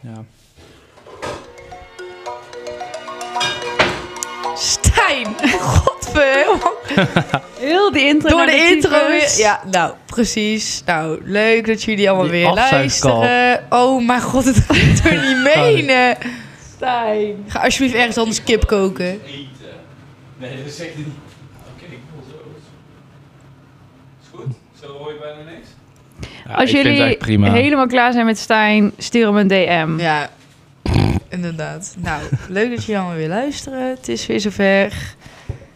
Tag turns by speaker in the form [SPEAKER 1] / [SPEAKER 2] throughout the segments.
[SPEAKER 1] Ja.
[SPEAKER 2] Stijn! Godver!
[SPEAKER 3] Heel die intro.
[SPEAKER 2] Door
[SPEAKER 3] naar
[SPEAKER 2] de intro weer.
[SPEAKER 3] tyfus.
[SPEAKER 2] Ja, nou, precies. Nou, leuk dat jullie allemaal
[SPEAKER 1] Die
[SPEAKER 2] weer
[SPEAKER 1] afzuigkalf.
[SPEAKER 2] luisteren. Oh mijn god, het kan ik toch niet menen.
[SPEAKER 3] Stijn.
[SPEAKER 2] Ga alsjeblieft ergens anders kip koken.
[SPEAKER 4] Eten. Nee, dat zeg je niet. Oké, ik voel zo. Is goed? Zo hoor je bijna niks.
[SPEAKER 1] Ja,
[SPEAKER 3] Als
[SPEAKER 1] ik vind het
[SPEAKER 3] jullie
[SPEAKER 1] echt prima.
[SPEAKER 3] helemaal klaar zijn met Stijn, stuur hem een DM.
[SPEAKER 2] Ja, inderdaad. Nou, leuk dat jullie allemaal weer luisteren. Het is weer zover.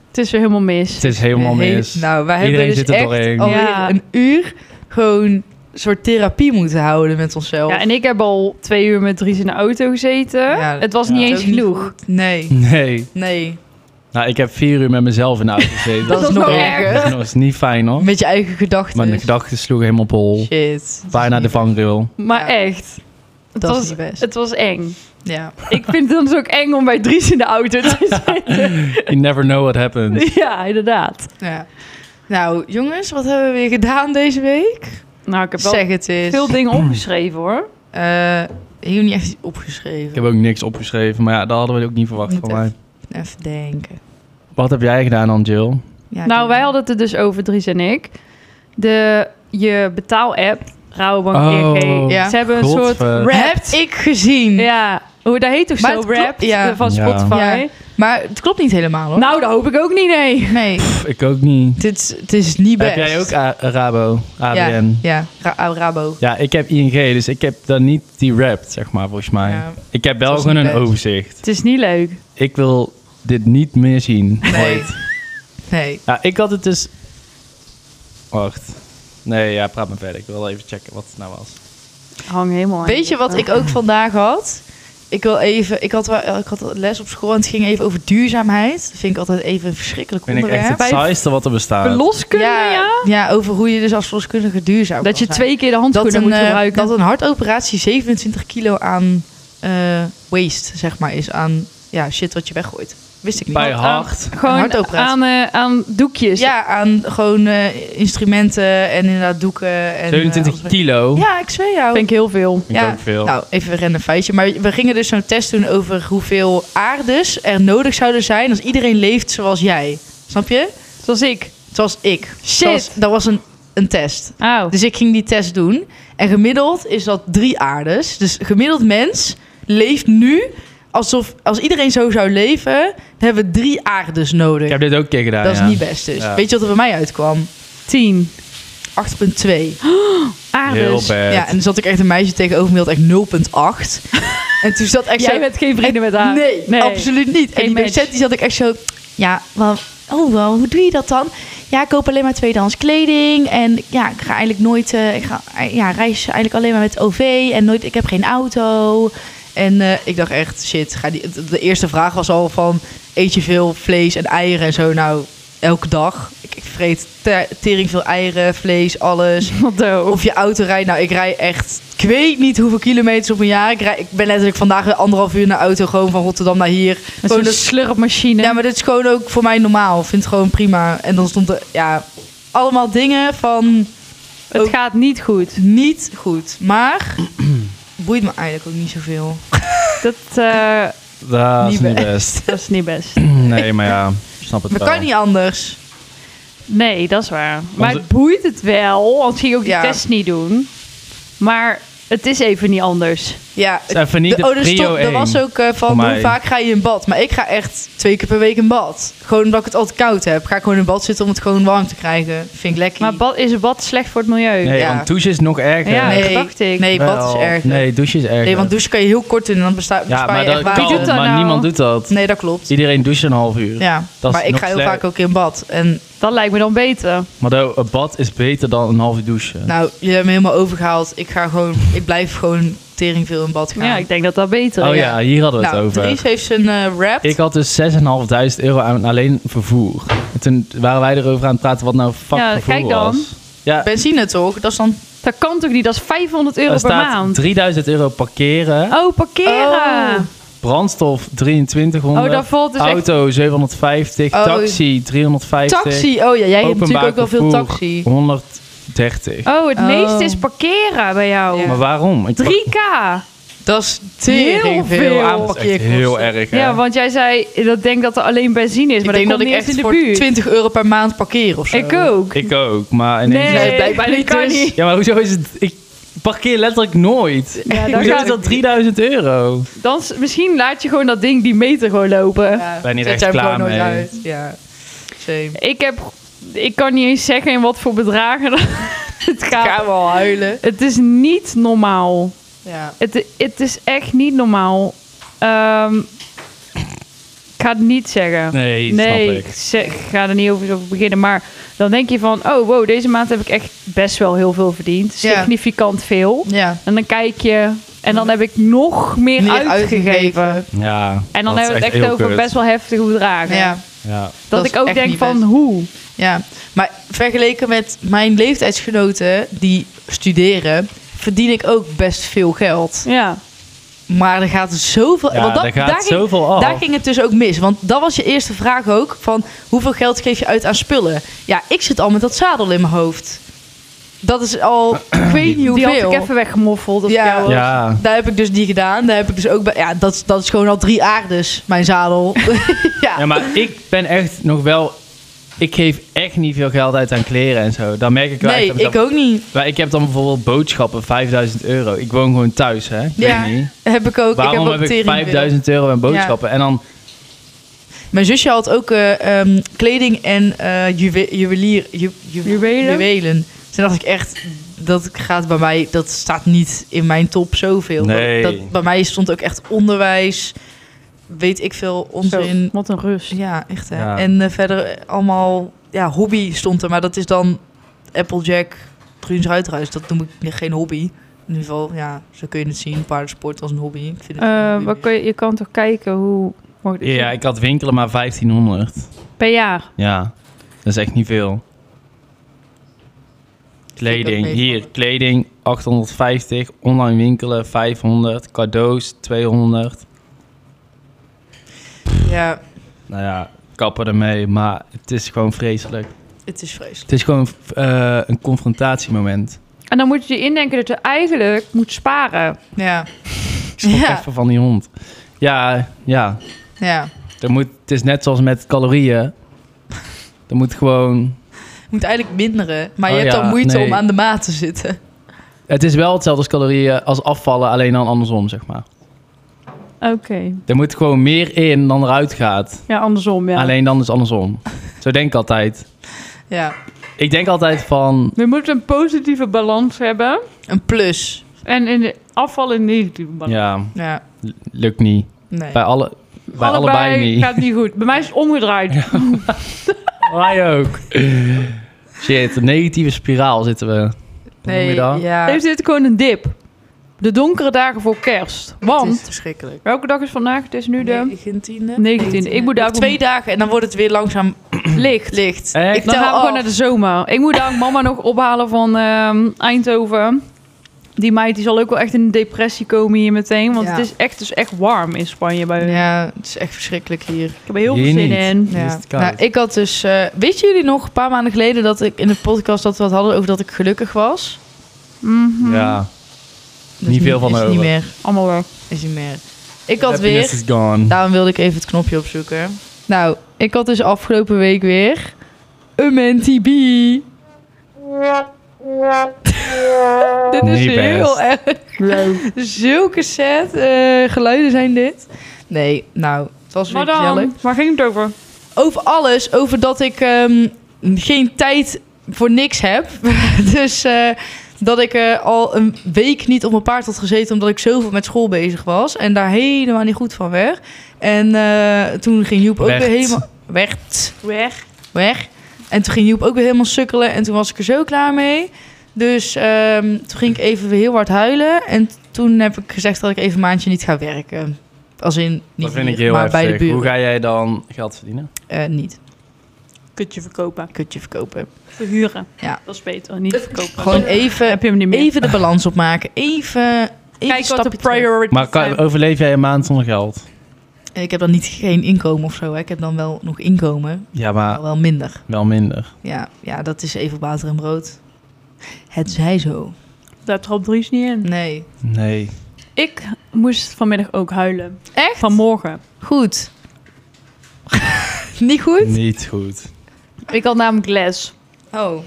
[SPEAKER 3] Het is weer helemaal mis.
[SPEAKER 1] Het is helemaal
[SPEAKER 2] Heel-
[SPEAKER 1] mis.
[SPEAKER 2] Nou, wij
[SPEAKER 1] Iedereen
[SPEAKER 2] hebben
[SPEAKER 1] zit
[SPEAKER 2] dus
[SPEAKER 1] er
[SPEAKER 2] echt
[SPEAKER 1] doorheen.
[SPEAKER 2] alweer
[SPEAKER 3] Ja.
[SPEAKER 2] een uur gewoon een soort therapie moeten houden met onszelf.
[SPEAKER 3] Ja, en ik heb al twee uur met Dries in de auto gezeten.
[SPEAKER 2] Ja,
[SPEAKER 3] het was
[SPEAKER 1] ja.
[SPEAKER 3] niet
[SPEAKER 2] Dat
[SPEAKER 3] eens
[SPEAKER 2] is ook niet
[SPEAKER 3] genoeg.
[SPEAKER 2] goed. Nee,
[SPEAKER 1] Nee.
[SPEAKER 2] nee.
[SPEAKER 1] Nou, ik heb vier uur met mezelf in de auto gezeten.
[SPEAKER 2] Dat is nog erger.
[SPEAKER 1] Dat was niet fijn hoor.
[SPEAKER 2] Met je eigen gedachten.
[SPEAKER 1] Mijn gedachten sloegen helemaal op hol.
[SPEAKER 2] Shit.
[SPEAKER 1] Bijna de vangrail.
[SPEAKER 3] Maar
[SPEAKER 2] Ja.
[SPEAKER 3] echt, het
[SPEAKER 2] Dat is
[SPEAKER 3] was,
[SPEAKER 2] niet best.
[SPEAKER 3] het was eng.
[SPEAKER 2] Ja.
[SPEAKER 3] Ik vind het dan ook eng om bij Dries in de auto te zitten.
[SPEAKER 1] You never know what happens.
[SPEAKER 3] ja, inderdaad.
[SPEAKER 2] ja. Nou, jongens, wat hebben we weer gedaan deze week?
[SPEAKER 3] Nou, ik heb wel
[SPEAKER 2] Zeg het eens.
[SPEAKER 3] veel dingen opgeschreven hoor.
[SPEAKER 2] Eh, ik heb niet echt iets
[SPEAKER 1] Ik
[SPEAKER 2] opgeschreven.
[SPEAKER 1] heb ook niks opgeschreven, maar ja, dat hadden we ook niet verwacht
[SPEAKER 2] Moet
[SPEAKER 1] van mij.
[SPEAKER 2] Even denken.
[SPEAKER 1] Wat heb jij gedaan dan, Jill?
[SPEAKER 2] Ja, doe
[SPEAKER 3] nou, wij
[SPEAKER 2] maar.
[SPEAKER 3] hadden het er dus over, Dries en ik. De, je betaal-app, Rabobank
[SPEAKER 1] Oh,
[SPEAKER 3] EG.
[SPEAKER 2] Ja.
[SPEAKER 3] Ze hebben een soort...
[SPEAKER 1] Godver-
[SPEAKER 2] Eh, Heb ik gezien.
[SPEAKER 3] Ja, hoe dat heet toch
[SPEAKER 2] Mm. Maar
[SPEAKER 3] zo?
[SPEAKER 2] het klopt-
[SPEAKER 3] Wrapped
[SPEAKER 2] ja.
[SPEAKER 3] eh, van
[SPEAKER 1] Ja. Oh.
[SPEAKER 3] Spotify.
[SPEAKER 2] Ja. Maar het klopt niet helemaal hoor.
[SPEAKER 3] Nou, dat hoop ik ook niet, nee.
[SPEAKER 2] Nee,
[SPEAKER 1] Pff, ik ook niet.
[SPEAKER 2] dit, is- het is niet best.
[SPEAKER 1] Heb jij ook A- Rabo,
[SPEAKER 2] Ja,
[SPEAKER 1] ABN? Ja.
[SPEAKER 2] ja. Ra- Rabo.
[SPEAKER 1] ik heb ING, dus ik heb dan niet die rapt, zeg maar, volgens mij.
[SPEAKER 2] Ja.
[SPEAKER 1] Ik heb
[SPEAKER 2] Het
[SPEAKER 1] wel
[SPEAKER 2] was
[SPEAKER 1] gewoon een
[SPEAKER 2] niet best.
[SPEAKER 1] overzicht.
[SPEAKER 3] Het is niet leuk.
[SPEAKER 1] Ik wil dit niet meer zien.
[SPEAKER 2] Nee.
[SPEAKER 1] Ooit.
[SPEAKER 2] Nee.
[SPEAKER 1] Ja, ik had het dus... Wacht. Nee, ja, praat maar verder. Ik wil even checken wat het nou was.
[SPEAKER 3] Hang helemaal aan.
[SPEAKER 2] Weet je wat ik ook vandaag had? Ik wil even, ik had, wel- ik had les op school en het ging even over duurzaamheid. Dat vind ik altijd even een verschrikkelijk
[SPEAKER 1] Vind ik echt
[SPEAKER 2] onderwerp.
[SPEAKER 1] het
[SPEAKER 3] Bij-
[SPEAKER 1] saaiste wat er bestaat.
[SPEAKER 3] Verloskunde, ja.
[SPEAKER 2] ja, ja, over hoe je dus als verloskundige duurzaam
[SPEAKER 3] Dat
[SPEAKER 2] kan
[SPEAKER 3] je
[SPEAKER 2] zijn.
[SPEAKER 3] twee keer de
[SPEAKER 2] dat
[SPEAKER 3] handschoenen
[SPEAKER 2] een,
[SPEAKER 3] moet
[SPEAKER 2] eh,
[SPEAKER 3] gebruiken.
[SPEAKER 2] dat een hartoperatie 27 kilo aan eh, waste, zeg maar, is. Aan ja, shit wat je weggooit. Wist ik niet.
[SPEAKER 1] Bij
[SPEAKER 3] Aan-
[SPEAKER 1] hart.
[SPEAKER 2] een
[SPEAKER 3] Gewoon
[SPEAKER 2] hartoperatie.
[SPEAKER 3] aan, eh, aan doekjes.
[SPEAKER 2] ja, aan gewoon eh, instrumenten en inderdaad doeken. En, eh,
[SPEAKER 1] 27
[SPEAKER 2] alles.
[SPEAKER 1] kilo.
[SPEAKER 2] Ja, ik zweer jou.
[SPEAKER 3] Vind ik heel veel.
[SPEAKER 1] Vind ik ook veel.
[SPEAKER 2] Nou, even een random feitje. Maar we gingen dus zo'n test doen over hoeveel aardes er nodig zouden zijn als iedereen leeft zoals jij. Snap je?
[SPEAKER 3] Zoals ik.
[SPEAKER 2] Zoals ik.
[SPEAKER 3] Shit.
[SPEAKER 2] Dat was, dat was een, een test.
[SPEAKER 3] Oh.
[SPEAKER 2] Dus ik ging die test doen. En gemiddeld is dat drie aardes. Dus gemiddeld mens leeft nu alsof als iedereen zo zou leven, dan hebben we drie aardes nodig.
[SPEAKER 1] ik heb dit ook een keer gedaan,
[SPEAKER 2] dat is
[SPEAKER 1] ja.
[SPEAKER 2] niet best dus.
[SPEAKER 1] Ja.
[SPEAKER 2] Weet je wat er bij mij uitkwam?
[SPEAKER 3] 10.
[SPEAKER 2] 8,2.
[SPEAKER 1] Heel
[SPEAKER 3] Aardes.
[SPEAKER 1] bad.
[SPEAKER 2] Ja, en dan zat ik echt een meisje tegenover me, die had echt 0,8. en toen zat echt
[SPEAKER 3] Jij
[SPEAKER 2] zo...
[SPEAKER 3] bent geen vrienden met haar.
[SPEAKER 2] Nee, absoluut niet. en
[SPEAKER 3] Geen
[SPEAKER 2] die
[SPEAKER 3] match.
[SPEAKER 2] docent die zat ik echt zo... Ja, wel, oh wel, hoe doe je dat dan? Ja, ik koop alleen maar tweedehands kleding. En ja, ik ga eigenlijk nooit... eh, ik ga, ja, reis eigenlijk alleen maar met OV. En nooit, ik heb geen auto. En eh, ik dacht echt, shit. Ga die, de eerste vraag was al van... Eet je veel vlees en eieren en zo? Nou, elke dag. Ik, ik vreet te- tering veel eieren, vlees, alles.
[SPEAKER 3] Wat doof.
[SPEAKER 2] Of je auto rijdt. Nou, ik rij echt... Ik weet niet hoeveel kilometers op een jaar. Ik, rij, ik ben letterlijk vandaag weer anderhalf uur in de auto. Gewoon van Rotterdam naar hier.
[SPEAKER 3] Met
[SPEAKER 2] Gewoon
[SPEAKER 3] zo'n
[SPEAKER 2] dat-
[SPEAKER 3] slurpmachine.
[SPEAKER 2] ja, maar dit is gewoon ook voor mij normaal. Ik vind het gewoon prima. En dan stond er... Ja, allemaal dingen van
[SPEAKER 3] het
[SPEAKER 2] ook-
[SPEAKER 3] gaat niet goed.
[SPEAKER 2] niet goed. Maar... boeit me eigenlijk ook niet zoveel.
[SPEAKER 3] Dat, eh,
[SPEAKER 1] Dat is
[SPEAKER 2] Niet
[SPEAKER 1] niet best.
[SPEAKER 3] dat is niet best.
[SPEAKER 1] Nee, maar ja, ik snap het
[SPEAKER 2] Maar
[SPEAKER 1] wel.
[SPEAKER 2] kan niet anders.
[SPEAKER 3] Nee, dat is waar. Maar
[SPEAKER 1] Onze-
[SPEAKER 3] het boeit het wel, want ging ook die
[SPEAKER 2] Ja.
[SPEAKER 3] test niet doen. Maar het is even niet anders.
[SPEAKER 2] Ja,
[SPEAKER 1] Het is even niet de,
[SPEAKER 2] oh, er,
[SPEAKER 1] prio
[SPEAKER 2] stond- er
[SPEAKER 1] één.
[SPEAKER 2] was ook eh,
[SPEAKER 1] voor
[SPEAKER 2] van
[SPEAKER 1] mij.
[SPEAKER 2] hoe vaak ga je in bad. Maar ik ga echt twee keer per week in bad. Gewoon omdat ik het altijd koud heb. Ga ik gewoon in bad zitten om het gewoon warm te krijgen. Vind ik lekker.
[SPEAKER 3] Maar bad, is bad slecht voor het milieu?
[SPEAKER 1] Nee,
[SPEAKER 2] ja.
[SPEAKER 1] want douche is nog erger.
[SPEAKER 3] Ja,
[SPEAKER 2] nee,
[SPEAKER 3] dat dacht ik.
[SPEAKER 2] Nee,
[SPEAKER 1] Wel,
[SPEAKER 2] bad is erger. Nee,
[SPEAKER 1] Nee, douche is erger.
[SPEAKER 2] want douchen kan je heel kort in en dan besta- bespaar
[SPEAKER 1] Ja, maar
[SPEAKER 2] je echt
[SPEAKER 1] dat
[SPEAKER 2] water.
[SPEAKER 1] kan,
[SPEAKER 3] Wie doet dat
[SPEAKER 1] maar
[SPEAKER 3] nou?
[SPEAKER 1] niemand doet dat.
[SPEAKER 2] Nee, dat klopt.
[SPEAKER 1] Iedereen doucht een half uur.
[SPEAKER 2] Ja,
[SPEAKER 1] Dat is
[SPEAKER 2] maar ik
[SPEAKER 1] nog
[SPEAKER 2] ga heel
[SPEAKER 1] slecht.
[SPEAKER 2] vaak ook in bad. En
[SPEAKER 3] Dat lijkt me dan beter.
[SPEAKER 1] Maar dat- een bad is beter dan een half uur douchen.
[SPEAKER 2] nou, jullie hebben me helemaal overgehaald. Ik ga gewoon, ik blijf gewoon tering veel in bad gaan.
[SPEAKER 3] Ja, ik denk dat dat beter
[SPEAKER 1] oh
[SPEAKER 3] is.
[SPEAKER 1] ja, hier hadden we het
[SPEAKER 2] nou,
[SPEAKER 1] over.
[SPEAKER 2] Dries heeft zijn eh rap.
[SPEAKER 1] Ik had dus 6.500 euro aan alleen vervoer. En toen waren wij erover aan het praten wat nou fuck
[SPEAKER 3] Ja,
[SPEAKER 1] vervoer
[SPEAKER 3] kijk dan.
[SPEAKER 1] was. Ja,
[SPEAKER 2] Benzine toch? Dat is dan
[SPEAKER 3] Dat kan toch niet? Dat is 500 euro
[SPEAKER 1] er
[SPEAKER 3] per
[SPEAKER 1] staat
[SPEAKER 3] maand.
[SPEAKER 1] 3000 euro parkeren,
[SPEAKER 3] Oh, parkeren.
[SPEAKER 2] Oh.
[SPEAKER 1] brandstof 2300,
[SPEAKER 3] Oh, daar valt dus echt-
[SPEAKER 1] auto 750,
[SPEAKER 2] Oh.
[SPEAKER 1] taxi 350,
[SPEAKER 2] taxi. Oh ja, jij hebt natuurlijk
[SPEAKER 1] openbaar
[SPEAKER 2] ook wel veel
[SPEAKER 1] vervoer
[SPEAKER 2] taxi.
[SPEAKER 1] 130.
[SPEAKER 3] Oh, het
[SPEAKER 2] Oh.
[SPEAKER 3] meeste is parkeren bij jou.
[SPEAKER 2] Ja.
[SPEAKER 1] Maar waarom? Ik pak-
[SPEAKER 3] 3k.
[SPEAKER 2] Dat is tering
[SPEAKER 3] Heel
[SPEAKER 2] veel,
[SPEAKER 3] veel.
[SPEAKER 1] Dat
[SPEAKER 2] aanpak
[SPEAKER 1] is
[SPEAKER 2] je
[SPEAKER 1] echt
[SPEAKER 2] kosten.
[SPEAKER 1] heel erg, hè?
[SPEAKER 3] Ja, want jij zei dat ik denk dat er alleen benzine is,
[SPEAKER 2] Ik
[SPEAKER 3] maar
[SPEAKER 2] denk
[SPEAKER 3] dat
[SPEAKER 2] dat ik
[SPEAKER 3] komt niet
[SPEAKER 2] echt
[SPEAKER 3] eens in de
[SPEAKER 2] voor
[SPEAKER 3] buurt.
[SPEAKER 2] 20 euro per maand parkeer of zo.
[SPEAKER 3] Ik ook.
[SPEAKER 1] Ik ook, maar ineens...
[SPEAKER 3] nee,
[SPEAKER 2] Nee, blijkbaar
[SPEAKER 3] dat
[SPEAKER 2] niet
[SPEAKER 3] kan
[SPEAKER 2] dus.
[SPEAKER 3] niet.
[SPEAKER 1] Ja, maar hoezo is het... Ik parkeer letterlijk nooit.
[SPEAKER 3] Ja, daar
[SPEAKER 1] Hoezo
[SPEAKER 3] gaat
[SPEAKER 1] is dat
[SPEAKER 3] het.
[SPEAKER 1] 3000 euro?
[SPEAKER 3] Dan, s- misschien laat je gewoon dat ding die meter gewoon lopen.
[SPEAKER 2] Ja,
[SPEAKER 1] Ben je niet
[SPEAKER 2] zet
[SPEAKER 1] echt
[SPEAKER 2] jij hem
[SPEAKER 1] klaar
[SPEAKER 2] gewoon nooit
[SPEAKER 1] mee?
[SPEAKER 2] uit. Ja, same.
[SPEAKER 3] Ik heb... Ik kan niet eens zeggen in wat voor bedragen het
[SPEAKER 2] Ik
[SPEAKER 3] gaat.
[SPEAKER 2] ga wel huilen.
[SPEAKER 3] Het is niet normaal.
[SPEAKER 2] Ja.
[SPEAKER 3] Het, het is echt niet normaal. Ehm, ik ga het niet zeggen.
[SPEAKER 1] Nee, dat
[SPEAKER 3] nee,
[SPEAKER 1] snap ik.
[SPEAKER 3] ze- ik ga er niet over, over beginnen. Maar dan denk je van, oh wow, deze maand heb ik echt best wel heel veel verdiend.
[SPEAKER 2] Ja.
[SPEAKER 3] Significant veel.
[SPEAKER 2] Ja.
[SPEAKER 3] En dan kijk je, en dan heb ik nog meer,
[SPEAKER 2] Meer
[SPEAKER 3] uitgegeven.
[SPEAKER 2] uitgegeven.
[SPEAKER 1] Ja.
[SPEAKER 3] En dan
[SPEAKER 1] dat is
[SPEAKER 3] hebben we het echt
[SPEAKER 1] heel
[SPEAKER 3] over
[SPEAKER 1] kut.
[SPEAKER 3] best wel heftige bedragen.
[SPEAKER 2] Ja.
[SPEAKER 1] Ja.
[SPEAKER 3] Dat,
[SPEAKER 2] Dat
[SPEAKER 3] ik
[SPEAKER 2] is
[SPEAKER 3] ook
[SPEAKER 2] echt
[SPEAKER 3] denk
[SPEAKER 2] niet
[SPEAKER 3] van,
[SPEAKER 2] best.
[SPEAKER 3] hoe?
[SPEAKER 2] Ja, maar vergeleken met mijn leeftijdsgenoten die studeren, verdien ik ook best veel geld.
[SPEAKER 3] Ja.
[SPEAKER 2] Maar er gaat zoveel.
[SPEAKER 1] Ja,
[SPEAKER 2] want dat,
[SPEAKER 1] er gaat
[SPEAKER 2] daar ging,
[SPEAKER 1] zoveel af.
[SPEAKER 2] Daar ging het dus ook mis. Want dat was je eerste vraag ook: van hoeveel geld geef je uit aan spullen? Ja, ik zit al met dat zadel in mijn hoofd. Dat is al, ik weet niet
[SPEAKER 3] Die had
[SPEAKER 2] hoeveel.
[SPEAKER 3] ik even weggemoffeld. Of
[SPEAKER 2] Ja.
[SPEAKER 3] jou.
[SPEAKER 1] Ja.
[SPEAKER 2] Daar heb ik dus die gedaan. Daar heb ik dus ook bij. Ja, dat, dat is gewoon al drie aardes, mijn zadel. ja.
[SPEAKER 1] Ja, maar ik ben echt nog wel... Ik geef echt niet veel geld uit aan kleren en zo. Dan merk ik wel
[SPEAKER 2] nee,
[SPEAKER 1] echt... dat
[SPEAKER 2] ik
[SPEAKER 1] dat-
[SPEAKER 2] ook niet.
[SPEAKER 1] Maar ik heb dan bijvoorbeeld boodschappen, 5000 euro. Ik woon gewoon thuis, hè? Ik
[SPEAKER 2] Ja,
[SPEAKER 1] weet niet.
[SPEAKER 2] heb ik ook. ik
[SPEAKER 1] Waarom
[SPEAKER 2] heb ook
[SPEAKER 1] heb ik
[SPEAKER 2] tering-
[SPEAKER 1] 5000 euro aan boodschappen? En dan...
[SPEAKER 2] Mijn zusje had ook eh, ehm, kleding en eh juwe- juwelier, ju- ju-
[SPEAKER 3] Juwelen?
[SPEAKER 2] juwelen. Toen dacht ik echt, dat gaat bij mij, dat staat niet in mijn top zoveel.
[SPEAKER 1] Nee.
[SPEAKER 2] Dat, dat- bij mij stond ook echt onderwijs, weet ik veel,
[SPEAKER 3] Zo,
[SPEAKER 2] onzin.
[SPEAKER 3] wat een rust.
[SPEAKER 2] Ja, echt hè.
[SPEAKER 1] Ja.
[SPEAKER 2] En eh, verder allemaal, ja, hobby stond er. Maar dat is dan Applejack, Bruins Ruitruis. Dat noem ik geen hobby. In ieder geval, ja, zo kun je het zien. Paardensport als een hobby. Ik vind het een
[SPEAKER 3] Eh,
[SPEAKER 2] hobby.
[SPEAKER 3] wat kun je, je kan toch kijken hoe... wordt het?
[SPEAKER 1] Ja, ik had winkelen maar 1500.
[SPEAKER 3] Per jaar.
[SPEAKER 1] Ja, dat is echt niet veel. Kleding,
[SPEAKER 2] Vind ik ook
[SPEAKER 1] hier,
[SPEAKER 2] meevallen.
[SPEAKER 1] kleding 850, online winkelen 500, cadeaus 200.
[SPEAKER 2] Ja,
[SPEAKER 1] Nou ja, kappen ermee, maar het is gewoon vreselijk.
[SPEAKER 2] het is vreselijk.
[SPEAKER 1] Het is gewoon eh, een confrontatiemoment.
[SPEAKER 3] En dan moet je je indenken dat je eigenlijk moet sparen.
[SPEAKER 2] Ja.
[SPEAKER 1] Ja. Even van die hond. Ja, ja.
[SPEAKER 2] Ja,
[SPEAKER 1] Er moet, het is net zoals met calorieën. Er moet gewoon
[SPEAKER 2] je moet eigenlijk minderen. Maar je
[SPEAKER 1] Oh
[SPEAKER 2] hebt
[SPEAKER 1] ja,
[SPEAKER 2] dan moeite
[SPEAKER 1] nee.
[SPEAKER 2] om aan de maat te zitten.
[SPEAKER 1] Het is wel hetzelfde als calorieën als afvallen, alleen dan andersom, zeg maar.
[SPEAKER 3] Oké.
[SPEAKER 1] Er moet gewoon meer in dan eruit gaat.
[SPEAKER 3] Ja, andersom, ja.
[SPEAKER 1] Alleen dan is andersom. Zo denk ik altijd.
[SPEAKER 2] Ja,
[SPEAKER 1] Ik denk altijd van...
[SPEAKER 3] We moeten een positieve balans hebben.
[SPEAKER 2] een plus.
[SPEAKER 3] En in de afval een negatieve balans.
[SPEAKER 1] Ja,
[SPEAKER 2] Ja,
[SPEAKER 1] l- lukt niet.
[SPEAKER 2] nee.
[SPEAKER 1] Bij, alle, bij allebei niet.
[SPEAKER 3] gaat niet goed. Bij mij is het omgedraaid.
[SPEAKER 1] Wij ook. Shit, een negatieve spiraal zitten we. Hoe noem
[SPEAKER 2] nee
[SPEAKER 1] je dat?
[SPEAKER 2] ja,
[SPEAKER 3] Heeft dit gewoon een dip? De donkere dagen voor kerst.
[SPEAKER 2] het is
[SPEAKER 3] Want,
[SPEAKER 2] verschrikkelijk.
[SPEAKER 3] welke dag is vandaag? Het is nu de
[SPEAKER 2] 19e.
[SPEAKER 3] 19e. Ik moet daar
[SPEAKER 2] Nog twee dagen en dan wordt het weer langzaam
[SPEAKER 3] licht.
[SPEAKER 2] licht.
[SPEAKER 1] Echt?
[SPEAKER 2] Ik
[SPEAKER 3] Dan
[SPEAKER 2] tel
[SPEAKER 3] gaan we gewoon
[SPEAKER 2] af.
[SPEAKER 3] naar de zomer. Ik moet daar mama nog ophalen van ehm, Eindhoven. Die meid die zal ook wel echt in een depressie komen hier meteen. Want
[SPEAKER 2] Ja.
[SPEAKER 3] het is echt, dus echt warm in Spanje. Bij
[SPEAKER 2] Ja, het is echt verschrikkelijk hier.
[SPEAKER 3] Ik heb er heel
[SPEAKER 1] Hier
[SPEAKER 3] veel zin
[SPEAKER 1] niet.
[SPEAKER 3] in.
[SPEAKER 1] Eh, Hier is
[SPEAKER 2] Ja.
[SPEAKER 1] het koud.
[SPEAKER 2] Nou, ik had dus... eh wisten jullie nog, een paar maanden geleden, dat ik in de podcast dat we wat hadden over dat ik gelukkig was?
[SPEAKER 3] Mhm.
[SPEAKER 1] Ja,
[SPEAKER 2] Dat
[SPEAKER 1] Niet
[SPEAKER 2] is
[SPEAKER 1] veel van
[SPEAKER 2] is
[SPEAKER 1] over.
[SPEAKER 2] niet meer.
[SPEAKER 3] Allemaal eh, weg.
[SPEAKER 2] Is niet meer. Ik had
[SPEAKER 1] happiness
[SPEAKER 2] weer...
[SPEAKER 1] is gone.
[SPEAKER 2] Daarom wilde ik even het knopje opzoeken. Nou, ik had dus afgelopen week weer een Menti B. dit is
[SPEAKER 1] Niet
[SPEAKER 2] heel erg.
[SPEAKER 3] Leuk.
[SPEAKER 2] Zulke set eh, geluiden zijn dit. Nee, nou, het was weer
[SPEAKER 3] Maar
[SPEAKER 2] gezellig.
[SPEAKER 3] dan, waar ging het over?
[SPEAKER 2] Over alles, over dat ik ehm, geen tijd voor niks heb. dus eh, dat ik eh, al een week niet op mijn paard had gezeten... omdat ik zoveel met school bezig was. En daar helemaal niet goed van werd. En eh, toen ging Joep ook
[SPEAKER 1] Werd.
[SPEAKER 2] weer helemaal... Werd.
[SPEAKER 3] Weg.
[SPEAKER 2] weg. En toen ging Joep ook weer helemaal sukkelen. En toen was ik er zo klaar mee. Dus ehm, toen ging ik even weer heel hard huilen. En toen heb ik gezegd dat ik even een maandje niet ga werken. Als in, niet
[SPEAKER 1] Dat vind
[SPEAKER 2] hier,
[SPEAKER 1] ik heel
[SPEAKER 2] maar bij de
[SPEAKER 1] heftig. Hoe
[SPEAKER 2] buren.
[SPEAKER 1] ga jij dan geld verdienen?
[SPEAKER 2] Eh, niet.
[SPEAKER 3] Kutje verkopen.
[SPEAKER 2] Kutje verkopen.
[SPEAKER 3] Verhuren.
[SPEAKER 2] Ja.
[SPEAKER 3] Dat is beter. Niet verkopen.
[SPEAKER 2] Gewoon
[SPEAKER 3] Dan
[SPEAKER 2] even,
[SPEAKER 3] heb je hem niet meer.
[SPEAKER 2] even de balans opmaken. Even, even een
[SPEAKER 3] Kijk wat
[SPEAKER 2] stapje
[SPEAKER 3] de
[SPEAKER 2] terug.
[SPEAKER 3] priority
[SPEAKER 1] Maar kan, overleef jij een maand zonder geld?
[SPEAKER 2] En Ik heb dan niet geen inkomen of zo. Hè. Ik heb dan wel nog inkomen.
[SPEAKER 1] Ja,
[SPEAKER 2] Maar
[SPEAKER 1] maar
[SPEAKER 2] wel minder.
[SPEAKER 1] wel minder.
[SPEAKER 2] Ja, ja, dat is even op water en brood. Het zij zo.
[SPEAKER 3] Daar trapt Dries niet in.
[SPEAKER 2] Nee.
[SPEAKER 1] Nee.
[SPEAKER 3] Ik moest vanmiddag ook huilen.
[SPEAKER 2] Echt?
[SPEAKER 3] Vanmorgen.
[SPEAKER 2] Goed. Niet goed?
[SPEAKER 1] Niet goed.
[SPEAKER 3] Ik had namelijk les.
[SPEAKER 2] Oh.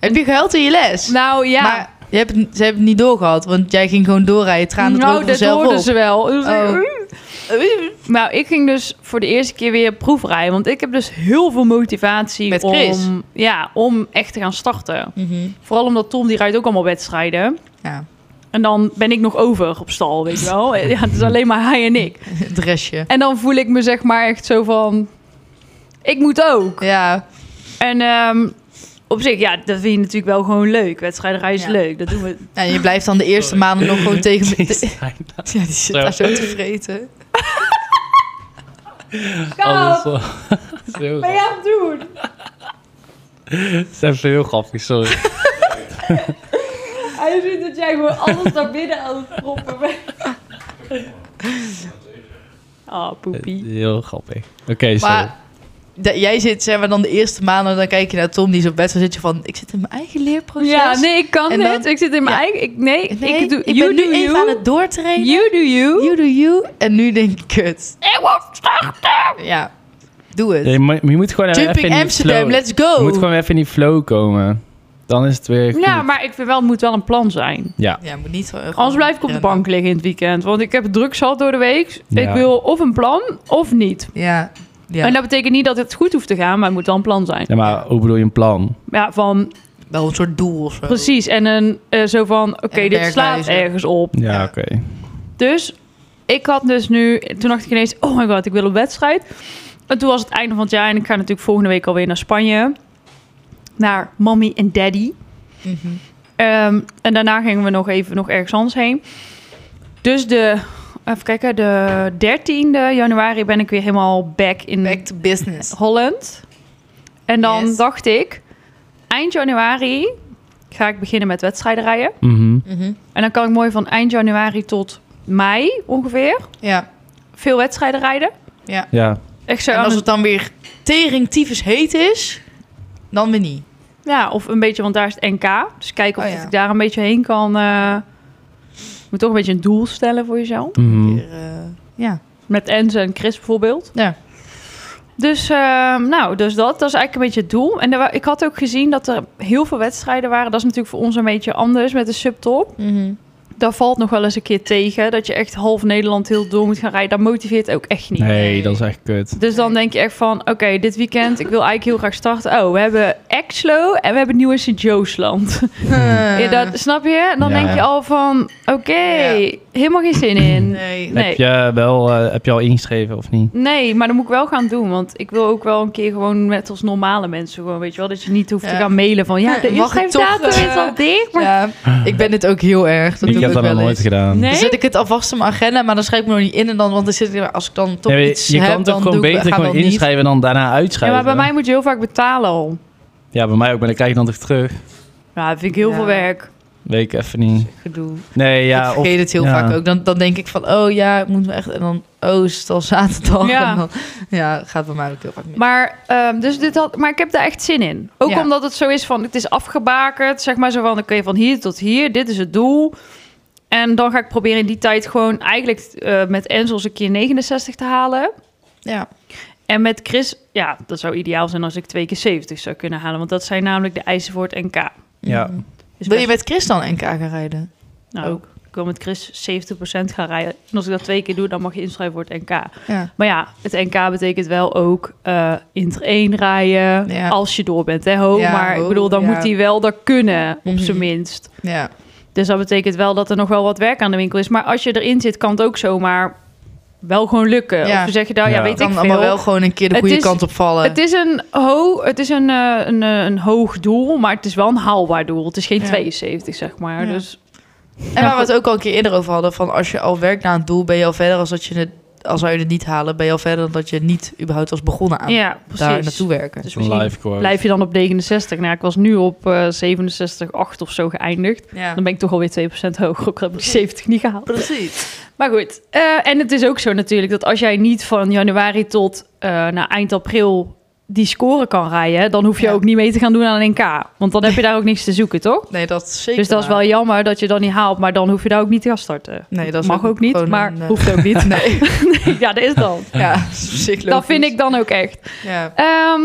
[SPEAKER 2] Heb je gehuild in je les?
[SPEAKER 3] Nou ja.
[SPEAKER 2] Maar je hebt, het- ze hebben het niet doorgehad, want jij ging gewoon doorrijden. Tranen
[SPEAKER 3] nou,
[SPEAKER 2] dropen
[SPEAKER 3] dat
[SPEAKER 2] vanzelf
[SPEAKER 3] hoorden
[SPEAKER 2] op.
[SPEAKER 3] ze wel. Dus
[SPEAKER 2] Oh.
[SPEAKER 3] ik- Nou, ik ging dus voor de eerste keer weer proefrijden. Want ik heb dus heel veel motivatie
[SPEAKER 2] Met Chris?
[SPEAKER 3] om, ja, om echt te gaan starten.
[SPEAKER 2] Mhm.
[SPEAKER 3] Vooral omdat Tom, die rijdt ook allemaal wedstrijden.
[SPEAKER 2] Ja,
[SPEAKER 3] En dan ben ik nog over op stal, weet je wel. Ja, het is alleen maar hij en ik.
[SPEAKER 2] het restje.
[SPEAKER 3] En dan voel ik me zeg maar echt zo van... Ik moet ook.
[SPEAKER 2] Ja,
[SPEAKER 3] En ehm, op zich, ja, dat vind je natuurlijk wel gewoon leuk. Wedstrijdrijden is
[SPEAKER 2] Ja.
[SPEAKER 3] leuk. Dat doen we.
[SPEAKER 2] Ja, en je blijft dan de eerste maanden nog gewoon tegen... me- te- Ja, die zit
[SPEAKER 1] Zo.
[SPEAKER 2] daar zo te vreten.
[SPEAKER 1] Alles
[SPEAKER 3] Kaap,
[SPEAKER 1] wel. Dat is heel
[SPEAKER 3] ben
[SPEAKER 1] grappig.
[SPEAKER 3] jij aan het doen?
[SPEAKER 1] Dat is even heel grappig, sorry.
[SPEAKER 3] Hij ziet dat jij gewoon alles naar binnen aan het proppen bent. Oh, poepie.
[SPEAKER 1] Heel grappig. Oké, sorry.
[SPEAKER 2] Maar da- jij zit zeg maar dan de eerste maanden, dan kijk je naar Tom, die is op bed, dan zit je van, ik zit in mijn eigen leerproces.
[SPEAKER 3] Ja, nee, ik kan
[SPEAKER 2] En dan-
[SPEAKER 3] het. Ik zit in mijn
[SPEAKER 2] Ja.
[SPEAKER 3] eigen... Ik, nee,
[SPEAKER 2] Nee,
[SPEAKER 3] ik doe...
[SPEAKER 2] ben
[SPEAKER 3] you
[SPEAKER 2] nu
[SPEAKER 3] do
[SPEAKER 2] even
[SPEAKER 3] you.
[SPEAKER 2] aan het doortrainen.
[SPEAKER 3] You do you.
[SPEAKER 2] You do you. En nu denk ik, kut.
[SPEAKER 3] Ik word starten.
[SPEAKER 2] Ja, doe het.
[SPEAKER 1] je, moet, je moet gewoon eh, even in
[SPEAKER 2] Jumping
[SPEAKER 1] die
[SPEAKER 2] Amsterdam,
[SPEAKER 1] flow.
[SPEAKER 2] let's
[SPEAKER 1] Je
[SPEAKER 2] go.
[SPEAKER 1] moet gewoon even in die flow komen. Dan is het weer goed.
[SPEAKER 3] Ja, maar ik vind wel, het moet wel een plan zijn.
[SPEAKER 1] Ja.
[SPEAKER 2] Ja, moet niet zo...
[SPEAKER 3] Anders blijf ik op de
[SPEAKER 2] nou.
[SPEAKER 3] bank liggen in het weekend. Want ik heb het druk gehad door de week.
[SPEAKER 1] Ja.
[SPEAKER 3] Ik wil of een plan, of niet.
[SPEAKER 2] Ja, ja.
[SPEAKER 3] En dat betekent niet dat het goed hoeft te gaan, maar het moet wel een plan zijn.
[SPEAKER 1] Ja, maar hoe bedoel je een plan?
[SPEAKER 3] Ja, van
[SPEAKER 2] wel een soort doel of zo.
[SPEAKER 3] precies. En een, eh, zo van, oké,
[SPEAKER 2] En een
[SPEAKER 3] dit slaat
[SPEAKER 2] werkwijze.
[SPEAKER 3] ergens op.
[SPEAKER 1] Ja,
[SPEAKER 2] Ja.
[SPEAKER 1] oké.
[SPEAKER 3] Dus ik had dus nu, toen dacht ik ineens, oh my god, ik wil een wedstrijd. En toen was het einde van het jaar en ik ga natuurlijk volgende week alweer naar Spanje. Naar mommy en daddy.
[SPEAKER 2] Mhm.
[SPEAKER 3] Ehm, en daarna gingen we nog even nog ergens anders heen. Dus de, even kijken, de 13e januari ben ik weer helemaal back in
[SPEAKER 2] Back to business.
[SPEAKER 3] Holland. En dan
[SPEAKER 2] Yes.
[SPEAKER 3] dacht ik, eind januari ga ik beginnen met wedstrijden rijden.
[SPEAKER 1] Mhm.
[SPEAKER 2] Mhm.
[SPEAKER 3] En dan kan ik mooi van eind januari tot mei ongeveer
[SPEAKER 2] Ja,
[SPEAKER 3] veel wedstrijden rijden.
[SPEAKER 2] ja.
[SPEAKER 1] Ja.
[SPEAKER 3] Echt zo
[SPEAKER 2] en
[SPEAKER 3] aan
[SPEAKER 2] als
[SPEAKER 3] het-
[SPEAKER 2] het dan weer tering tyfus heet is, dan weer niet.
[SPEAKER 3] ja, of een beetje, want daar is het NK. Dus kijken of
[SPEAKER 2] Oh ja.
[SPEAKER 3] ik daar een beetje heen kan. eh. Je moet toch een beetje een doel stellen voor jezelf.
[SPEAKER 1] Mhm.
[SPEAKER 2] Weer, eh, ja.
[SPEAKER 3] Met Ens en Chris bijvoorbeeld.
[SPEAKER 2] Ja.
[SPEAKER 3] Dus, eh, nou, dus dat, dat is eigenlijk een beetje het doel. En er wa- ik had ook gezien dat er heel veel wedstrijden waren. Dat is natuurlijk voor ons een beetje anders met de subtop.
[SPEAKER 2] Mhm.
[SPEAKER 3] Daar valt nog wel eens een keer tegen. Dat je echt half Nederland heel door moet gaan rijden. Dat motiveert ook echt niet.
[SPEAKER 1] Nee, dat is echt kut.
[SPEAKER 3] Dus dan denk je echt van, oké, dit weekend, ik wil eigenlijk heel graag starten. Oh, we hebben Exlo en we hebben Nieuw in Sint-Joosland. Ja, dat, snap je? Dan
[SPEAKER 1] Ja.
[SPEAKER 3] denk je al van, oké,
[SPEAKER 2] Ja.
[SPEAKER 3] helemaal geen zin in.
[SPEAKER 2] Nee.
[SPEAKER 3] Nee.
[SPEAKER 1] Heb, je wel, eh, heb je al ingeschreven of niet?
[SPEAKER 3] Nee, maar dat moet ik wel gaan doen. Want ik wil ook wel een keer gewoon met als normale mensen gewoon, weet je wel. Dat je niet hoeft te
[SPEAKER 2] Ja.
[SPEAKER 3] gaan mailen van, ja,
[SPEAKER 2] Ja,
[SPEAKER 3] de
[SPEAKER 2] mag ik
[SPEAKER 3] inschrijfdatum
[SPEAKER 2] toch, eh,
[SPEAKER 3] is al dicht. Maar...
[SPEAKER 2] Ja, ik ben dit ook heel erg. Dat
[SPEAKER 1] ik
[SPEAKER 2] doe
[SPEAKER 1] heb
[SPEAKER 2] ik
[SPEAKER 1] dat nog
[SPEAKER 2] wel
[SPEAKER 1] nooit
[SPEAKER 2] eens.
[SPEAKER 1] gedaan.
[SPEAKER 3] Nee?
[SPEAKER 2] Dan zet ik het alvast op mijn agenda, maar dan schrijf ik me nog niet in. En dan, want dan zit ik, als ik dan toch
[SPEAKER 1] Nee, maar
[SPEAKER 2] iets
[SPEAKER 1] je
[SPEAKER 2] heb,
[SPEAKER 1] kan
[SPEAKER 2] dan
[SPEAKER 1] toch gewoon
[SPEAKER 2] doe ik,
[SPEAKER 1] beter
[SPEAKER 2] ga
[SPEAKER 1] gewoon
[SPEAKER 2] dan niet.
[SPEAKER 1] inschrijven dan daarna
[SPEAKER 3] Ja,
[SPEAKER 1] uitschrijven?
[SPEAKER 3] maar bij mij moet je heel vaak betalen al.
[SPEAKER 1] Ja, bij mij ook, maar dan krijg je dan toch terug.
[SPEAKER 3] Ja, dat vind ik heel
[SPEAKER 2] Ja.
[SPEAKER 3] veel werk.
[SPEAKER 1] Weet ik even niet.
[SPEAKER 3] Gedoe.
[SPEAKER 1] Nee, ja.
[SPEAKER 2] ik
[SPEAKER 1] of-
[SPEAKER 2] vergeet het heel
[SPEAKER 1] ja.
[SPEAKER 2] vaak ook. Dan, dan denk ik van, oh ja, ik moet me echt... En dan, oh, is het al zaterdag?
[SPEAKER 3] Ja.
[SPEAKER 2] En dan, ja, gaat bij mij ook heel vaak mee.
[SPEAKER 3] Maar, ehm, dus dit had, maar ik heb daar echt zin in. Ook
[SPEAKER 2] Ja.
[SPEAKER 3] omdat het zo is van, het is afgebakerd. Zeg maar zo van, oké, van hier tot hier. Dit is het doel. En dan ga ik proberen in die tijd gewoon eigenlijk eh, met Enzels een keer 69 te halen.
[SPEAKER 2] ja.
[SPEAKER 3] En met Chris, ja, dat zou ideaal zijn als ik twee keer 70 zou kunnen halen. Want dat zijn namelijk de eisen voor het NK.
[SPEAKER 1] Ja.
[SPEAKER 2] Mhm.
[SPEAKER 3] Dus
[SPEAKER 2] Wil je Oh.
[SPEAKER 3] best-
[SPEAKER 2] met Chris dan NK gaan rijden?
[SPEAKER 3] nou, ook. Ik wil met Chris 70% gaan rijden. En als ik dat twee keer doe, dan mag je inschrijven voor het NK.
[SPEAKER 2] Ja.
[SPEAKER 3] Maar ja, het NK betekent wel ook eh inter 1 rijden.
[SPEAKER 2] Ja.
[SPEAKER 3] Als je door bent, hè, ho.
[SPEAKER 2] Ja,
[SPEAKER 3] maar ik
[SPEAKER 2] ho,
[SPEAKER 3] bedoel, dan
[SPEAKER 2] ja.
[SPEAKER 3] moet hij wel dat kunnen, op
[SPEAKER 2] Mhm.
[SPEAKER 3] zijn minst.
[SPEAKER 2] Ja.
[SPEAKER 3] Dus dat betekent wel dat er nog wel wat werk aan de winkel is. Maar als je erin zit, kan het ook zomaar wel gewoon lukken.
[SPEAKER 2] Ja.
[SPEAKER 3] Of zeg je nou, ja,
[SPEAKER 1] Ja.
[SPEAKER 3] weet ik
[SPEAKER 2] kan
[SPEAKER 3] veel.
[SPEAKER 2] allemaal wel gewoon een keer de
[SPEAKER 3] Het
[SPEAKER 2] goede
[SPEAKER 3] is-
[SPEAKER 2] kant op vallen.
[SPEAKER 3] Het is, een, ho het is een, eh, een, eh, een hoog doel, maar het is wel een haalbaar doel. Het is geen
[SPEAKER 2] Ja.
[SPEAKER 3] 72, zeg maar.
[SPEAKER 2] Ja.
[SPEAKER 3] Dus
[SPEAKER 2] en waar we het ook al een keer eerder over hadden, van als je al werkt naar een doel, ben je al verder als dat je het, als zou je het niet halen, ben je al verder dan dat je het niet überhaupt was begonnen aan
[SPEAKER 3] ja,
[SPEAKER 2] Ah, daar
[SPEAKER 3] precies.
[SPEAKER 2] naartoe werken.
[SPEAKER 3] Dus
[SPEAKER 1] Een
[SPEAKER 3] misschien
[SPEAKER 1] live quote.
[SPEAKER 3] blijf je dan op 69. Nou, ik was nu op eh 67, 8 of zo geëindigd.
[SPEAKER 2] Ja,
[SPEAKER 3] Dan ben ik toch alweer 2% hoger. Ook al heb ik die 70 niet gehaald.
[SPEAKER 2] precies.
[SPEAKER 3] Maar goed. eh, en het is ook zo natuurlijk dat als jij niet van januari tot eh nou, eind april die scoren kan rijden, dan hoef je
[SPEAKER 2] Ja.
[SPEAKER 3] ook niet mee te gaan doen aan een NK. Want dan heb je daar ook niks te zoeken, toch?
[SPEAKER 2] Nee, dat is zeker.
[SPEAKER 3] Dus dat is
[SPEAKER 2] waar.
[SPEAKER 3] wel jammer dat je dan niet haalt, maar dan hoef je daar ook niet te gaan starten.
[SPEAKER 2] Nee, dat is
[SPEAKER 3] Mag ook niet,
[SPEAKER 2] gewoon
[SPEAKER 3] maar
[SPEAKER 2] een, eh,
[SPEAKER 3] hoeft ook niet.
[SPEAKER 2] Nee,
[SPEAKER 3] ja, dat is dan.
[SPEAKER 2] ja, dat is op zich
[SPEAKER 3] Dat vind
[SPEAKER 2] logisch.
[SPEAKER 3] ik dan ook echt.
[SPEAKER 2] Ja.
[SPEAKER 3] Ehm,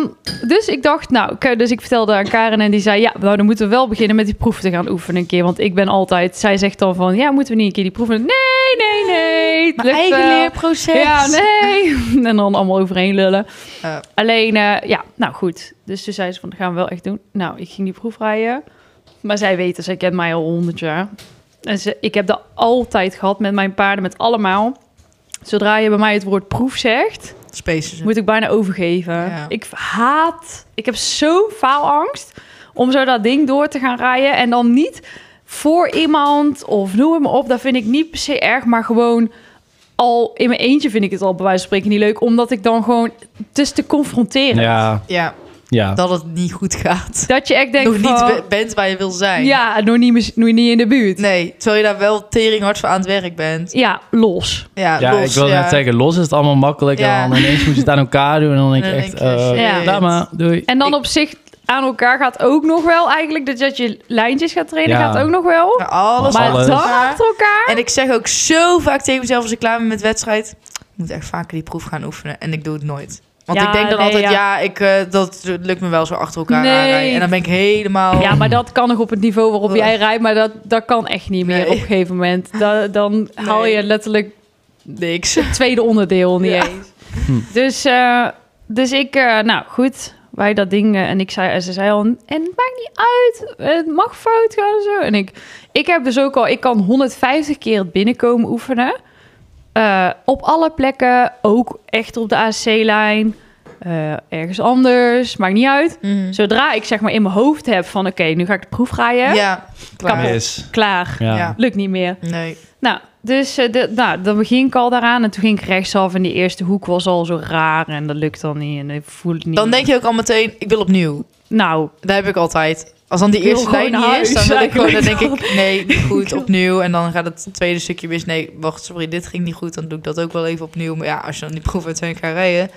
[SPEAKER 3] dus ik dacht, nou, oké, dus ik vertelde aan Karen en die zei, ja, nou, dan moeten we wel beginnen met die proef te gaan oefenen een keer. Want ik ben altijd, zij zegt dan van, ja, moeten we niet een keer die proeven? Nee, nee, nee. het
[SPEAKER 2] Mijn
[SPEAKER 3] lukt
[SPEAKER 2] eigen
[SPEAKER 3] wel.
[SPEAKER 2] leerproces.
[SPEAKER 3] Ja, nee. En dan allemaal overheen lullen.
[SPEAKER 2] Ja.
[SPEAKER 3] Alleen, eh, ja, nou goed. Dus toen zei ze van, dat gaan we wel echt doen. Nou, ik ging die proef rijden. Maar zij weten, zij kent mij al honderd jaar. En ze, ik heb dat altijd gehad met mijn paarden, met allemaal. Zodra je bij mij het woord proef zegt,
[SPEAKER 2] Spaces.
[SPEAKER 3] moet ik bijna overgeven.
[SPEAKER 2] Ja.
[SPEAKER 3] Ik haat, ik heb zo faalangst om zo dat ding door te gaan rijden. En dan niet voor iemand of noem het maar op. Dat vind ik niet per se erg, maar gewoon al in mijn eentje vind ik het al bij wijze van spreken niet leuk. Omdat ik dan gewoon, het is te confronteren.
[SPEAKER 1] Ja,
[SPEAKER 2] Ja,
[SPEAKER 1] ja.
[SPEAKER 2] dat het niet goed gaat.
[SPEAKER 3] Dat je echt denkt
[SPEAKER 2] Nog niet
[SPEAKER 3] van,
[SPEAKER 2] be- bent waar je wil zijn.
[SPEAKER 3] ja, nog niet, mis- nog niet in de buurt.
[SPEAKER 2] Nee, terwijl je daar wel tering hard voor aan het werk bent.
[SPEAKER 3] Ja, los.
[SPEAKER 2] Ja,
[SPEAKER 1] Ja,
[SPEAKER 2] los,
[SPEAKER 1] ik wil
[SPEAKER 2] ja.
[SPEAKER 1] net zeggen, los is het allemaal makkelijk.
[SPEAKER 2] Ja.
[SPEAKER 1] En dan ineens moet je het aan elkaar doen. En dan denk ik
[SPEAKER 2] En dan
[SPEAKER 1] echt,
[SPEAKER 2] denk je,
[SPEAKER 1] eh,
[SPEAKER 3] shit.
[SPEAKER 1] laat maar, doei.
[SPEAKER 3] En dan
[SPEAKER 2] Ik-
[SPEAKER 3] op zich aan elkaar gaat ook nog wel eigenlijk. Dus dat je lijntjes gaat trainen
[SPEAKER 1] Ja.
[SPEAKER 3] gaat ook nog wel.
[SPEAKER 2] Maar alles
[SPEAKER 3] maar
[SPEAKER 1] alles.
[SPEAKER 3] dat achter elkaar.
[SPEAKER 2] En ik zeg ook zo vaak tegen mezelf als ik klaar ben met wedstrijd... Ik moet echt vaker die proef gaan oefenen. En ik doe het nooit. Want
[SPEAKER 3] Ja,
[SPEAKER 2] ik denk dan
[SPEAKER 3] nee,
[SPEAKER 2] altijd,
[SPEAKER 3] ja.
[SPEAKER 2] ja, ik, eh, dat lukt me wel zo achter elkaar
[SPEAKER 3] Nee.
[SPEAKER 2] aanrijden. En dan ben ik helemaal...
[SPEAKER 3] Ja, maar dat kan nog op het niveau waarop jij rijdt, maar dat, dat kan echt niet meer
[SPEAKER 2] Oh. Nee.
[SPEAKER 3] op een gegeven moment. Da- dan haal je letterlijk
[SPEAKER 2] niks.
[SPEAKER 3] het tweede onderdeel niet
[SPEAKER 2] Ja.
[SPEAKER 3] eens. Dus, eh, dus ik, eh, nou goed, wij dat ding eh, en ik zei, en ze zei al, en het maakt niet uit, het mag fout gaan en zo. En ik, ik heb dus ook al, ik kan 150 keer het binnenkomen oefenen. Eh, op alle plekken, ook echt op de AC-lijn, ergens anders, maakt niet uit.
[SPEAKER 2] Mhm.
[SPEAKER 3] Zodra ik zeg maar in mijn hoofd heb van oké, nu ga ik de proef rijden,
[SPEAKER 2] Ja, klaar.
[SPEAKER 3] Kapot.
[SPEAKER 1] Is.
[SPEAKER 3] klaar,
[SPEAKER 1] Ja.
[SPEAKER 2] Ja.
[SPEAKER 3] lukt niet meer.
[SPEAKER 2] Nee.
[SPEAKER 3] Nou, dus eh, de, nou, dan begin ik al daaraan en toen ging ik rechtsaf en die eerste hoek was al zo raar en dat lukt dan niet en ik voel het niet.
[SPEAKER 2] Dan denk je ook al meteen, ik wil opnieuw.
[SPEAKER 3] Nou,
[SPEAKER 2] Dat heb ik altijd. Als dan die
[SPEAKER 3] Ik wil
[SPEAKER 2] eerste lijn
[SPEAKER 3] gewoon
[SPEAKER 2] niet
[SPEAKER 3] naar
[SPEAKER 2] is, dan,
[SPEAKER 3] huis
[SPEAKER 2] wil ik gewoon, dan denk
[SPEAKER 3] eigenlijk.
[SPEAKER 2] ik, nee, niet goed, opnieuw. En dan gaat het tweede stukje mis. Nee, wacht, sorry, dit ging niet goed. Dan doe ik dat ook wel even opnieuw. Maar ja, als je dan die proef uit zijn gaat rijden,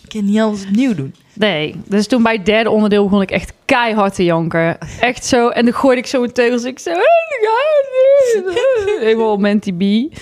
[SPEAKER 2] dan kan je niet alles opnieuw doen.
[SPEAKER 3] nee. Dus toen bij het derde onderdeel begon ik echt keihard te janken. Echt zo. En dan gooide ik zo mijn teugels. Ik zo... Helemaal op Menti B.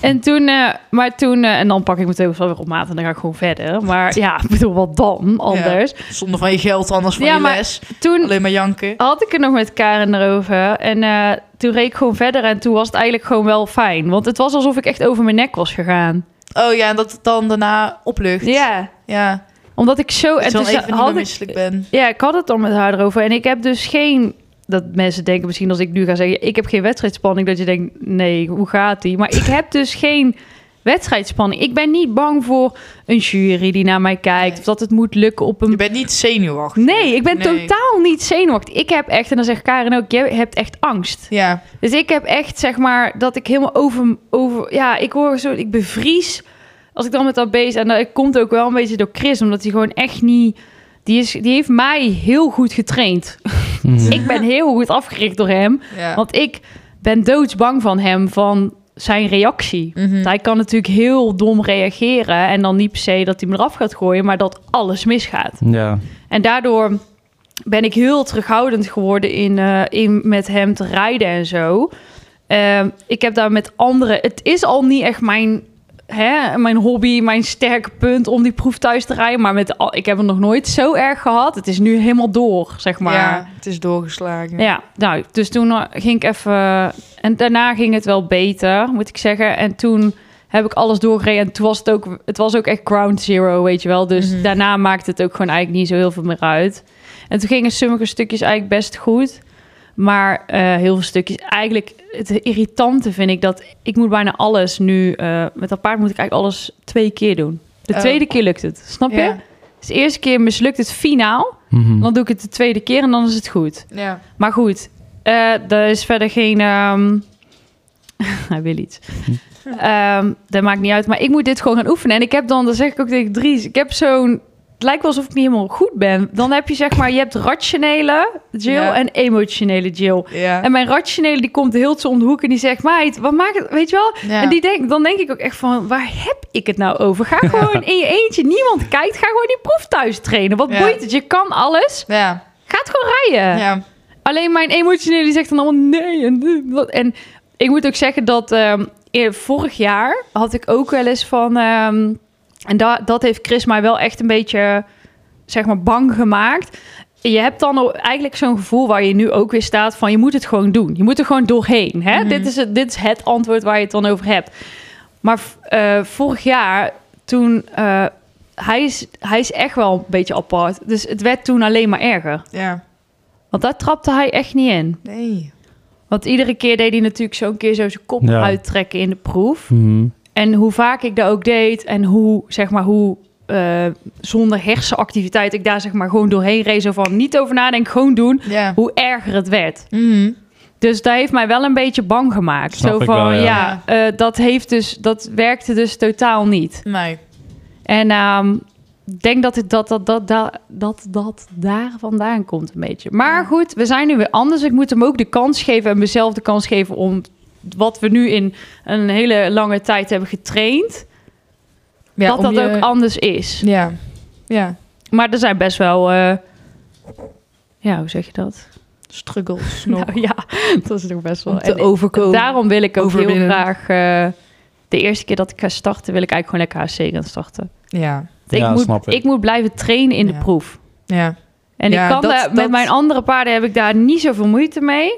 [SPEAKER 3] En toen... eh, maar toen... eh, en dan pak ik mijn teugels wel weer op maat en dan ga ik gewoon verder. Maar ja, ik bedoel, wat dan anders?
[SPEAKER 2] Zonder van je geld, anders van
[SPEAKER 3] Ja,
[SPEAKER 2] je
[SPEAKER 3] maar-
[SPEAKER 2] les.
[SPEAKER 3] Toen
[SPEAKER 2] Alleen maar janken.
[SPEAKER 3] had ik het nog met Karen erover. En eh, toen reed ik gewoon verder. En toen was het eigenlijk gewoon wel fijn. Want het was alsof ik echt over mijn nek was gegaan.
[SPEAKER 2] Oh ja, en dat het dan daarna oplucht.
[SPEAKER 3] Ja.
[SPEAKER 2] Ja,
[SPEAKER 3] Omdat ik zo...
[SPEAKER 2] en
[SPEAKER 3] en
[SPEAKER 2] dan
[SPEAKER 3] toen
[SPEAKER 2] even niet
[SPEAKER 3] had
[SPEAKER 2] meer
[SPEAKER 3] ik-
[SPEAKER 2] misselijk ben.
[SPEAKER 3] Ja, ik had het dan met haar erover. En ik heb dus geen... Dat mensen denken misschien als ik nu ga zeggen... Ik heb geen wedstrijdspanning. Dat je denkt, nee, hoe gaat die? Maar ik heb dus geen wedstrijdspanning. Ik ben niet bang voor een jury die naar mij kijkt.
[SPEAKER 2] Nee.
[SPEAKER 3] Of dat het moet lukken op een
[SPEAKER 2] Je bent niet zenuwachtig.
[SPEAKER 3] Nee, ik ben
[SPEAKER 2] Nee.
[SPEAKER 3] totaal niet zenuwachtig. Ik heb echt, en dan zegt Karen ook, je hebt echt angst.
[SPEAKER 2] Ja,
[SPEAKER 3] Dus ik heb echt, zeg maar, dat ik helemaal over... over ja, ik hoor zo, ik bevries als ik dan met dat beest... En dat komt ook wel een beetje door Chris, omdat hij gewoon echt niet... Die, is, die heeft mij heel goed getraind.
[SPEAKER 1] Mhm.
[SPEAKER 3] ik ben heel goed afgericht door hem.
[SPEAKER 2] ja.
[SPEAKER 3] Want ik ben doodsbang van hem, van zijn reactie.
[SPEAKER 2] Mhm.
[SPEAKER 3] Want hij kan natuurlijk heel dom reageren. En dan niet per se dat hij me eraf gaat gooien, maar dat alles misgaat.
[SPEAKER 1] Ja.
[SPEAKER 3] En daardoor ben ik heel terughoudend geworden in, eh, in met hem te rijden en zo. Ehm, ik heb daar met anderen... Het is al niet echt mijn, hè, mijn hobby, mijn sterke punt om die proef thuis te rijden. Maar met, al- ik heb het nog nooit zo erg gehad. Het is nu helemaal door, zeg maar.
[SPEAKER 2] ja, het is doorgeslagen.
[SPEAKER 3] Ja, nou, dus toen eh, ging ik even... En daarna ging het wel beter, moet ik zeggen. En toen heb ik alles doorgereden. En toen was het ook, het was ook echt ground zero, weet je wel. Dus
[SPEAKER 2] Mhm.
[SPEAKER 3] daarna maakte het ook gewoon eigenlijk niet zo heel veel meer uit. En toen gingen sommige stukjes eigenlijk best goed. Maar eh, heel veel stukjes... Eigenlijk het irritante vind ik dat... Ik moet bijna alles nu... eh, met dat paard moet ik eigenlijk alles twee keer doen. De
[SPEAKER 2] Oh.
[SPEAKER 3] tweede keer lukt het, snap je?
[SPEAKER 2] Ja.
[SPEAKER 3] Dus de eerste keer mislukt het finaal.
[SPEAKER 1] Mhm.
[SPEAKER 3] Dan doe ik het de tweede keer en dan is het goed.
[SPEAKER 2] ja.
[SPEAKER 3] Maar goed, eh er is verder geen. ehm, Hij wil iets.
[SPEAKER 2] Hm.
[SPEAKER 3] Ehm, dat maakt niet uit. Maar ik moet dit gewoon gaan oefenen. En ik heb dan, dat zeg ik ook tegen Dries, ik heb zo'n het lijkt wel alsof ik niet helemaal goed ben. Dan heb je zeg maar, je hebt rationele Jill
[SPEAKER 2] Ja.
[SPEAKER 3] en emotionele Jill.
[SPEAKER 2] Ja.
[SPEAKER 3] En mijn rationele die komt heel te om de hoek en die zegt, meid, wat maakt het, weet je wel?
[SPEAKER 2] Ja.
[SPEAKER 3] En die denk, dan denk ik ook echt van, waar heb ik het nou over? Ga gewoon in je eentje, niemand kijkt, ga gewoon die proef thuis trainen. Wat
[SPEAKER 2] Ja.
[SPEAKER 3] boeit het? Je kan alles.
[SPEAKER 2] ja.
[SPEAKER 3] Ga het gewoon rijden.
[SPEAKER 2] ja.
[SPEAKER 3] Alleen mijn emotionele die zegt dan allemaal nee. En, dit, wat. en ik moet ook zeggen dat ehm, eer- vorig jaar had ik ook wel eens van... ehm, en da- dat heeft Chris mij wel echt een beetje zeg maar, bang gemaakt. Je hebt dan al eigenlijk zo'n gevoel waar je nu ook weer staat van... je moet het gewoon doen. Je moet er gewoon doorheen. Hè? dit, is het, dit is het antwoord waar je het dan over hebt. Maar v- eh, vorig jaar toen... eh, hij is, hij is echt wel een beetje apart. Dus het werd toen alleen maar erger.
[SPEAKER 2] ja.
[SPEAKER 3] Want daar trapte hij echt niet in.
[SPEAKER 2] Nee.
[SPEAKER 3] Want iedere keer deed hij natuurlijk zo'n keer zo zijn kop
[SPEAKER 1] Ja.
[SPEAKER 3] uittrekken in de proef.
[SPEAKER 1] Mhm.
[SPEAKER 3] En hoe vaak ik dat ook deed en hoe, zeg maar, hoe eh, zonder hersenactiviteit ik daar zeg maar gewoon doorheen reed. Zo van niet over nadenken, gewoon doen.
[SPEAKER 2] Ja.
[SPEAKER 3] Hoe erger het werd.
[SPEAKER 2] Mhm.
[SPEAKER 3] Dus dat heeft mij wel een beetje bang gemaakt.
[SPEAKER 1] Snap
[SPEAKER 3] zo
[SPEAKER 1] ik
[SPEAKER 3] van,
[SPEAKER 1] wel, ja.
[SPEAKER 3] ja, eh, dat, heeft dus, dat werkte dus totaal niet.
[SPEAKER 2] Nee.
[SPEAKER 3] En ehm, ik denk dat, het, dat, dat, dat, dat, dat dat daar vandaan komt een beetje. Maar goed, we zijn nu weer anders. Ik moet hem ook de kans geven en mezelf de kans geven om wat we nu in een hele lange tijd hebben getraind,
[SPEAKER 2] Ja,
[SPEAKER 3] dat
[SPEAKER 2] om
[SPEAKER 3] dat
[SPEAKER 2] je-
[SPEAKER 3] ook anders is.
[SPEAKER 2] Ja. Ja.
[SPEAKER 3] Maar er zijn best wel, eh, ja, hoe zeg je dat?
[SPEAKER 2] Struggles nog.
[SPEAKER 3] Nou ja, dat is toch best wel.
[SPEAKER 2] om te
[SPEAKER 3] en
[SPEAKER 2] overkomen.
[SPEAKER 3] daarom wil ik ook
[SPEAKER 2] overwinnen.
[SPEAKER 3] heel graag, eh, de eerste keer dat ik ga starten, wil ik eigenlijk gewoon lekker HC gaan starten.
[SPEAKER 2] Ja.
[SPEAKER 3] Ik,
[SPEAKER 1] Ja,
[SPEAKER 3] moet,
[SPEAKER 1] snap ik.
[SPEAKER 3] ik moet blijven trainen in
[SPEAKER 2] Ja.
[SPEAKER 3] de proef.
[SPEAKER 2] Ja.
[SPEAKER 3] En
[SPEAKER 2] Ja,
[SPEAKER 3] ik kan
[SPEAKER 2] dat-
[SPEAKER 3] daar- met
[SPEAKER 2] dat-
[SPEAKER 3] mijn andere paarden heb ik daar niet zoveel moeite mee.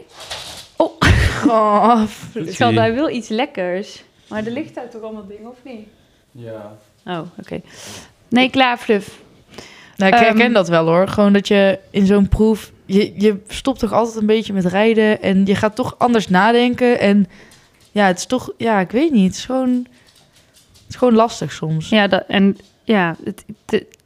[SPEAKER 2] Oh,
[SPEAKER 3] Schat, hij wil iets lekkers. Maar er ligt daar toch allemaal dingen, of niet?
[SPEAKER 4] Ja.
[SPEAKER 3] Oh, oké. Nee, klaar, Fluff.
[SPEAKER 2] Nou, ik
[SPEAKER 3] Ehm,
[SPEAKER 2] herken dat wel hoor. Gewoon dat je in zo'n proef. Je, je stopt toch altijd een beetje met rijden. En je gaat toch anders nadenken. En ja, het is toch. Ja, ik weet niet. Het is gewoon. Het is gewoon lastig soms.
[SPEAKER 3] Ja, dat, en ja, het, het-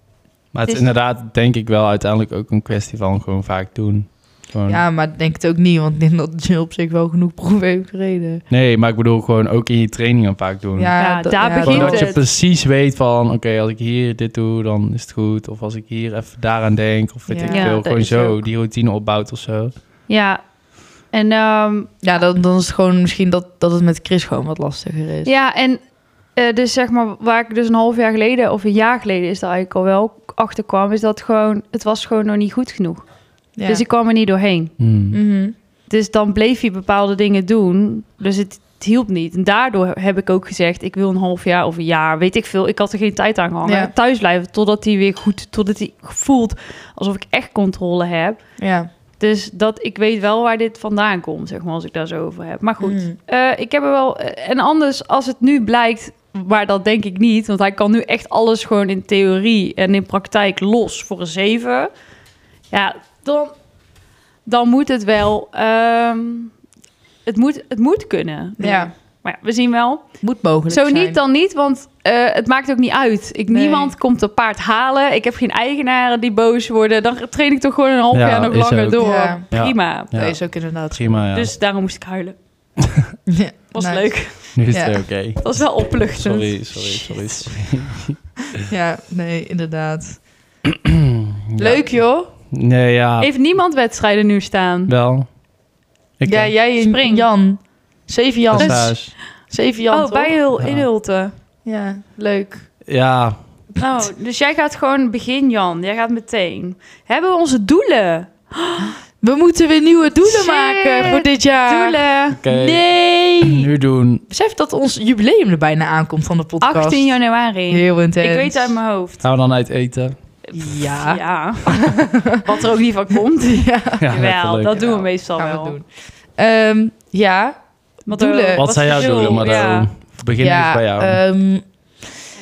[SPEAKER 1] Maar het is
[SPEAKER 3] Dus-
[SPEAKER 1] inderdaad, denk ik wel, uiteindelijk ook een kwestie van gewoon vaak doen. Gewoon-
[SPEAKER 2] Ja, maar ik denk het ook niet. Want ik denk dat Jill op zich wel genoeg proeven heeft gereden.
[SPEAKER 1] Nee, maar ik bedoel gewoon ook in je trainingen vaak doen.
[SPEAKER 3] Ja,
[SPEAKER 2] dat-
[SPEAKER 3] daar
[SPEAKER 1] Gewoon
[SPEAKER 3] begint
[SPEAKER 1] dat je
[SPEAKER 3] het.
[SPEAKER 1] precies weet van, oké, als ik hier dit doe, dan is het goed. Of als ik hier even daaraan denk, of weet
[SPEAKER 2] Ja.
[SPEAKER 1] ik
[SPEAKER 3] Ja,
[SPEAKER 1] veel.
[SPEAKER 3] dat
[SPEAKER 1] Gewoon
[SPEAKER 3] is
[SPEAKER 1] zo,
[SPEAKER 3] ook.
[SPEAKER 1] die routine opbouwt of zo.
[SPEAKER 3] ja. En, ehm,
[SPEAKER 2] Ja, dan, dan is het gewoon misschien dat, dat het met Chris gewoon wat lastiger is.
[SPEAKER 3] ja, en eh, dus zeg maar, waar ik dus een half jaar geleden of een jaar geleden is daar eigenlijk al wel achter kwam, is dat gewoon, het was gewoon nog niet goed genoeg.
[SPEAKER 2] Ja.
[SPEAKER 3] Dus ik kwam er niet doorheen.
[SPEAKER 1] Hmm.
[SPEAKER 2] Mhm.
[SPEAKER 3] Dus dan bleef hij bepaalde dingen doen. Dus het, het hielp niet. En daardoor heb ik ook gezegd: ik wil een half jaar of een jaar, weet ik veel. Ik had er geen tijd aan gehangen.
[SPEAKER 2] Ja.
[SPEAKER 3] Thuis blijven totdat hij weer goed, totdat hij voelt alsof ik echt controle heb.
[SPEAKER 2] ja.
[SPEAKER 3] Dus dat ik weet wel waar dit vandaan komt, zeg maar, als ik daar zo over heb. Maar goed,
[SPEAKER 2] Mm.
[SPEAKER 3] eh, ik heb er wel. eh, en anders, als het nu blijkt, maar dat denk ik niet, want hij kan nu echt alles gewoon in theorie en in praktijk los voor een 7. Ja, dan, dan moet het wel. ehm, het, moet, het moet kunnen.
[SPEAKER 2] Ja.
[SPEAKER 3] Maar ja, we zien wel.
[SPEAKER 2] Moet mogelijk.
[SPEAKER 3] Zo
[SPEAKER 2] zijn.
[SPEAKER 3] niet, dan niet, want eh, het maakt ook niet uit. Ik,
[SPEAKER 2] Nee.
[SPEAKER 3] Niemand komt een paard halen. Ik heb geen eigenaren die boos worden. Dan train ik toch gewoon een half
[SPEAKER 1] Ja,
[SPEAKER 3] jaar nog
[SPEAKER 1] is
[SPEAKER 3] langer
[SPEAKER 1] ook.
[SPEAKER 3] door.
[SPEAKER 2] Ja.
[SPEAKER 3] Prima.
[SPEAKER 1] Ja.
[SPEAKER 2] Dat is ook inderdaad.
[SPEAKER 1] Prima, ja.
[SPEAKER 3] Dus daarom moest ik huilen.
[SPEAKER 2] Ja.
[SPEAKER 3] Was
[SPEAKER 2] Nice.
[SPEAKER 3] leuk.
[SPEAKER 1] nu is het
[SPEAKER 2] ja.
[SPEAKER 1] weer oké.
[SPEAKER 3] Dat was wel opluchtend.
[SPEAKER 1] Sorry, sorry, sorry.
[SPEAKER 2] Ja, nee, inderdaad. Leuk joh.
[SPEAKER 1] Nee, ja,
[SPEAKER 3] Heeft niemand wedstrijden nu staan?
[SPEAKER 1] wel. Ik
[SPEAKER 2] ja,
[SPEAKER 1] eh,
[SPEAKER 2] jij en
[SPEAKER 3] Spring.
[SPEAKER 2] Jan. Zeven Jan.
[SPEAKER 3] Dus-
[SPEAKER 1] Dressage.
[SPEAKER 2] Zeven Jan,
[SPEAKER 3] Oh,
[SPEAKER 2] toch?
[SPEAKER 3] bij Hul
[SPEAKER 1] Ja.
[SPEAKER 3] in Hulte.
[SPEAKER 2] Ja, leuk.
[SPEAKER 1] Ja,
[SPEAKER 3] Oh, dus jij gaat gewoon begin, Jan. Jij gaat meteen. Hebben we onze doelen?
[SPEAKER 2] We moeten weer nieuwe doelen
[SPEAKER 3] Shit.
[SPEAKER 2] maken voor dit jaar.
[SPEAKER 3] Doelen.
[SPEAKER 1] oké.
[SPEAKER 2] Nee!
[SPEAKER 1] Nu doen.
[SPEAKER 2] Besef dat ons jubileum er bijna aankomt van de podcast.
[SPEAKER 3] 18 januari.
[SPEAKER 2] Heel intens.
[SPEAKER 3] Ik weet uit mijn hoofd.
[SPEAKER 1] Gaan we dan uit eten?
[SPEAKER 2] Ja.
[SPEAKER 3] Ja. Wat er ook niet van komt.
[SPEAKER 1] Ja,
[SPEAKER 3] Jawel,
[SPEAKER 1] letterlijk.
[SPEAKER 3] dat doen we
[SPEAKER 2] Ja,
[SPEAKER 3] meestal
[SPEAKER 2] gaan we
[SPEAKER 3] wel.
[SPEAKER 2] doen. Ehm, ja.
[SPEAKER 3] Wat
[SPEAKER 2] Doelen.
[SPEAKER 3] er-
[SPEAKER 1] Wat zijn jouw
[SPEAKER 3] er wil,
[SPEAKER 1] doelen, Mado?
[SPEAKER 3] Ja. eh,
[SPEAKER 1] Begin
[SPEAKER 2] ja,
[SPEAKER 1] eens dus bij jou.
[SPEAKER 2] ehm,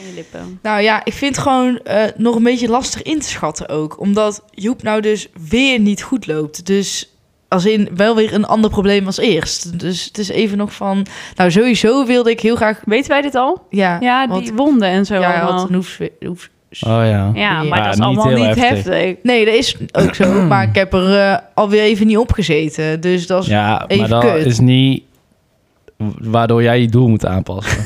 [SPEAKER 3] Aan je lippen.
[SPEAKER 2] nou ja, ik vind het gewoon eh, nog een beetje lastig in te schatten ook. Omdat Joep nou dus weer niet goed loopt. Dus als in wel weer een ander probleem als eerst. Dus het is even nog van... Nou, sowieso wilde ik heel graag...
[SPEAKER 3] Weten wij dit al?
[SPEAKER 2] Ja,
[SPEAKER 3] Ja,
[SPEAKER 2] want-
[SPEAKER 3] die wonden en zo
[SPEAKER 2] Ja,
[SPEAKER 3] allemaal.
[SPEAKER 2] had een hoef, hoef-
[SPEAKER 1] oh ja.
[SPEAKER 3] Ja, maar
[SPEAKER 1] Ja,
[SPEAKER 3] dat is
[SPEAKER 1] niet
[SPEAKER 3] allemaal
[SPEAKER 1] heel
[SPEAKER 3] niet heftig.
[SPEAKER 1] heftig.
[SPEAKER 2] Nee, dat is ook zo. maar ik heb er eh, alweer even niet op gezeten. Dus dat is... Ja.
[SPEAKER 1] Ja, maar
[SPEAKER 2] even
[SPEAKER 1] dat
[SPEAKER 2] kut.
[SPEAKER 1] is niet waardoor jij je doel moet aanpassen.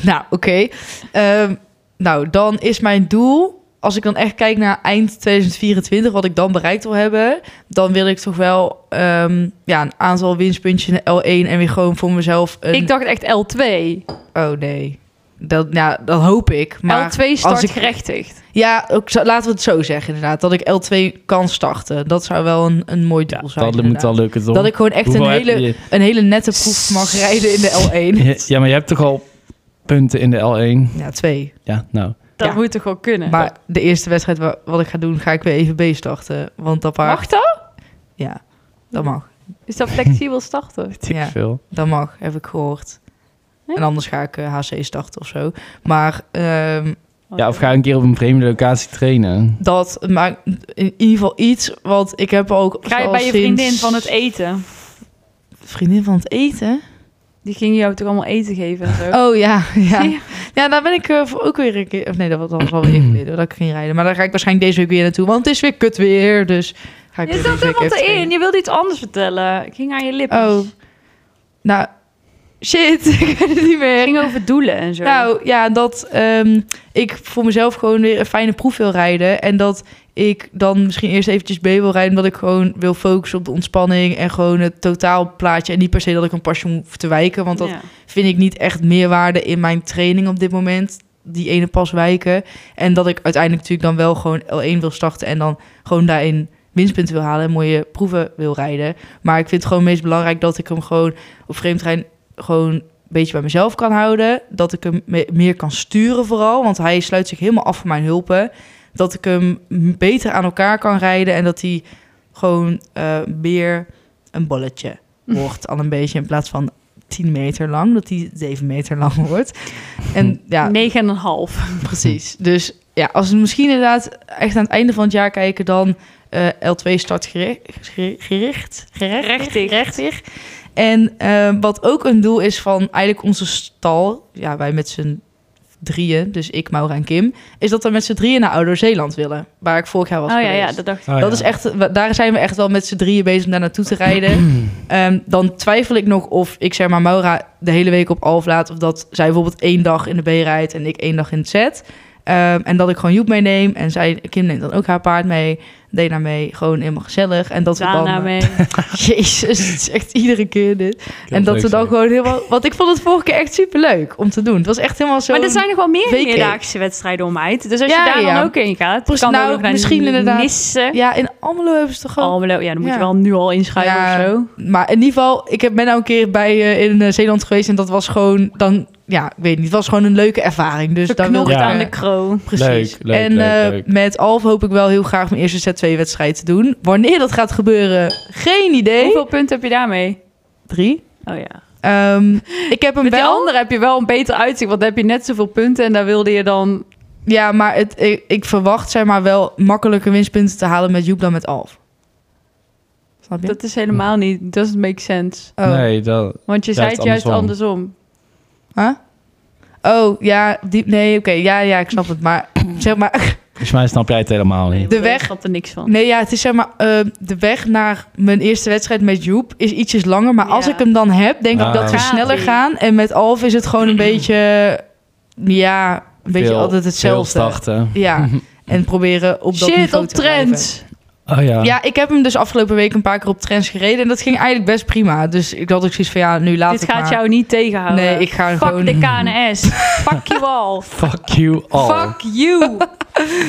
[SPEAKER 2] Nou, oké. Ehm, nou, dan is mijn doel als ik dan echt kijk naar eind 2024, wat ik dan bereikt wil hebben, dan wil ik toch wel ehm, ja, een aantal winstpuntjes in de L1 en weer gewoon voor mezelf een...
[SPEAKER 3] Ik dacht echt L2.
[SPEAKER 2] Oh nee, dat, ja, dat hoop ik. Maar
[SPEAKER 3] L2 start
[SPEAKER 2] als ik-
[SPEAKER 3] gerechtigd.
[SPEAKER 2] ja, ook, zo- laten we het zo zeggen inderdaad, dat ik L2 kan starten. Dat zou wel een, een mooi doel zijn.
[SPEAKER 1] Dat moet
[SPEAKER 2] inderdaad.
[SPEAKER 1] wel lukken, toch?
[SPEAKER 2] dat ik gewoon echt een
[SPEAKER 1] Hoeveel heb
[SPEAKER 2] hele,
[SPEAKER 1] je?
[SPEAKER 2] een hele nette proef mag rijden in de L1.
[SPEAKER 1] Ja, Ja, maar je hebt toch al punten in de L1?
[SPEAKER 2] Ja, twee.
[SPEAKER 1] Ja, nou.
[SPEAKER 3] Dat
[SPEAKER 2] Ja.
[SPEAKER 3] moet toch wel kunnen?
[SPEAKER 2] Maar de eerste wedstrijd wa- wat ik ga doen, ga ik weer even B starten. Want dat paar...
[SPEAKER 3] Mag dat?
[SPEAKER 2] Ja, dat mag.
[SPEAKER 3] Is dat flexibel starten?
[SPEAKER 1] Weet ik
[SPEAKER 2] Ja.
[SPEAKER 1] veel.
[SPEAKER 2] Dat mag, heb ik gehoord.
[SPEAKER 3] Ja.
[SPEAKER 2] En anders ga ik eh, HC starten of zo. Maar ehm,
[SPEAKER 1] Ja, of ga een keer op een vreemde locatie trainen.
[SPEAKER 2] dat maakt in ieder geval iets wat ik heb ook...
[SPEAKER 3] Ga je
[SPEAKER 2] al
[SPEAKER 3] bij je
[SPEAKER 2] sinds-
[SPEAKER 3] vriendin van
[SPEAKER 2] e-
[SPEAKER 3] het eten?
[SPEAKER 2] Vriendin van het eten?
[SPEAKER 3] Die ging jou toch allemaal eten geven en zo?
[SPEAKER 2] Oh ja, ja.
[SPEAKER 3] Ja.
[SPEAKER 2] Ja, daar ben ik eh, voor ook weer een keer... Of nee, dat was dat was wel weer even geleden hoor, dat ik ging rijden. Maar daar ga ik waarschijnlijk deze week weer naartoe. Want het is weer kut weer, dus... Ga ik
[SPEAKER 3] Je
[SPEAKER 2] weer
[SPEAKER 3] zat
[SPEAKER 2] deze week
[SPEAKER 3] helemaal
[SPEAKER 2] even
[SPEAKER 3] te
[SPEAKER 2] trainen.
[SPEAKER 3] in. Je wilde iets anders vertellen. Ik ging aan je lippen.
[SPEAKER 2] Oh. Nou, shit, ik weet het niet
[SPEAKER 3] Het
[SPEAKER 2] meer.
[SPEAKER 3] ging over doelen en zo.
[SPEAKER 2] Nou ja, dat ehm, ik voor mezelf gewoon weer een fijne proef wil rijden. En dat ik dan misschien eerst eventjes B wil rijden. Omdat ik gewoon wil focussen op de ontspanning. En gewoon het totaalplaatje. En niet per se dat ik een pasje hoef te wijken. Want dat
[SPEAKER 3] Ja.
[SPEAKER 2] vind ik niet echt meerwaarde in mijn training op dit moment. Die ene pas wijken. En dat ik uiteindelijk natuurlijk dan wel gewoon L1 wil starten. En dan gewoon daarin winstpunten wil halen. En mooie proeven wil rijden. Maar ik vind het gewoon meest belangrijk dat ik hem gewoon op vreemdrein gewoon een beetje bij mezelf kan houden. Dat ik hem me- meer kan sturen vooral. Want hij sluit zich helemaal af van mijn hulpen. Dat ik hem m- beter aan elkaar kan rijden. En dat hij gewoon eh, meer een bolletje wordt. Al een beetje in plaats van 10 meter lang. Dat hij 7 meter lang wordt. En ja,
[SPEAKER 3] Negen en een half.
[SPEAKER 2] Precies. Dus ja, als we misschien inderdaad echt aan het einde van het jaar kijken, dan eh, L2 start gere- gere- gericht.
[SPEAKER 3] Gerechtig.
[SPEAKER 2] Gerechtig. En eh, wat ook een doel is van eigenlijk onze stal, ja, wij met z'n drieën, dus ik, Maura en Kim, is dat we met z'n drieën naar Ouder-Zeeland willen, waar ik vorig jaar was
[SPEAKER 3] Oh ja,
[SPEAKER 2] geweest.
[SPEAKER 3] ja, dat dacht ik.
[SPEAKER 2] Dat is echt, we- daar zijn we echt wel met z'n drieën bezig om daar naartoe te rijden. Ehm, dan twijfel ik nog of ik zeg maar Maura de hele week op Alf laat. Of dat zij bijvoorbeeld één dag in de B rijdt en ik één dag in het Z. Ehm, en dat ik gewoon Joep meeneem. En zij, Kim neemt dan ook haar paard mee. Dena mee. Gewoon helemaal gezellig. En dat we dan...
[SPEAKER 3] Daarna
[SPEAKER 2] eh,
[SPEAKER 3] nou mee.
[SPEAKER 2] Jezus, het is echt iedere keer dit. En dat we dan gewoon helemaal... Want ik vond het vorige keer echt superleuk om te doen. Het was echt helemaal zo...
[SPEAKER 3] Maar er zijn nog wel meer
[SPEAKER 2] weekend.
[SPEAKER 3] meerdaagse wedstrijden om uit. Dus als
[SPEAKER 2] Ja,
[SPEAKER 3] je daar
[SPEAKER 2] ja.
[SPEAKER 3] dan ook in gaat,
[SPEAKER 2] Precies,
[SPEAKER 3] kan
[SPEAKER 2] nou,
[SPEAKER 3] ook nog naar
[SPEAKER 2] misschien inderdaad.
[SPEAKER 3] Nissen.
[SPEAKER 2] Ja, in Almelo hebben ze toch al...
[SPEAKER 3] Almelo, ja, dan moet
[SPEAKER 2] Ja.
[SPEAKER 3] je wel nu al inschrijven
[SPEAKER 2] Ja.
[SPEAKER 3] of zo.
[SPEAKER 2] Maar in ieder geval, ik heb- ben nou een keer bij, eh, in eh, Zeeland geweest en dat was gewoon dan, ja, ik weet niet, het was gewoon een leuke ervaring. Dus daar wil
[SPEAKER 3] Geknokt
[SPEAKER 2] ik,
[SPEAKER 1] Ja.
[SPEAKER 3] aan
[SPEAKER 2] eh,
[SPEAKER 3] de kroon.
[SPEAKER 2] precies.
[SPEAKER 1] Leuk, leuk,
[SPEAKER 2] en
[SPEAKER 1] leuk,
[SPEAKER 2] eh,
[SPEAKER 1] leuk.
[SPEAKER 2] met Alf hoop ik wel heel graag mijn eerste Z2-wedstrijd te doen. Wanneer dat gaat gebeuren, geen idee.
[SPEAKER 3] Hoeveel punten heb je daarmee?
[SPEAKER 2] Drie.
[SPEAKER 3] Oh ja.
[SPEAKER 2] Ehm, ik heb hem
[SPEAKER 3] Met die
[SPEAKER 2] wel.
[SPEAKER 3] andere heb je wel een beter uitzicht, want dan heb je net zoveel punten en daar wilde je dan...
[SPEAKER 2] Ja, maar het, ik, ik verwacht zeg maar wel makkelijke winstpunten te halen met Joep dan met Alf. Snap je?
[SPEAKER 3] Dat is helemaal niet... Doesn't make sense.
[SPEAKER 2] Oh.
[SPEAKER 1] Nee, dat...
[SPEAKER 3] Want je
[SPEAKER 1] Ja,
[SPEAKER 3] zei
[SPEAKER 1] het
[SPEAKER 3] het
[SPEAKER 1] is
[SPEAKER 3] juist
[SPEAKER 1] andersom.
[SPEAKER 3] andersom.
[SPEAKER 2] Huh? Oh ja, die, nee, oké, ja, ja, ik snap het. Maar zeg maar,
[SPEAKER 1] Volgens mij snap jij het helemaal niet.
[SPEAKER 2] De weg-
[SPEAKER 3] Ik snap er niks van.
[SPEAKER 2] Nee, ja, het is zeg maar eh, de weg naar mijn eerste wedstrijd met Joep is ietsjes langer. Maar als
[SPEAKER 3] Ja.
[SPEAKER 2] ik hem dan heb, denk ik
[SPEAKER 1] Ah.
[SPEAKER 2] dat we
[SPEAKER 1] Gaat
[SPEAKER 2] sneller
[SPEAKER 3] ie.
[SPEAKER 2] gaan. En met Alf is het gewoon
[SPEAKER 3] Mm-hmm.
[SPEAKER 2] een beetje, ja, een beetje
[SPEAKER 1] Veel-
[SPEAKER 2] altijd
[SPEAKER 1] veel
[SPEAKER 2] hetzelfde.
[SPEAKER 1] starten.
[SPEAKER 2] Ja, en proberen op dat
[SPEAKER 3] Shit,
[SPEAKER 2] niveau
[SPEAKER 3] op
[SPEAKER 2] te blijven.
[SPEAKER 3] trend.
[SPEAKER 1] Oh ja.
[SPEAKER 2] Ja, ik heb hem dus afgelopen week een paar keer op trends gereden. En dat ging eigenlijk best prima. Dus ik had ook zoiets van, ja, nu laat
[SPEAKER 3] Dit
[SPEAKER 2] het
[SPEAKER 3] gaat
[SPEAKER 2] maar.
[SPEAKER 3] jou niet tegenhouden.
[SPEAKER 2] Nee, ik ga
[SPEAKER 3] Fuck
[SPEAKER 2] gewoon...
[SPEAKER 3] de KNS. Fuck you all.
[SPEAKER 1] Fuck you all.
[SPEAKER 3] Fuck you.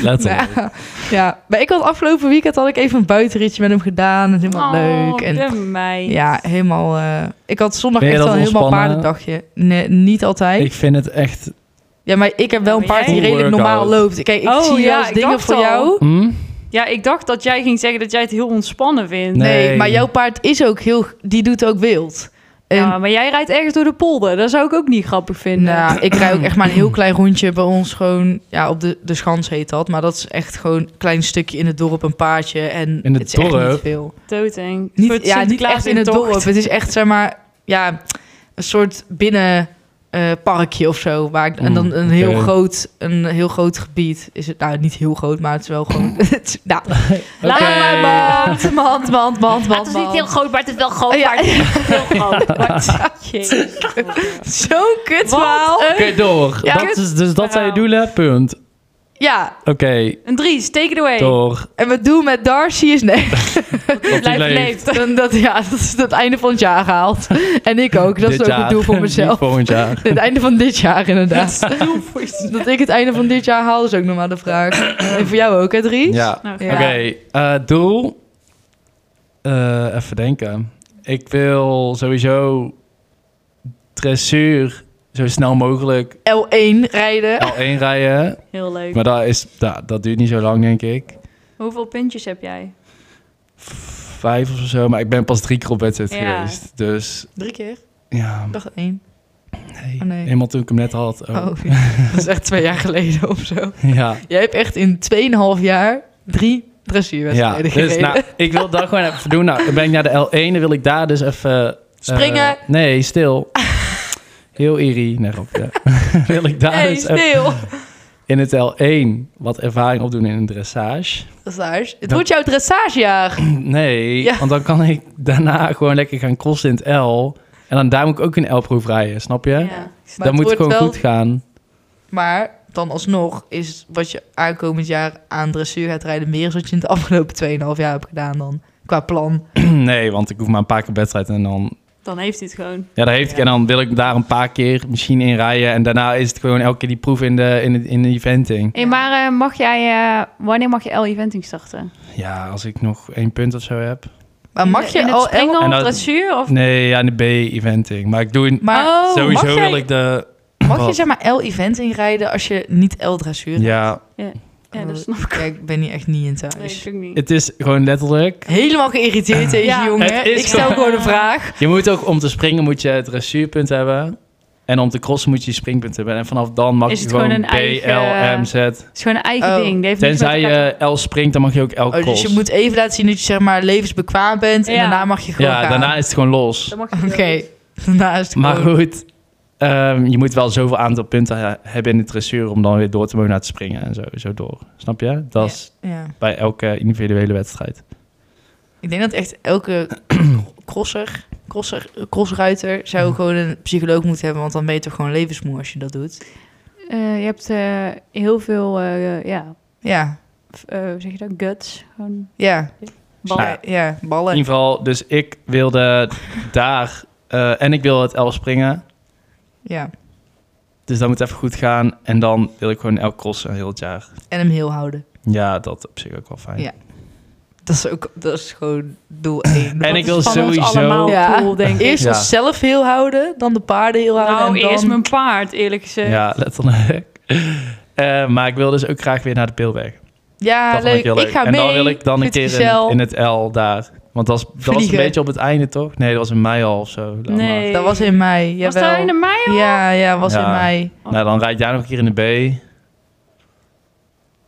[SPEAKER 1] Letterlijk.
[SPEAKER 2] Ja, ja, maar ik had afgelopen weekend had ik even een buitenritje met hem gedaan. En helemaal
[SPEAKER 3] Oh,
[SPEAKER 2] leuk. En
[SPEAKER 3] de meid.
[SPEAKER 2] Ja, helemaal. eh, ik had zondag
[SPEAKER 1] Ben je
[SPEAKER 2] echt wel
[SPEAKER 1] dat
[SPEAKER 2] een helemaal
[SPEAKER 1] ontspannen?
[SPEAKER 2] paardendagje. Nee, niet altijd.
[SPEAKER 1] Ik vind het echt...
[SPEAKER 2] ja, maar ik heb wel een
[SPEAKER 3] Maar jij-
[SPEAKER 2] paard die
[SPEAKER 1] Full
[SPEAKER 2] redelijk normaal
[SPEAKER 1] workout.
[SPEAKER 2] loopt. Kijk, ik
[SPEAKER 3] Oh,
[SPEAKER 2] zie
[SPEAKER 3] ja,
[SPEAKER 2] wel eens
[SPEAKER 3] ik
[SPEAKER 2] dingen
[SPEAKER 3] dacht
[SPEAKER 2] voor
[SPEAKER 3] al.
[SPEAKER 2] jou.
[SPEAKER 1] Hm?
[SPEAKER 3] Ja, ik dacht dat jij ging zeggen dat jij het heel ontspannen vindt.
[SPEAKER 2] Nee.
[SPEAKER 1] Nee.
[SPEAKER 2] maar jouw paard is ook heel. Die doet ook wild. En,
[SPEAKER 3] Ja, maar jij rijdt ergens door de polder. Dat zou ik ook niet grappig vinden.
[SPEAKER 2] nou, ik rij ook echt maar een heel klein rondje bij ons. Gewoon, ja, op de, de schans heet dat. Maar dat is echt gewoon een klein stukje in het dorp, een paardje. En
[SPEAKER 1] In het
[SPEAKER 2] het is echt
[SPEAKER 1] dorp?
[SPEAKER 2] niet veel.
[SPEAKER 3] Doodeng. Voor
[SPEAKER 2] Niet,
[SPEAKER 3] het
[SPEAKER 2] ja, niet
[SPEAKER 3] Sinterklaas
[SPEAKER 2] echt in het
[SPEAKER 3] intocht.
[SPEAKER 2] dorp. Het is echt, zeg maar, ja, een soort binnen eh, parkje of zo. Waar ik, en dan een heel,
[SPEAKER 1] Hmm, oké.
[SPEAKER 2] groot, een heel groot gebied. Is het, nou, niet heel groot, maar het is wel gewoon... het is- nou,
[SPEAKER 3] Laat
[SPEAKER 1] Oké.
[SPEAKER 3] maar,
[SPEAKER 2] mand,
[SPEAKER 3] man.
[SPEAKER 2] mand, mand, mand, mand, mand.
[SPEAKER 3] groot, maar Ah, het is wel groot.
[SPEAKER 2] Oh, ja.
[SPEAKER 3] maar het is heel groot. Wat- Jezus.
[SPEAKER 2] Zo'n eh,
[SPEAKER 3] Wat
[SPEAKER 2] kutwaal.
[SPEAKER 3] een-
[SPEAKER 1] Oké, door.
[SPEAKER 3] Ja.
[SPEAKER 1] dat is, dus dat zijn je
[SPEAKER 3] Verhaal.
[SPEAKER 1] doelen, punt.
[SPEAKER 2] Ja,
[SPEAKER 1] Oké,
[SPEAKER 2] een Dries, take it away.
[SPEAKER 1] door.
[SPEAKER 2] En we doen met Darcy is nee.
[SPEAKER 1] hij
[SPEAKER 3] Blijf
[SPEAKER 1] leeft.
[SPEAKER 3] leeft.
[SPEAKER 2] Dan dat, ja, dat is het einde van het jaar gehaald. En ik ook. Dat is
[SPEAKER 1] dit
[SPEAKER 2] ook
[SPEAKER 1] jaar.
[SPEAKER 2] het doel voor
[SPEAKER 1] Niet
[SPEAKER 2] mezelf.
[SPEAKER 1] Volgend jaar.
[SPEAKER 2] Het einde van dit jaar, inderdaad. dat ik het einde van dit jaar haal, is ook normaal de vraag. En voor jou ook, hè, Dries?
[SPEAKER 1] Ja.
[SPEAKER 3] Nou,
[SPEAKER 2] Ja.
[SPEAKER 1] Oké, eh, doel. Eh, even denken. Ik wil sowieso dressuur zo snel mogelijk
[SPEAKER 2] L1 rijden.
[SPEAKER 1] L1 rijden.
[SPEAKER 3] Heel leuk.
[SPEAKER 1] Maar dat, is, dat, dat duurt niet zo lang, denk ik.
[SPEAKER 3] Hoeveel puntjes heb jij?
[SPEAKER 1] Vijf of zo, maar ik ben pas drie keer op wedstrijd
[SPEAKER 3] Ja.
[SPEAKER 1] geweest. Dus
[SPEAKER 2] Drie keer?
[SPEAKER 1] ja,
[SPEAKER 2] Ik dacht één.
[SPEAKER 1] nee.
[SPEAKER 2] Oh, nee.
[SPEAKER 1] helemaal toen ik hem net had.
[SPEAKER 2] Oh.
[SPEAKER 1] Oh.
[SPEAKER 2] dat is echt twee jaar geleden of zo.
[SPEAKER 1] Ja.
[SPEAKER 2] Jij hebt echt in 2,5 jaar drie
[SPEAKER 1] Ja,
[SPEAKER 2] dressuurwedstrijden
[SPEAKER 1] dus
[SPEAKER 2] gereden.
[SPEAKER 1] nou, ik wil dat gewoon even doen. Nou, dan ben ik naar de L1, dan wil ik daar dus even... eh,
[SPEAKER 2] Springen.
[SPEAKER 1] nee, stil. Heel eerie. Nee, op, wil ik daar
[SPEAKER 2] hey,
[SPEAKER 1] dus even
[SPEAKER 2] stil.
[SPEAKER 1] in het L1 wat ervaring opdoen in een dressage.
[SPEAKER 2] Dressage. Het
[SPEAKER 1] Dan-
[SPEAKER 2] wordt jouw dressagejaar.
[SPEAKER 1] Nee,
[SPEAKER 2] Ja.
[SPEAKER 1] want dan kan ik daarna gewoon lekker gaan crossen in het L. En dan daar moet ik ook een L-proef rijden, snap je?
[SPEAKER 2] Maar
[SPEAKER 1] dan moet het
[SPEAKER 2] wordt
[SPEAKER 1] gewoon
[SPEAKER 2] wel-
[SPEAKER 1] goed gaan.
[SPEAKER 2] Maar dan alsnog is wat je aankomend jaar aan dressuur gaat rijden... meer is wat je in de afgelopen 2,5 jaar hebt gedaan dan. Qua plan.
[SPEAKER 1] nee, want ik hoef maar een paar keer wedstrijd en dan
[SPEAKER 3] Dan heeft hij het gewoon.
[SPEAKER 1] Ja, dat heeft ik. En dan wil ik daar een paar keer misschien in rijden. En daarna is het gewoon elke keer die proef in de, in de, in de eventing.
[SPEAKER 3] Hé, maar eh, mag jij, eh, wanneer mag je L-eventing starten?
[SPEAKER 1] Ja, als ik nog één punt of zo heb.
[SPEAKER 2] Maar Eh, mag je
[SPEAKER 3] in het
[SPEAKER 2] al...
[SPEAKER 3] springen
[SPEAKER 1] En
[SPEAKER 3] of
[SPEAKER 1] dat-
[SPEAKER 3] dressuur? Of...
[SPEAKER 1] Nee, ja, in de B-eventing. Maar ik doe een-
[SPEAKER 2] Maar
[SPEAKER 3] Oh,
[SPEAKER 1] sowieso
[SPEAKER 2] mag jij-
[SPEAKER 1] wil ik de...
[SPEAKER 2] mag je
[SPEAKER 1] Wat?
[SPEAKER 2] zeg maar L-event inrijden als je niet L-dressuur
[SPEAKER 1] Ja,
[SPEAKER 3] Ja, dat snap ik.
[SPEAKER 2] Ja, ik ben hier echt niet in thuis.
[SPEAKER 3] Nee, ik ook niet.
[SPEAKER 1] het is gewoon letterlijk...
[SPEAKER 2] Helemaal
[SPEAKER 1] Ah.
[SPEAKER 2] geïrriteerd deze
[SPEAKER 3] Ja.
[SPEAKER 1] Het
[SPEAKER 2] jongen.
[SPEAKER 1] is
[SPEAKER 2] Ik stel
[SPEAKER 3] zo.
[SPEAKER 2] gewoon een vraag.
[SPEAKER 1] Je moet ook om te springen moet je het dressuurpunt hebben. En om te crossen moet je je springpunt hebben. En vanaf dan mag
[SPEAKER 3] Is
[SPEAKER 1] je
[SPEAKER 3] het
[SPEAKER 1] gewoon,
[SPEAKER 3] gewoon
[SPEAKER 1] B,
[SPEAKER 3] een eigen-
[SPEAKER 1] L, M, Z.
[SPEAKER 3] Het is gewoon een eigen
[SPEAKER 2] Oh.
[SPEAKER 3] ding. Die heeft niks
[SPEAKER 1] Tenzij
[SPEAKER 3] met elkaar
[SPEAKER 1] je L springt, dan mag je ook L
[SPEAKER 2] Oh,
[SPEAKER 1] cross.
[SPEAKER 2] dus je moet even laten zien dat je zeg maar levensbekwaam bent. En
[SPEAKER 3] Ja.
[SPEAKER 2] daarna mag je gewoon
[SPEAKER 1] ja,
[SPEAKER 2] gaan.
[SPEAKER 1] daarna is het gewoon
[SPEAKER 3] te-
[SPEAKER 1] los.
[SPEAKER 3] Dan mag je
[SPEAKER 2] Oké,
[SPEAKER 3] het doen.
[SPEAKER 2] daarna is het
[SPEAKER 1] Maar
[SPEAKER 2] gewoon-
[SPEAKER 1] goed, ehm, je moet wel zoveel aantal punten he- hebben in de dressuur om dan weer door te mogen naar het springen en zo, zo door. Snap je? Dat is
[SPEAKER 2] Ja.
[SPEAKER 1] bij elke individuele wedstrijd.
[SPEAKER 2] Ik denk dat echt elke crosser, crosser, crossruiter zou
[SPEAKER 1] Mm.
[SPEAKER 2] gewoon een psycholoog moeten hebben. Want dan ben je toch gewoon levensmoe als je dat doet.
[SPEAKER 3] Eh, je hebt eh, heel veel, eh, ja,
[SPEAKER 2] Ja,
[SPEAKER 3] f- eh, hoe zeg je dat? Guts. Gewoon
[SPEAKER 2] ja,
[SPEAKER 3] ballen.
[SPEAKER 2] ja, ja, ballen.
[SPEAKER 1] In ieder geval, dus ik wilde daar eh, en ik wil het L springen.
[SPEAKER 2] Ja,
[SPEAKER 1] Dus dat moet even goed gaan. En dan wil ik gewoon elk crossen heel het jaar.
[SPEAKER 2] en hem heel houden.
[SPEAKER 1] Ja, dat op zich ook wel fijn.
[SPEAKER 2] Ja. Dat is ook, dat is gewoon doel één.
[SPEAKER 1] En ik wil
[SPEAKER 3] Van ons
[SPEAKER 1] sowieso-
[SPEAKER 3] allemaal
[SPEAKER 2] Ja.
[SPEAKER 3] cool, denk ik.
[SPEAKER 2] Eerst
[SPEAKER 1] Ja.
[SPEAKER 2] onszelf heel houden, dan de paarden heel houden.
[SPEAKER 3] Nou,
[SPEAKER 2] en dan...
[SPEAKER 3] eerst mijn paard, eerlijk gezegd.
[SPEAKER 1] Ja, letterlijk. Eh, maar ik wil dus ook graag weer naar de Pilberg.
[SPEAKER 2] Ja,
[SPEAKER 1] dat vond
[SPEAKER 2] leuk.
[SPEAKER 1] ik heel leuk.
[SPEAKER 2] Ik ga
[SPEAKER 1] en
[SPEAKER 2] mee.
[SPEAKER 1] dan wil ik dan een
[SPEAKER 2] Goed,
[SPEAKER 1] keer
[SPEAKER 2] Giselle.
[SPEAKER 1] in, in het L daar. Want dat, was- dat was
[SPEAKER 2] Vliegen.
[SPEAKER 1] een beetje op het einde, toch? Nee, dat was in mei al of zo. Dan, maar-
[SPEAKER 3] Nee.
[SPEAKER 2] Dat was in mei.
[SPEAKER 3] Was
[SPEAKER 2] Jawel.
[SPEAKER 3] dat in de mei?
[SPEAKER 2] Ja, ja, was in
[SPEAKER 1] Ja.
[SPEAKER 2] mei.
[SPEAKER 1] Nou, dan rijd jij nog een keer in de B.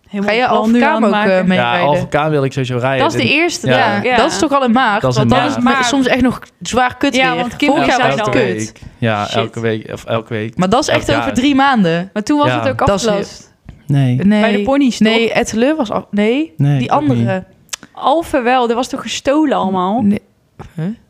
[SPEAKER 3] Helemaal
[SPEAKER 2] Ga je
[SPEAKER 3] plan
[SPEAKER 2] Alpha
[SPEAKER 3] nu aan
[SPEAKER 2] Kamer
[SPEAKER 3] het
[SPEAKER 2] ook eh,
[SPEAKER 3] maken.
[SPEAKER 1] Ja,
[SPEAKER 2] meerijden?
[SPEAKER 1] Alpha K wil ik sowieso rijden.
[SPEAKER 3] Dat is de eerste.
[SPEAKER 1] Ja.
[SPEAKER 2] Ja,
[SPEAKER 3] dag. Ja.
[SPEAKER 2] dat is toch al in maart?
[SPEAKER 1] Dat is
[SPEAKER 2] want
[SPEAKER 1] in
[SPEAKER 2] dan
[SPEAKER 1] maart.
[SPEAKER 2] is het
[SPEAKER 3] Maar-
[SPEAKER 2] soms echt nog zwaar kut
[SPEAKER 3] Ja,
[SPEAKER 2] weer.
[SPEAKER 3] want kinderen
[SPEAKER 2] Vorig jaar was
[SPEAKER 3] zijn
[SPEAKER 2] het
[SPEAKER 1] elke
[SPEAKER 3] dan
[SPEAKER 2] kut.
[SPEAKER 1] week. Ja,
[SPEAKER 3] Shit.
[SPEAKER 1] elke week. Of elke week.
[SPEAKER 2] Maar dat is echt
[SPEAKER 1] Elk
[SPEAKER 2] over
[SPEAKER 1] jaar.
[SPEAKER 2] drie maanden.
[SPEAKER 3] Maar toen was
[SPEAKER 1] Ja.
[SPEAKER 3] het ook
[SPEAKER 2] Dat is
[SPEAKER 3] afgelost.
[SPEAKER 1] Nee.
[SPEAKER 2] Nee.
[SPEAKER 3] Bij de ponies, toch?
[SPEAKER 2] Nee, Etteleur was af. Nee,
[SPEAKER 1] Nee,
[SPEAKER 2] die
[SPEAKER 1] ook niet.
[SPEAKER 2] andere.
[SPEAKER 3] Alphen wel, dat was toch gestolen allemaal? Oh,
[SPEAKER 2] Nee.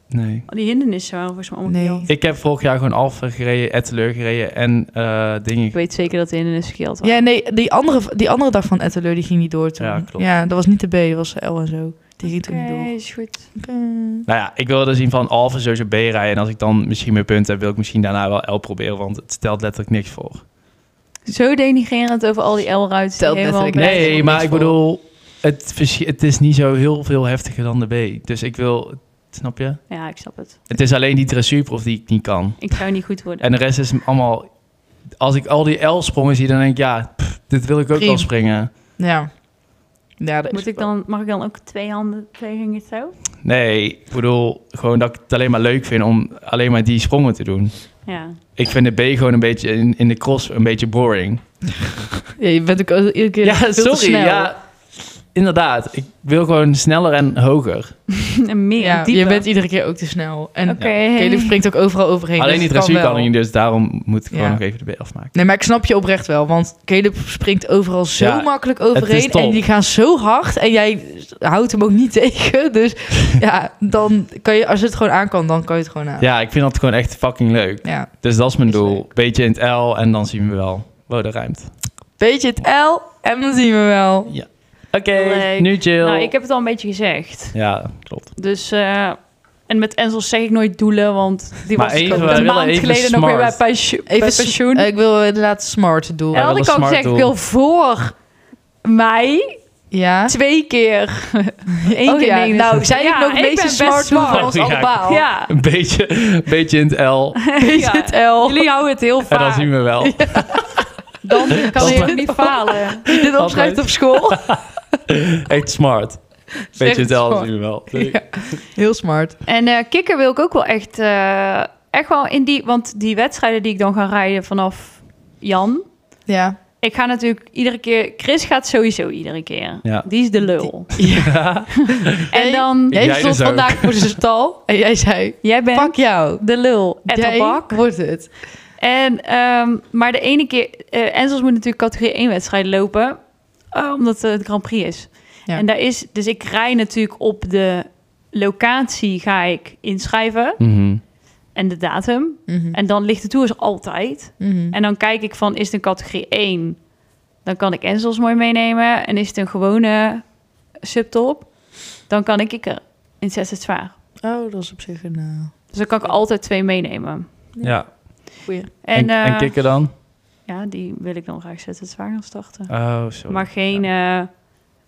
[SPEAKER 1] Nee.
[SPEAKER 3] Die hindernissen waren volgens mij allemaal
[SPEAKER 2] Nee.
[SPEAKER 3] gedeeld.
[SPEAKER 1] Ik heb vorig jaar gewoon Alpha gereden, Etteleur gereden en eh dingen.
[SPEAKER 3] Ik weet zeker dat de hindernissen gedeeld waren.
[SPEAKER 2] Ja, nee, die andere, die andere dag van Etteleur die ging niet door toen.
[SPEAKER 1] Ja, klopt.
[SPEAKER 2] dat was niet de B, dat was de L en zo. Die ging toen niet door.
[SPEAKER 3] is goed.
[SPEAKER 2] Oké.
[SPEAKER 1] Nou ja, ik wilde zien van Alpha sowieso B rijden. En als ik dan misschien meer punten heb, wil ik misschien daarna wel L proberen. Want het stelt letterlijk niks voor.
[SPEAKER 3] Zo denigrerend over al die L-ruiters.
[SPEAKER 2] Telt
[SPEAKER 3] die helemaal
[SPEAKER 2] letterlijk
[SPEAKER 3] bij-
[SPEAKER 2] Nee,
[SPEAKER 1] Nee,
[SPEAKER 2] niks
[SPEAKER 1] maar ik
[SPEAKER 2] voor.
[SPEAKER 1] bedoel, het, verschi- het is niet zo heel veel heftiger dan de B. Dus ik wil, snap je?
[SPEAKER 3] Ja, ik snap het.
[SPEAKER 1] Het is alleen die dressuurproef die ik niet kan.
[SPEAKER 3] Ik zou niet goed worden.
[SPEAKER 1] En de rest is allemaal... Als ik al die L-sprongen zie, dan denk ik... Ja, pff, dit wil ik ook
[SPEAKER 2] Prima.
[SPEAKER 1] wel springen.
[SPEAKER 2] Ja. ja dat is
[SPEAKER 3] Moet ik dan, mag ik dan ook twee handen tegen het zo?
[SPEAKER 1] Nee, ik bedoel gewoon dat ik het alleen maar leuk vind... om alleen maar die sprongen te doen.
[SPEAKER 3] Ja.
[SPEAKER 1] Ik vind de B gewoon een beetje in, in de cross een beetje boring.
[SPEAKER 2] Ja, je bent ook al- iedere keer
[SPEAKER 1] Ja,
[SPEAKER 2] veel te
[SPEAKER 1] sorry.
[SPEAKER 2] snel.
[SPEAKER 1] Ja, inderdaad. Ik wil gewoon sneller en hoger.
[SPEAKER 3] en meer.
[SPEAKER 2] Ja,
[SPEAKER 3] dieper.
[SPEAKER 2] je bent iedere keer ook te snel. En
[SPEAKER 3] Oké.
[SPEAKER 2] Kelly springt ook overal overheen.
[SPEAKER 1] alleen
[SPEAKER 2] dus
[SPEAKER 1] die
[SPEAKER 2] het
[SPEAKER 1] dressuur kan
[SPEAKER 2] wel.
[SPEAKER 1] ik niet, dus daarom moet ik gewoon
[SPEAKER 2] Ja.
[SPEAKER 1] nog even de B afmaken.
[SPEAKER 2] Nee, maar ik snap je oprecht wel. Want Caleb springt overal zo
[SPEAKER 1] Ja,
[SPEAKER 2] makkelijk
[SPEAKER 1] het
[SPEAKER 2] overheen.
[SPEAKER 1] is top.
[SPEAKER 2] En die gaan zo hard. En jij houdt hem ook niet tegen. Dus ja, dan kan je, als het gewoon aan kan, dan kan je het gewoon aan.
[SPEAKER 1] Ja, ik vind dat gewoon echt fucking leuk.
[SPEAKER 2] Ja.
[SPEAKER 1] Dus dat is mijn
[SPEAKER 2] Is
[SPEAKER 1] doel.
[SPEAKER 2] leuk.
[SPEAKER 1] Beetje in het L en dan zien we wel. Wow, dat ruimt.
[SPEAKER 2] Beetje het L En dan zien we wel.
[SPEAKER 1] Oké,
[SPEAKER 3] Leuk.
[SPEAKER 1] nu chill.
[SPEAKER 3] Nou, ik heb het al een beetje gezegd.
[SPEAKER 1] Ja, klopt.
[SPEAKER 3] Dus, eh, en met Enzo zeg ik nooit doelen, want die
[SPEAKER 1] Maar
[SPEAKER 3] was
[SPEAKER 1] even, wij
[SPEAKER 3] een
[SPEAKER 1] willen
[SPEAKER 3] maand
[SPEAKER 1] even
[SPEAKER 3] geleden nog weer bij,
[SPEAKER 1] smart.
[SPEAKER 3] pensio- bij
[SPEAKER 2] Even s-
[SPEAKER 3] pensioen.
[SPEAKER 2] eh, ik wil inderdaad smart doen.
[SPEAKER 3] en
[SPEAKER 1] wij
[SPEAKER 3] had ik
[SPEAKER 1] willen
[SPEAKER 3] al
[SPEAKER 1] smart
[SPEAKER 3] gezegd, ik
[SPEAKER 1] doen.
[SPEAKER 3] wil voor mei
[SPEAKER 2] Ja.
[SPEAKER 3] twee keer. Eén
[SPEAKER 2] Oh
[SPEAKER 3] keer
[SPEAKER 2] ja,
[SPEAKER 3] negen.
[SPEAKER 2] nou, zei ik nog een
[SPEAKER 3] ik
[SPEAKER 2] beetje
[SPEAKER 3] ben
[SPEAKER 2] smart
[SPEAKER 3] best
[SPEAKER 2] doen van
[SPEAKER 1] smart.
[SPEAKER 2] ons
[SPEAKER 1] Ja,
[SPEAKER 2] allemaal.
[SPEAKER 3] Ja.
[SPEAKER 1] Een beetje, een beetje in het L.
[SPEAKER 3] Ja.
[SPEAKER 2] Het L.
[SPEAKER 3] Jullie houden het heel
[SPEAKER 1] En dan
[SPEAKER 3] vaak.
[SPEAKER 1] zien we wel.
[SPEAKER 3] Dan kan
[SPEAKER 1] Als
[SPEAKER 3] ik
[SPEAKER 1] wij-
[SPEAKER 3] niet falen.
[SPEAKER 2] Dit opschrijft op school.
[SPEAKER 1] Echt smart. Beetje in het L, dan zien we wel.
[SPEAKER 2] Heel smart.
[SPEAKER 3] En eh kikker wil ik ook wel echt, eh, echt wel in die... Want die wedstrijden die ik dan ga rijden vanaf Jan...
[SPEAKER 2] Ja.
[SPEAKER 3] Ik ga natuurlijk iedere keer... Chris gaat sowieso iedere keer.
[SPEAKER 1] Ja.
[SPEAKER 3] Die is de lul.
[SPEAKER 2] Jij-
[SPEAKER 3] En dan...
[SPEAKER 1] Jij
[SPEAKER 2] Jij
[SPEAKER 1] dus
[SPEAKER 2] stond
[SPEAKER 1] ook.
[SPEAKER 2] vandaag voor de stal en jij zei,
[SPEAKER 3] Jij bent
[SPEAKER 2] pak jou.
[SPEAKER 3] de lul. En
[SPEAKER 2] Jij
[SPEAKER 3] tabak.
[SPEAKER 2] wordt het.
[SPEAKER 3] En, ehm, maar de ene keer... eh Enzels moet natuurlijk categorie 1 wedstrijd lopen. eh, omdat eh, het Grand Prix is.
[SPEAKER 2] Ja.
[SPEAKER 3] En daar is... Dus ik rij natuurlijk op de locatie ga ik inschrijven.
[SPEAKER 1] Mhm.
[SPEAKER 3] En de datum.
[SPEAKER 2] Mhm.
[SPEAKER 3] En dan ligt de tours altijd.
[SPEAKER 2] Mhm.
[SPEAKER 3] En dan kijk ik van, is het een categorie 1? Dan kan ik Enzels mooi meenemen. En is het een gewone subtop? Dan kan ik ik er in zes het zwaar.
[SPEAKER 2] Oh, dat is op zich een... eh,
[SPEAKER 3] Dus dan kan ik altijd twee meenemen.
[SPEAKER 1] Ja.
[SPEAKER 2] goeie.
[SPEAKER 1] En,
[SPEAKER 3] En, eh,
[SPEAKER 1] en kikken dan?
[SPEAKER 3] ja, die wil ik dan graag zet het zwaar gaan starten.
[SPEAKER 1] Oh, zo.
[SPEAKER 3] maar geen, eh,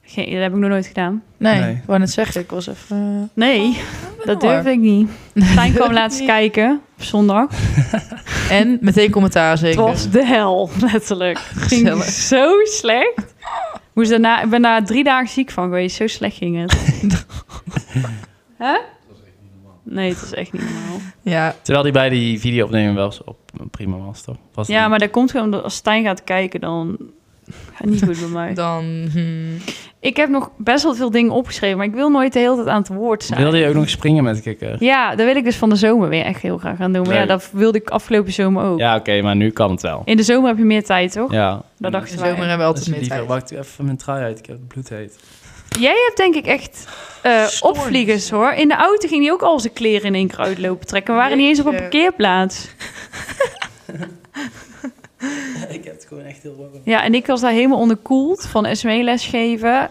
[SPEAKER 3] geen, dat heb ik nog nooit gedaan.
[SPEAKER 2] Nee,
[SPEAKER 1] Nee.
[SPEAKER 2] ik wou net zeggen, ik was even... eh,
[SPEAKER 3] Nee, dat
[SPEAKER 2] hoor.
[SPEAKER 3] durfde ik niet. Stijn kwam laatst kijken op zondag.
[SPEAKER 2] En meteen commentaar
[SPEAKER 3] Het
[SPEAKER 2] zeker.
[SPEAKER 3] was de hel, letterlijk. Het ging
[SPEAKER 2] Gezellig.
[SPEAKER 3] zo slecht. Moest daarna, ik ben daar drie dagen ziek van geweest. Zo slecht ging het. Hè? Nee, het is echt niet normaal.
[SPEAKER 2] Ja,
[SPEAKER 1] Terwijl die bij die video opnemen wel zo op een prima was, toch? Was
[SPEAKER 3] Ja, maar dat komt gewoon omdat als Stijn gaat kijken, dan gaat het niet goed bij mij.
[SPEAKER 2] dan... hmm.
[SPEAKER 3] Ik heb nog best wel veel dingen opgeschreven, maar ik wil nooit de hele tijd aan het woord zijn.
[SPEAKER 1] Wilde je ook nog springen met kikker?
[SPEAKER 3] Ja, dat wil ik dus van de zomer weer echt heel graag gaan doen. Maar ja,
[SPEAKER 1] Leuk.
[SPEAKER 3] dat wilde ik afgelopen zomer ook.
[SPEAKER 1] Ja, oké, maar nu kan het wel.
[SPEAKER 3] In de zomer heb je meer tijd, toch?
[SPEAKER 1] Ja.
[SPEAKER 3] Dat
[SPEAKER 2] De
[SPEAKER 3] dachten wij.
[SPEAKER 2] zomer hebben we altijd meer
[SPEAKER 1] Liever,
[SPEAKER 2] tijd.
[SPEAKER 1] wacht even mijn trui uit. Ik heb het bloed heet.
[SPEAKER 3] Jij hebt denk ik echt eh, opvliegers hoor. In de auto ging hij ook al zijn kleren in één keer uitlopen trekken. We waren niet eens op een
[SPEAKER 2] Jeetje.
[SPEAKER 3] parkeerplaats.
[SPEAKER 1] Ik heb het gewoon echt heel warm.
[SPEAKER 3] Ja, en ik was daar helemaal onderkoeld van E SME-les geven.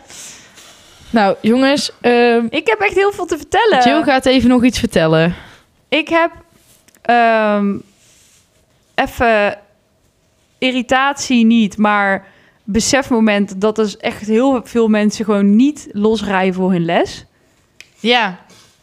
[SPEAKER 2] Nou, jongens, ehm
[SPEAKER 3] Ik heb echt heel veel te vertellen.
[SPEAKER 2] Jill gaat even nog iets vertellen.
[SPEAKER 3] Ik heb ehm, even irritatie niet, maar besefmoment dat dus echt heel veel mensen gewoon niet losrijden voor hun les.
[SPEAKER 2] Ja,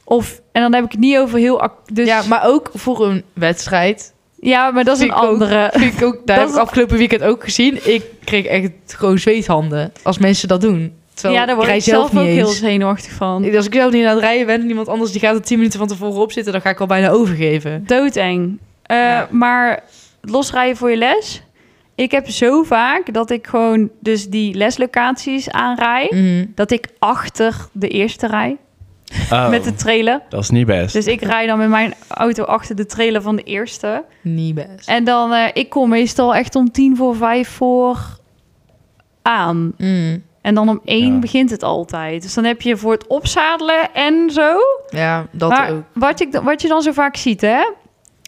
[SPEAKER 3] Of, en dan heb ik het niet over heel... ac- Dus,
[SPEAKER 2] ja maar ook voor een wedstrijd.
[SPEAKER 3] ja, maar dat is een
[SPEAKER 2] Vind ik ook.
[SPEAKER 3] andere.
[SPEAKER 2] Vind ik ook, daar
[SPEAKER 3] Dat
[SPEAKER 2] heb
[SPEAKER 3] is-
[SPEAKER 2] ik afgelopen weekend ook gezien. Ik kreeg echt gewoon zweethanden als mensen dat doen. Terwijl
[SPEAKER 3] ja, daar word
[SPEAKER 2] rij
[SPEAKER 3] ik zelf,
[SPEAKER 2] niet
[SPEAKER 3] ook
[SPEAKER 2] eens.
[SPEAKER 3] heel zenuwachtig van.
[SPEAKER 2] Als ik zelf niet aan het rijden ben en iemand anders die gaat er 10 minuten van tevoren op zitten, dan ga ik al bijna overgeven.
[SPEAKER 3] Doodeng. Eh,
[SPEAKER 2] Ja.
[SPEAKER 3] Maar losrijden voor je les. Ik heb zo vaak dat ik gewoon dus die leslocaties aanrij.
[SPEAKER 2] Mm. Mhm.
[SPEAKER 3] Dat ik achter de eerste rij
[SPEAKER 2] Oh.
[SPEAKER 3] met de trailer.
[SPEAKER 1] Oh, Dat is niet best.
[SPEAKER 3] Dus ik rij dan met mijn auto achter de trailer van de eerste.
[SPEAKER 2] Niet best.
[SPEAKER 3] En dan, eh, ik kom meestal echt om tien voor vijf voor aan.
[SPEAKER 2] Mm.
[SPEAKER 3] En dan om één
[SPEAKER 1] Ja.
[SPEAKER 3] begint het altijd. Dus dan heb je voor het opzadelen en zo.
[SPEAKER 2] Ja, dat
[SPEAKER 3] maar
[SPEAKER 2] ook.
[SPEAKER 3] Wat, ik, dan- wat je dan zo vaak ziet, hè?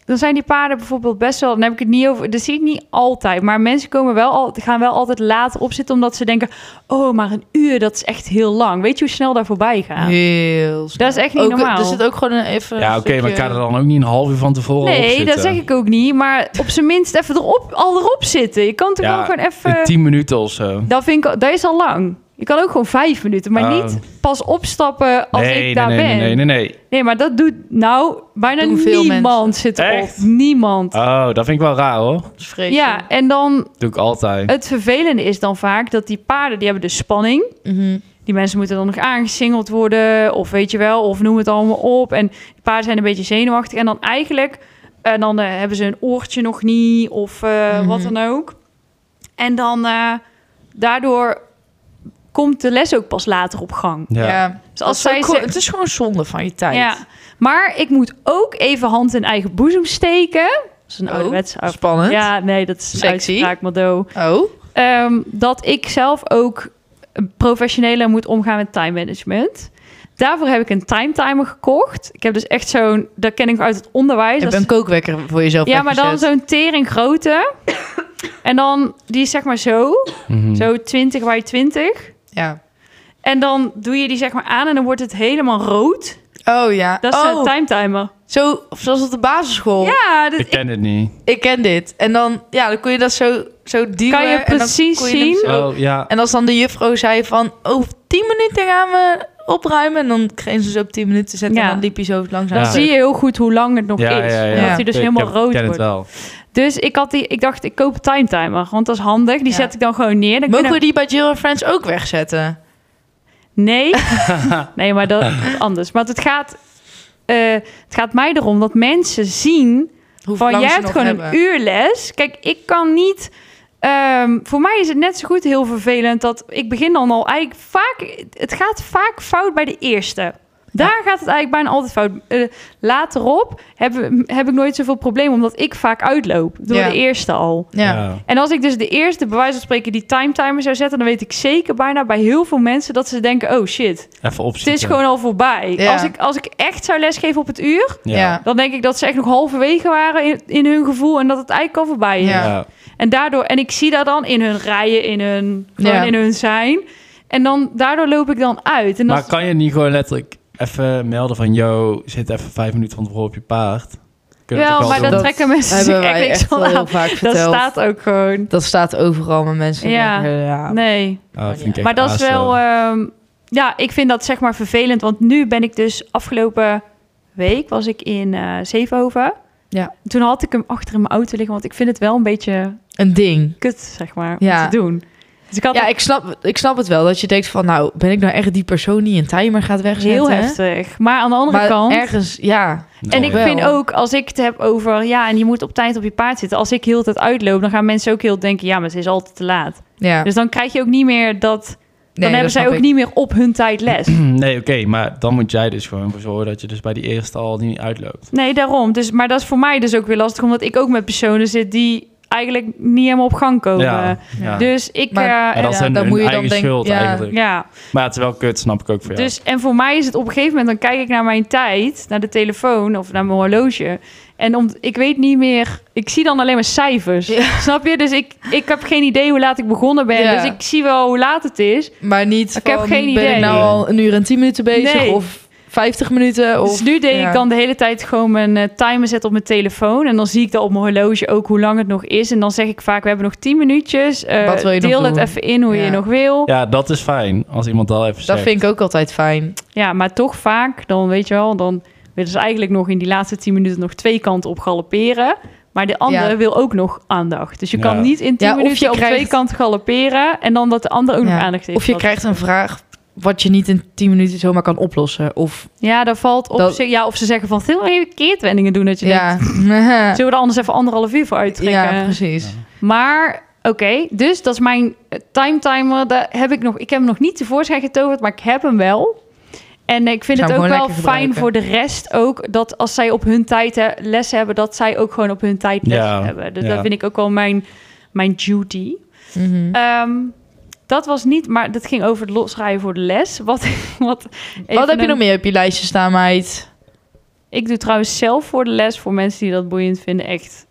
[SPEAKER 3] Dan zijn die paarden bijvoorbeeld best wel... Dan heb ik het niet over... Dat zie ik niet altijd. Maar mensen komen wel al, gaan wel altijd later opzitten... omdat ze denken... Oh, maar een uur, dat is echt heel lang. Weet je hoe snel daar voorbij gaat?
[SPEAKER 2] Heel snel.
[SPEAKER 3] Dat is echt niet
[SPEAKER 2] ook, eh,
[SPEAKER 3] normaal.
[SPEAKER 2] Er zit ook gewoon een even
[SPEAKER 1] ja,
[SPEAKER 2] een
[SPEAKER 1] oké, maar ik
[SPEAKER 2] stukje-
[SPEAKER 1] kan er dan ook niet een half uur van tevoren op
[SPEAKER 3] eh, Nee,
[SPEAKER 1] zitten.
[SPEAKER 3] dat zeg ik ook niet. Maar op zijn minst even erop, al erop zitten. Je kan toch
[SPEAKER 1] Ja,
[SPEAKER 3] wel gewoon
[SPEAKER 1] In
[SPEAKER 3] even...
[SPEAKER 1] Tien minuten of zo.
[SPEAKER 3] Dat, vind ik, al- dat is al lang. Je kan ook gewoon vijf minuten. Maar
[SPEAKER 1] Oh.
[SPEAKER 3] niet pas opstappen als
[SPEAKER 1] nee,
[SPEAKER 3] ik
[SPEAKER 1] nee,
[SPEAKER 3] daar
[SPEAKER 1] nee,
[SPEAKER 3] ben.
[SPEAKER 1] nee, nee, nee, nee.
[SPEAKER 3] Nee, maar dat doet nou bijna
[SPEAKER 2] Doen veel
[SPEAKER 3] niemand
[SPEAKER 2] mensen.
[SPEAKER 3] zit erop.
[SPEAKER 1] Echt?
[SPEAKER 3] Niemand.
[SPEAKER 1] Oh, dat vind ik wel raar hoor.
[SPEAKER 2] Dat is vreselijk.
[SPEAKER 3] Ja, en dan
[SPEAKER 1] doe ik altijd.
[SPEAKER 3] het vervelende is dan vaak dat die paarden, die hebben dus spanning.
[SPEAKER 2] Mhm.
[SPEAKER 3] Die mensen moeten dan nog aangesingeld worden, of weet je wel, of noem het allemaal op. En die paarden zijn een beetje zenuwachtig. En dan eigenlijk, en dan eh, hebben ze een oortje nog niet, of eh,
[SPEAKER 2] Mhm.
[SPEAKER 3] wat dan ook. En dan eh, daardoor komt de les ook pas later op gang.
[SPEAKER 1] Ja.
[SPEAKER 3] Dus als zij
[SPEAKER 2] gewoon,
[SPEAKER 3] zegt,
[SPEAKER 2] het is gewoon zonde van je tijd.
[SPEAKER 3] ja, maar ik moet ook even hand in eigen boezem steken. Dat is een
[SPEAKER 2] Oh,
[SPEAKER 3] ouderwets.
[SPEAKER 2] Spannend.
[SPEAKER 3] Ja, nee, dat is een
[SPEAKER 2] Sexy.
[SPEAKER 3] uitspraak, Mado.
[SPEAKER 2] Oh.
[SPEAKER 3] Ehm, dat ik zelf ook professioneler moet omgaan met time management. Daarvoor heb ik een time timer gekocht. Ik heb dus echt zo'n, dat ken ik uit het onderwijs.
[SPEAKER 2] Je
[SPEAKER 3] Dat
[SPEAKER 2] hebt
[SPEAKER 3] is-
[SPEAKER 2] een kookwekker voor jezelf
[SPEAKER 3] ja, maar dan
[SPEAKER 2] weggezet.
[SPEAKER 3] zo'n tering grote. En dan, die is zeg maar zo.
[SPEAKER 1] Mhm.
[SPEAKER 3] Zo 20 bij 20.
[SPEAKER 2] Ja.
[SPEAKER 3] En dan doe je die zeg maar aan en dan wordt het helemaal rood.
[SPEAKER 2] Oh ja.
[SPEAKER 3] Dat is
[SPEAKER 2] oh,
[SPEAKER 3] een timetimer.
[SPEAKER 2] zo, of zoals op de basisschool.
[SPEAKER 3] Ja, dat
[SPEAKER 1] Oh. Ik ken het niet.
[SPEAKER 2] Ik ken dit. En dan, ja, dan kon je dat zo, zo duwen.
[SPEAKER 3] Kan je
[SPEAKER 2] en dan
[SPEAKER 3] precies
[SPEAKER 2] kon je hem
[SPEAKER 3] zien?
[SPEAKER 2] zo-
[SPEAKER 1] Oh, ja.
[SPEAKER 2] En als dan de juffrouw zei van over 10 minuten gaan we opruimen. En dan kregen ze ze op 10 minuten zetten.
[SPEAKER 3] Ja.
[SPEAKER 2] En dan liep je zo langzaam.
[SPEAKER 1] Ja.
[SPEAKER 3] dan zie je heel goed hoe lang het nog
[SPEAKER 1] Ja,
[SPEAKER 3] is.
[SPEAKER 1] ja, ja.
[SPEAKER 3] Omdat hij dus
[SPEAKER 1] Ik
[SPEAKER 3] helemaal
[SPEAKER 1] heb-
[SPEAKER 3] rood
[SPEAKER 1] ken
[SPEAKER 3] wordt.
[SPEAKER 1] het wel.
[SPEAKER 3] Dus ik, had die, ik dacht, ik koop een timetimer. Want dat is handig. Die
[SPEAKER 2] Ja.
[SPEAKER 3] zet ik dan gewoon neer. Dan
[SPEAKER 2] Mogen we
[SPEAKER 3] kunnen-
[SPEAKER 2] die bij Jill en Friends ook wegzetten?
[SPEAKER 3] Nee. nee, maar dat is anders. Maar het gaat, eh, het gaat mij erom dat mensen zien...
[SPEAKER 2] Hoe
[SPEAKER 3] Van, jij hebt gewoon een uur les. Kijk, ik kan niet... ehm, voor mij is het net zo goed heel vervelend dat ik begin dan al eigenlijk vaak... Het gaat vaak fout bij de eerste. Daar gaat het eigenlijk bijna altijd fout. Eh, laterop heb, heb ik nooit zoveel problemen, omdat ik vaak uitloop door
[SPEAKER 2] Ja.
[SPEAKER 3] de eerste al.
[SPEAKER 2] Ja.
[SPEAKER 3] En als ik dus de eerste, bij wijze van spreken, die timetimer zou zetten... dan weet ik zeker bijna bij heel veel mensen dat ze denken... oh shit,
[SPEAKER 1] Even
[SPEAKER 3] het
[SPEAKER 1] opzien.
[SPEAKER 3] is gewoon al voorbij.
[SPEAKER 2] Ja.
[SPEAKER 3] Als, ik, als ik echt zou lesgeven op het uur...
[SPEAKER 2] Ja.
[SPEAKER 3] Dan denk ik dat ze echt nog halverwege waren in, in hun gevoel en dat het eigenlijk al voorbij is.
[SPEAKER 2] Ja.
[SPEAKER 3] En daardoor, en ik zie dat dan in hun rijen, in hun, gewoon
[SPEAKER 2] Ja.
[SPEAKER 3] in hun zijn. En dan daardoor loop ik dan uit. En dat
[SPEAKER 1] Maar
[SPEAKER 3] is-
[SPEAKER 1] kan je niet gewoon letterlijk even melden van... Yo, zit even vijf minuten van tevoren op je paard. Kunnen we
[SPEAKER 3] wel,
[SPEAKER 1] toch
[SPEAKER 3] maar
[SPEAKER 1] doen?
[SPEAKER 3] dat,
[SPEAKER 2] Dat
[SPEAKER 3] trekken mensen zich
[SPEAKER 2] Hebben
[SPEAKER 3] echt
[SPEAKER 2] wij
[SPEAKER 3] niks
[SPEAKER 2] echt
[SPEAKER 3] van
[SPEAKER 2] wel heel
[SPEAKER 3] aan.
[SPEAKER 2] vaak verteld.
[SPEAKER 3] Dat staat ook gewoon.
[SPEAKER 2] Dat staat overal, maar mensen
[SPEAKER 3] Ja.
[SPEAKER 2] denken, ja.
[SPEAKER 3] Nee.
[SPEAKER 1] Ah, vind ik echt
[SPEAKER 3] Maar dat is
[SPEAKER 1] aas,
[SPEAKER 3] wel.
[SPEAKER 1] eh.
[SPEAKER 3] ehm, ja, ik vind dat zeg maar vervelend. Want nu ben ik dus afgelopen week was ik in eh, Zevenhoven.
[SPEAKER 2] Ja.
[SPEAKER 3] Toen had ik hem achter in mijn auto liggen, want ik vind het wel een beetje
[SPEAKER 2] Een ding.
[SPEAKER 3] kut, zeg maar,
[SPEAKER 2] Ja.
[SPEAKER 3] om te doen. Dus ik had
[SPEAKER 2] Ja, ik snap, ik snap het wel. Dat je denkt van, nou, ben ik nou echt die persoon die een timer gaat wegzetten?
[SPEAKER 3] Heel heftig. Maar aan de andere
[SPEAKER 2] Maar
[SPEAKER 3] kant.
[SPEAKER 2] ergens, ja.
[SPEAKER 1] Nou,
[SPEAKER 3] eh, En ik
[SPEAKER 1] ja.
[SPEAKER 2] wel.
[SPEAKER 3] vind ook, als ik het heb over, ja, en je moet op tijd op je paard zitten. Als ik heel de tijd uitloop, dan gaan mensen ook heel denken, ja, maar het is altijd te laat.
[SPEAKER 2] ja.
[SPEAKER 3] Dus dan krijg je ook niet meer dat, dan
[SPEAKER 2] Nee,
[SPEAKER 3] hebben
[SPEAKER 2] dat
[SPEAKER 3] zij
[SPEAKER 2] snap
[SPEAKER 3] ook
[SPEAKER 2] ik.
[SPEAKER 3] niet meer op hun tijd les.
[SPEAKER 1] Nee, oké, maar dan moet jij dus gewoon voor zorgen dat je dus bij die eerste al niet uitloopt.
[SPEAKER 3] Nee, daarom. Dus, maar dat is voor mij dus ook weer lastig, omdat ik ook met personen zit die eigenlijk niet helemaal op gang komen.
[SPEAKER 1] ja, ja.
[SPEAKER 3] Oh, Dus ik,
[SPEAKER 2] Maar-
[SPEAKER 3] eh,
[SPEAKER 1] Maar dat
[SPEAKER 2] ja,
[SPEAKER 1] is hun,
[SPEAKER 2] dan
[SPEAKER 1] hun
[SPEAKER 2] moet je dan
[SPEAKER 1] eigen
[SPEAKER 2] denken-
[SPEAKER 1] schuld
[SPEAKER 2] ja.
[SPEAKER 1] eigenlijk.
[SPEAKER 3] ja.
[SPEAKER 1] Maar het is wel kut, snap ik ook voor jou.
[SPEAKER 3] Dus, en voor mij is het op een gegeven moment, dan kijk ik naar mijn tijd, naar de telefoon of naar mijn horloge. En om, ik weet niet meer, ik zie dan alleen maar cijfers.
[SPEAKER 2] Ja.
[SPEAKER 3] Snap je? Dus ik, ik heb geen idee hoe laat ik begonnen ben.
[SPEAKER 2] Ja.
[SPEAKER 3] Dus ik zie wel hoe laat het is.
[SPEAKER 2] Maar niet
[SPEAKER 3] Ik heb
[SPEAKER 2] van,
[SPEAKER 3] geen
[SPEAKER 2] ben
[SPEAKER 3] idee.
[SPEAKER 2] ik nou al een uur en tien minuten bezig?
[SPEAKER 3] Nee.
[SPEAKER 2] Of 50 minuten? Of,
[SPEAKER 3] dus nu deed
[SPEAKER 2] ja.
[SPEAKER 3] ik dan de hele tijd gewoon mijn eh, timer zetten op mijn telefoon. En dan zie ik dan op mijn horloge ook hoe lang het nog is. En dan zeg ik vaak, we hebben nog 10 minuutjes. Eh,
[SPEAKER 2] Wat wil je nog
[SPEAKER 3] deel het
[SPEAKER 2] doen?
[SPEAKER 3] even in hoe
[SPEAKER 2] Ja.
[SPEAKER 3] je nog wil. Ja.
[SPEAKER 1] ja, dat is fijn als iemand dat even
[SPEAKER 2] Dat
[SPEAKER 1] zegt.
[SPEAKER 2] vind ik ook altijd fijn.
[SPEAKER 3] maar toch vaak, dan weet je wel, dan willen ze eigenlijk nog in die laatste 10 minuten nog twee kanten op galopperen. Maar de ander
[SPEAKER 2] Ja.
[SPEAKER 3] wil ook nog aandacht. Dus je
[SPEAKER 1] Ja.
[SPEAKER 3] kan niet in 10
[SPEAKER 2] Ja, of je
[SPEAKER 3] minuten op twee
[SPEAKER 2] krijgt-
[SPEAKER 3] kanten galopperen. En dan dat de ander ook nog
[SPEAKER 2] Ja.
[SPEAKER 3] aandacht heeft.
[SPEAKER 2] Of je
[SPEAKER 3] Dat-
[SPEAKER 2] krijgt een vraag wat je niet in 10 minuten zomaar kan oplossen. Of
[SPEAKER 3] Ja, daar valt op
[SPEAKER 2] Dat-
[SPEAKER 3] zich. Ja, of ze zeggen van veel even keertwendingen doen. Dat je denkt,
[SPEAKER 2] ja.
[SPEAKER 3] zullen we er anders even anderhalf uur voor uittrekken?
[SPEAKER 2] ja, precies.
[SPEAKER 3] Maar oké, dus dat is mijn eh, timetimer. Daar heb ik nog. Ik heb hem nog niet tevoorschijn getoverd, maar ik heb hem wel. En ik vind
[SPEAKER 2] Zou
[SPEAKER 3] het
[SPEAKER 2] hem
[SPEAKER 3] ook
[SPEAKER 2] gewoon
[SPEAKER 3] wel fijn
[SPEAKER 2] lekker gebruiken.
[SPEAKER 3] voor de rest ook dat als zij op hun tijd hè, les hebben, dat zij ook gewoon op hun tijd les
[SPEAKER 1] Ja,
[SPEAKER 3] hebben. Dus
[SPEAKER 1] ja.
[SPEAKER 3] dat vind ik ook wel mijn, mijn duty.
[SPEAKER 2] Mhm.
[SPEAKER 3] Ehm, dat was niet, maar dat ging over het losrijden voor de les. Wat, wat,
[SPEAKER 2] Wat
[SPEAKER 3] even
[SPEAKER 2] heb je
[SPEAKER 3] een-
[SPEAKER 2] nog meer op je lijstje staan, meid?
[SPEAKER 3] Ik doe trouwens zelf voor de les, voor mensen die dat boeiend vinden, echt.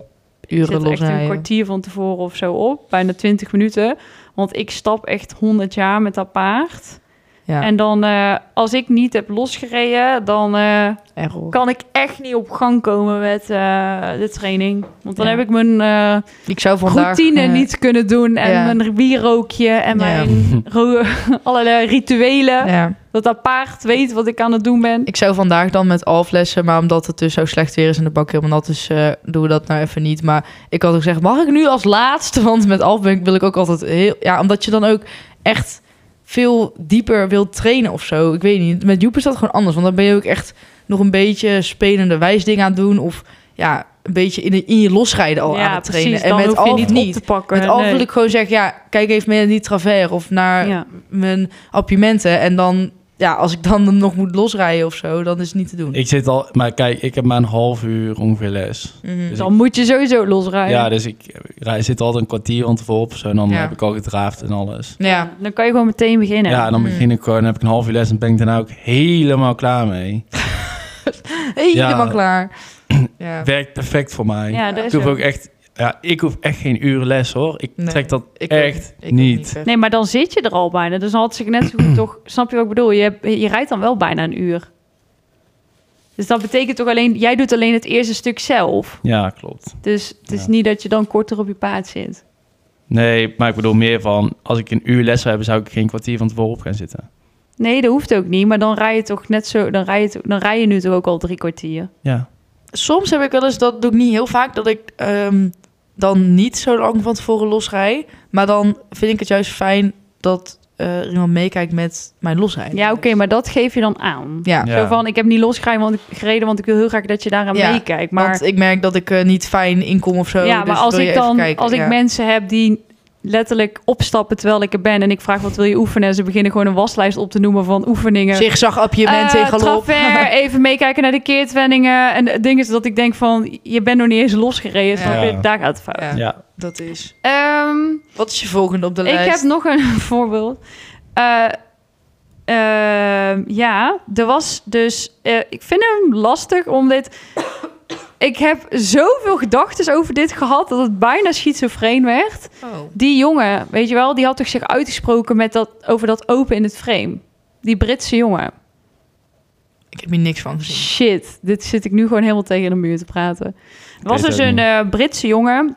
[SPEAKER 3] Ik
[SPEAKER 2] Uren
[SPEAKER 3] zet echt een
[SPEAKER 2] losrijden.
[SPEAKER 3] kwartier van tevoren of zo op, bijna 20 minuten. Want ik stap echt 100 jaar met dat paard.
[SPEAKER 2] Ja,
[SPEAKER 3] En dan, eh, als ik niet heb losgereden, dan eh,
[SPEAKER 2] error.
[SPEAKER 3] kan ik echt niet op gang komen met eh, de training. Want dan
[SPEAKER 2] Ja.
[SPEAKER 3] heb ik mijn eh,
[SPEAKER 2] Ik zou vandaag...
[SPEAKER 3] routine
[SPEAKER 2] eh,
[SPEAKER 3] niet kunnen doen. En
[SPEAKER 2] ja.
[SPEAKER 3] mijn bierrookje en
[SPEAKER 2] Ja.
[SPEAKER 3] mijn ro- allerlei rituelen.
[SPEAKER 2] Ja.
[SPEAKER 3] Dat dat paard weet wat ik aan het doen ben.
[SPEAKER 2] Ik zou vandaag dan met alflessen, maar omdat het dus zo slecht weer is en de bak helemaal nat is, eh, doen we dat nou even niet. Maar ik had ook gezegd, mag ik nu als laatste? Want met alf ben ik- wil ik ook altijd heel... Ja, omdat je dan ook echt veel dieper wilt trainen of zo. Ik weet niet. Met Joep is dat gewoon anders. Want dan ben je ook echt nog een beetje spelende wijsdingen aan het doen. Of ja, een beetje in, de- in je losrijden al aan het trainen.
[SPEAKER 3] precies.
[SPEAKER 2] en
[SPEAKER 3] Dan
[SPEAKER 2] met
[SPEAKER 3] hoef je
[SPEAKER 2] alf
[SPEAKER 3] niet, op te pakken.
[SPEAKER 2] Met alf
[SPEAKER 3] nee.
[SPEAKER 2] wil ik gewoon zeggen, ja, kijk even mee naar die travers of naar
[SPEAKER 3] Ja.
[SPEAKER 2] mijn appimenten. En dan, ja, als ik dan nog moet losrijden of zo, dan is het niet te doen.
[SPEAKER 1] Ik zit al, maar kijk, ik heb maar een half uur ongeveer les.
[SPEAKER 2] Mhm.
[SPEAKER 1] Dus
[SPEAKER 3] Dan moet je sowieso losrijden.
[SPEAKER 1] Ja, dus ik rij- zit altijd een kwartier van tevoren op zo en dan
[SPEAKER 2] Ja.
[SPEAKER 1] heb ik al gedraafd en alles.
[SPEAKER 2] Ja,
[SPEAKER 3] Dan kan je gewoon meteen beginnen.
[SPEAKER 1] Ja, en dan
[SPEAKER 2] Mm.
[SPEAKER 1] begin ik gewoon, dan heb ik een half uur les en ben ik daarna ook helemaal klaar mee.
[SPEAKER 2] helemaal
[SPEAKER 1] Ja.
[SPEAKER 2] klaar. Ja.
[SPEAKER 1] Werkt perfect voor mij.
[SPEAKER 3] Ja, dat
[SPEAKER 1] ik
[SPEAKER 3] is
[SPEAKER 1] hoef
[SPEAKER 3] ook.
[SPEAKER 1] ook echt Ja, ik hoef echt geen uren les hoor. Ik
[SPEAKER 5] Nee,
[SPEAKER 1] trek dat
[SPEAKER 5] Ik ook-
[SPEAKER 1] echt
[SPEAKER 5] ik ook
[SPEAKER 1] niet.
[SPEAKER 5] ver.
[SPEAKER 3] Nee, maar dan zit je er al bijna. Dus dan had ik net zo goed toch... Snap je wat ik bedoel? Je, hebt- je rijdt dan wel bijna een uur. Dus dat betekent toch alleen... Jij doet alleen het eerste stuk zelf.
[SPEAKER 1] Ja, klopt.
[SPEAKER 3] Dus het is
[SPEAKER 1] Ja.
[SPEAKER 3] niet dat je dan korter op je paard zit.
[SPEAKER 1] Nee, maar ik bedoel meer van... Als ik een uur les zou hebben, zou ik geen kwartier van tevoren op gaan zitten.
[SPEAKER 3] Nee, dat hoeft ook niet. Maar dan rij je toch net zo... Dan rij je, toch- dan rij je nu toch ook al drie kwartier.
[SPEAKER 1] Ja.
[SPEAKER 5] Soms heb ik wel eens, dat doe ik niet heel vaak, dat ik ehm, dan niet zo lang van tevoren losrij. Maar dan vind ik het juist fijn dat eh, er iemand meekijkt met mijn losrijden.
[SPEAKER 3] Ja, oké, maar dat geef je dan aan.
[SPEAKER 5] Ja,
[SPEAKER 1] dus- Ja.
[SPEAKER 3] Zo van, ik heb niet losgereden, want ik, gereden, want ik wil heel graag dat je daaraan
[SPEAKER 5] Ja,
[SPEAKER 3] meekijkt. Maar,
[SPEAKER 5] want ik merk dat ik eh, niet fijn inkom of zo.
[SPEAKER 3] ja,
[SPEAKER 5] dus
[SPEAKER 3] maar als
[SPEAKER 5] wil je
[SPEAKER 3] ik
[SPEAKER 5] even
[SPEAKER 3] dan
[SPEAKER 5] kijken,
[SPEAKER 3] als ik
[SPEAKER 5] ja.
[SPEAKER 3] mensen heb die letterlijk opstappen terwijl ik er ben... en ik vraag wat wil je oefenen... en ze beginnen gewoon een waslijst op te noemen van oefeningen...
[SPEAKER 5] Zigzag-appiëment
[SPEAKER 3] Eh,
[SPEAKER 5] in galop.
[SPEAKER 3] Travers, even meekijken naar de keertwenningen. En het ding is dat ik denk van, je bent nog niet eens losgereden. snap je?
[SPEAKER 1] Ja.
[SPEAKER 3] Daar gaat het
[SPEAKER 5] Ja,
[SPEAKER 3] fout.
[SPEAKER 1] Ja.
[SPEAKER 5] dat is.
[SPEAKER 3] Ehm,
[SPEAKER 5] Wat is je volgende op de
[SPEAKER 3] ik
[SPEAKER 5] lijst?
[SPEAKER 3] heb nog een voorbeeld. Eh, ehm, ja, er was dus... eh, ik vind hem lastig om dit... ik heb zoveel gedachten over dit gehad... dat het bijna schizofreen werd.
[SPEAKER 5] Oh.
[SPEAKER 3] Die jongen, weet je wel, die had toch zich uitgesproken... Met dat, over dat open in het frame. Die Britse jongen.
[SPEAKER 5] Ik heb hier niks van gezien.
[SPEAKER 3] Shit, dit zit ik nu gewoon helemaal tegen de muur te praten. Er was
[SPEAKER 1] weet
[SPEAKER 3] dus
[SPEAKER 1] het ook
[SPEAKER 3] een
[SPEAKER 1] niet.
[SPEAKER 3] eh, Britse jongen.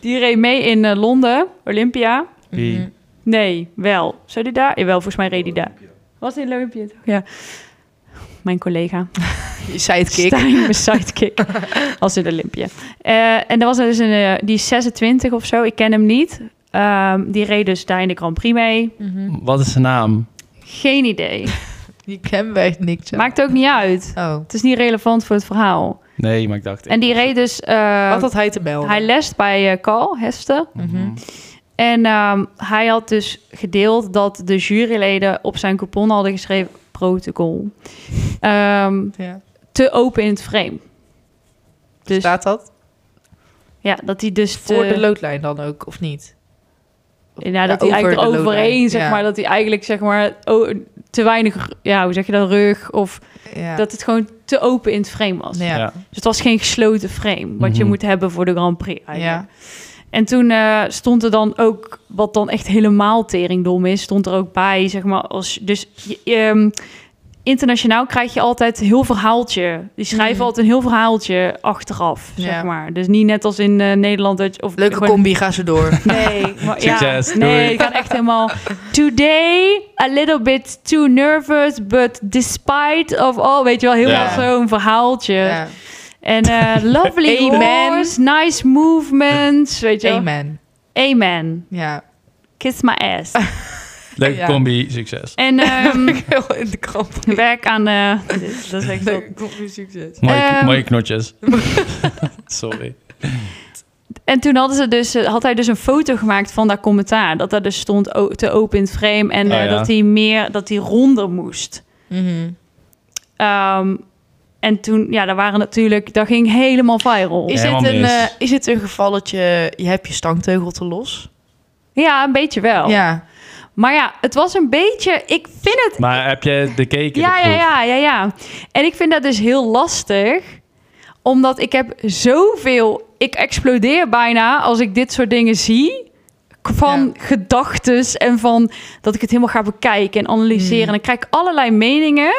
[SPEAKER 3] Die reed mee in eh, Londen, Olympia.
[SPEAKER 1] Wie?
[SPEAKER 5] Mhm.
[SPEAKER 3] Nee, wel. Zou die daar? Jawel, volgens mij reed die daar. Was die in Olympia? toch? Ja. Mijn collega.
[SPEAKER 5] Je zei het, Kik.
[SPEAKER 3] Stijn, mijn sidekick. als in Olympia. Eh, en er was dus een, eh, die is 26 of zo. Ik ken hem niet. Ehm, die reed dus daar in de Grand Prix mee.
[SPEAKER 5] Mhm.
[SPEAKER 1] Wat is zijn naam?
[SPEAKER 3] Geen idee.
[SPEAKER 5] Je kent me echt niks. hè?
[SPEAKER 3] Maakt ook niet uit.
[SPEAKER 5] Oh.
[SPEAKER 3] Het is niet relevant voor het verhaal.
[SPEAKER 1] Nee, maar ik dacht...
[SPEAKER 3] En die reed dus... eh,
[SPEAKER 5] Wat had oh. hij te melden?
[SPEAKER 3] Hij lest bij eh, Carl Hester.
[SPEAKER 5] Mhm.
[SPEAKER 3] En ehm, hij had dus gedeeld dat de juryleden op zijn coupon hadden geschreven... protocol. Ehm,
[SPEAKER 5] Ja.
[SPEAKER 3] te open in het frame. Dus
[SPEAKER 5] Staat dat?
[SPEAKER 3] ja, dat hij dus te...
[SPEAKER 5] Voor de loodlijn dan ook, of niet?
[SPEAKER 3] ja, dat
[SPEAKER 5] Ja,
[SPEAKER 3] hij eigenlijk
[SPEAKER 5] over de
[SPEAKER 3] overheen,
[SPEAKER 5] loodlijn,
[SPEAKER 3] zeg
[SPEAKER 5] ja.
[SPEAKER 3] maar, dat hij eigenlijk zeg maar oh, te weinig, ja, hoe zeg je dat, rug of
[SPEAKER 5] Ja.
[SPEAKER 3] dat het gewoon te open in het frame was.
[SPEAKER 5] ja.
[SPEAKER 1] Ja.
[SPEAKER 3] Dus het was geen gesloten frame, wat je
[SPEAKER 1] Mhm.
[SPEAKER 3] moet hebben voor de Grand Prix. Eigenlijk.
[SPEAKER 5] Ja.
[SPEAKER 3] En toen eh, stond er dan ook, wat dan echt helemaal teringdom is, stond er ook bij, zeg maar. Als, dus je- ehm, internationaal krijg je altijd een heel verhaaltje. Die schrijven
[SPEAKER 5] Mhm.
[SPEAKER 3] altijd een heel verhaaltje achteraf, zeg
[SPEAKER 5] Ja.
[SPEAKER 3] maar. Dus niet net als in eh, Nederland. Dat je, of
[SPEAKER 5] Leuke
[SPEAKER 3] gewoon-
[SPEAKER 5] combi, ga ze door.
[SPEAKER 3] Nee, maar, ja,
[SPEAKER 1] Succes,
[SPEAKER 3] nee,
[SPEAKER 1] doei.
[SPEAKER 3] ik kan echt helemaal... Today, a little bit too nervous, but despite of all... Weet je wel, heel
[SPEAKER 1] Ja.
[SPEAKER 3] erg zo'n verhaaltje.
[SPEAKER 5] ja.
[SPEAKER 3] En eh, lovely
[SPEAKER 5] Amen.
[SPEAKER 3] horse, nice movements, weet je wel.
[SPEAKER 5] Amen.
[SPEAKER 3] Amen.
[SPEAKER 5] Ja.
[SPEAKER 3] Kiss my ass.
[SPEAKER 1] Leuke
[SPEAKER 5] Ja.
[SPEAKER 1] combi, succes.
[SPEAKER 3] En ehm,
[SPEAKER 5] Heel in de krant.
[SPEAKER 3] werk aan... eh, dit- dat is echt zo.
[SPEAKER 5] Leuke combi, succes.
[SPEAKER 1] Mooie,
[SPEAKER 3] Ehm.
[SPEAKER 1] mooie knotjes. Sorry.
[SPEAKER 3] En toen hadden ze dus, eh, had hij dus een foto gemaakt van dat commentaar. Dat daar dus stond o- te open in het frame. En
[SPEAKER 1] Oh,
[SPEAKER 3] eh,
[SPEAKER 1] ja.
[SPEAKER 3] dat hij meer, dat hij ronder moest.
[SPEAKER 5] Mhm.
[SPEAKER 3] Ehm, en toen, ja, daar waren natuurlijk, daar ging helemaal viral.
[SPEAKER 5] Is, dit
[SPEAKER 1] Helemaal
[SPEAKER 5] een,
[SPEAKER 1] mis.
[SPEAKER 5] eh, is dit een gevalletje, je hebt je stangteugel te los?
[SPEAKER 3] Ja, een beetje wel.
[SPEAKER 5] Ja.
[SPEAKER 3] Maar ja, het was een beetje, ik vind het,
[SPEAKER 1] Maar heb je de cake
[SPEAKER 3] ja, ja, ja, ja, ja. En ik vind dat dus heel lastig, omdat ik heb zoveel, ik explodeer bijna als ik dit soort dingen zie. Van gedachtes en van dat ik het helemaal ga bekijken en analyseren.
[SPEAKER 5] Hmm.
[SPEAKER 3] En dan krijg ik allerlei meningen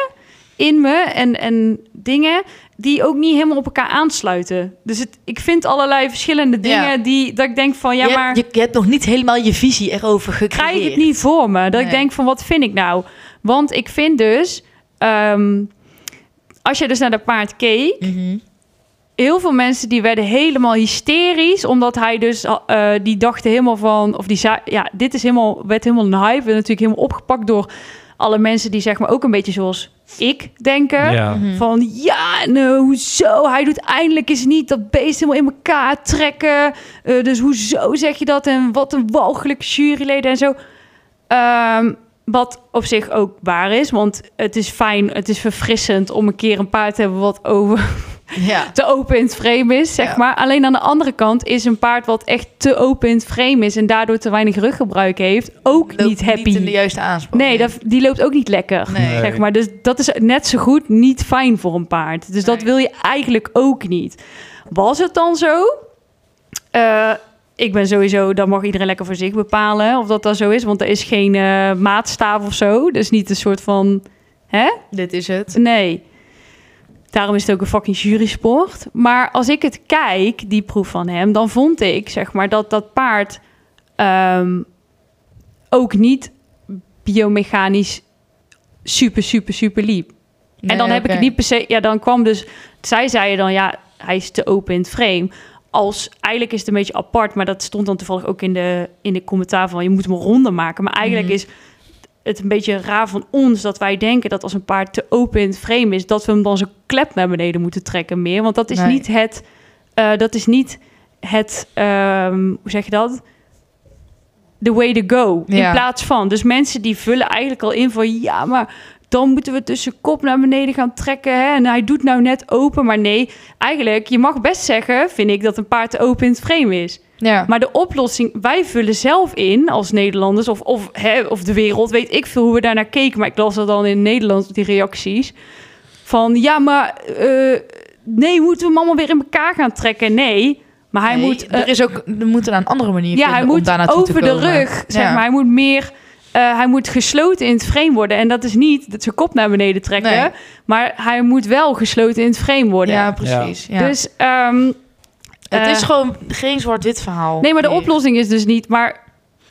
[SPEAKER 3] in me en, en dingen die ook niet helemaal op elkaar aansluiten. Dus het, ik vind allerlei verschillende dingen
[SPEAKER 5] Ja.
[SPEAKER 3] die dat ik denk van ja,
[SPEAKER 5] je,
[SPEAKER 3] maar
[SPEAKER 5] hebt, je, je hebt nog niet helemaal je visie erover gecreëerd.
[SPEAKER 3] krijg ik het niet voor me. Dat ik
[SPEAKER 5] Nee.
[SPEAKER 3] denk van, wat vind ik nou? Want ik vind dus, ehm, als je dus naar dat paard keek...
[SPEAKER 5] Mhm.
[SPEAKER 3] heel veel mensen die werden helemaal hysterisch... omdat hij dus, eh, die dachten helemaal van... of die zei, ja, dit is helemaal, werd helemaal een hype... en natuurlijk helemaal opgepakt door alle mensen... die zeg maar ook een beetje zoals ik denken...
[SPEAKER 1] Ja.
[SPEAKER 5] Mhm.
[SPEAKER 3] Van ja, en, eh, hoezo? Hij doet eindelijk eens niet dat beest helemaal in elkaar trekken. Eh, dus hoezo zeg je dat? En wat een walgelijke juryleden en zo. Ehm, wat op zich ook waar is, want het is fijn, het is verfrissend om een keer een paard te hebben wat over
[SPEAKER 5] Ja.
[SPEAKER 3] te open in het frame is, zeg
[SPEAKER 5] Ja.
[SPEAKER 3] maar. Alleen aan de andere kant is een paard wat echt te open in het frame is en daardoor te weinig ruggebruik heeft, ook
[SPEAKER 5] Loopt
[SPEAKER 3] niet happy.
[SPEAKER 5] Niet in de Oh, juiste aanspraak.
[SPEAKER 3] nee, dat, die loopt ook niet lekker.
[SPEAKER 5] Nee.
[SPEAKER 1] Nee.
[SPEAKER 3] Zeg maar, dus dat is net zo goed niet fijn voor een paard. Dus dat
[SPEAKER 5] Nee.
[SPEAKER 3] wil je eigenlijk ook niet. Was het dan zo? eh, ik ben sowieso, dat mag iedereen lekker voor zich bepalen of dat dat zo is. Want er is geen eh, maatstaaf of zo. Dus niet een soort van, hè?
[SPEAKER 2] Dit is het.
[SPEAKER 3] Nee. Daarom is het ook een fucking jurysport. Maar als ik het kijk, die proef van hem, dan vond ik zeg maar dat dat paard ehm, ook niet biomechanisch super, super, super liep. En dan heb ik het niet per se. Ja, dan kwam dus. Zij zeiden dan ja, hij is te open in het frame. Als eigenlijk is het een beetje apart, maar dat stond dan toevallig ook in de, in de commentaar van je moet hem ronde maken. Maar eigenlijk
[SPEAKER 2] Mhm.
[SPEAKER 3] is het een beetje raar van ons dat wij denken dat als een paard te open in het frame is, dat we hem dan zijn klep naar beneden moeten trekken meer. Want dat is
[SPEAKER 2] Nee.
[SPEAKER 3] niet het. eh, dat is niet het. ehm, hoe zeg je dat? The way to go.
[SPEAKER 2] Ja.
[SPEAKER 3] In plaats van. Dus mensen die vullen eigenlijk al in van ja, maar dan moeten we tussen kop naar beneden gaan trekken. Hè? En hij doet nou net open, maar nee. Eigenlijk, je mag best zeggen, vind ik, dat een paard te open in het frame is.
[SPEAKER 2] Ja.
[SPEAKER 3] Maar de oplossing, wij vullen zelf in als Nederlanders of, of, hè, of de wereld, weet ik veel hoe we daarnaar keken. Maar ik las dat dan in Nederland, die reacties. Van ja, maar eh, nee, moeten we hem allemaal weer in elkaar gaan trekken? Nee, maar hij
[SPEAKER 2] Nee,
[SPEAKER 3] moet eh,
[SPEAKER 2] er is ook, er moet er een andere manier
[SPEAKER 3] ja,
[SPEAKER 2] vinden
[SPEAKER 3] hij
[SPEAKER 2] om
[SPEAKER 3] moet
[SPEAKER 2] daar naartoe te
[SPEAKER 3] over de
[SPEAKER 2] komen.
[SPEAKER 3] rug, zeg
[SPEAKER 2] Ja.
[SPEAKER 3] maar. Hij moet meer... eh, hij moet gesloten in het frame worden. En dat is niet dat zijn kop naar beneden trekken.
[SPEAKER 2] Nee.
[SPEAKER 3] Maar hij moet wel gesloten in het frame worden.
[SPEAKER 2] Ja, precies. Ja.
[SPEAKER 3] Dus, ehm,
[SPEAKER 6] Het
[SPEAKER 3] eh,
[SPEAKER 6] is gewoon geen zwart-wit verhaal.
[SPEAKER 3] Nee, maar de
[SPEAKER 6] meer.
[SPEAKER 3] oplossing is dus niet... Maar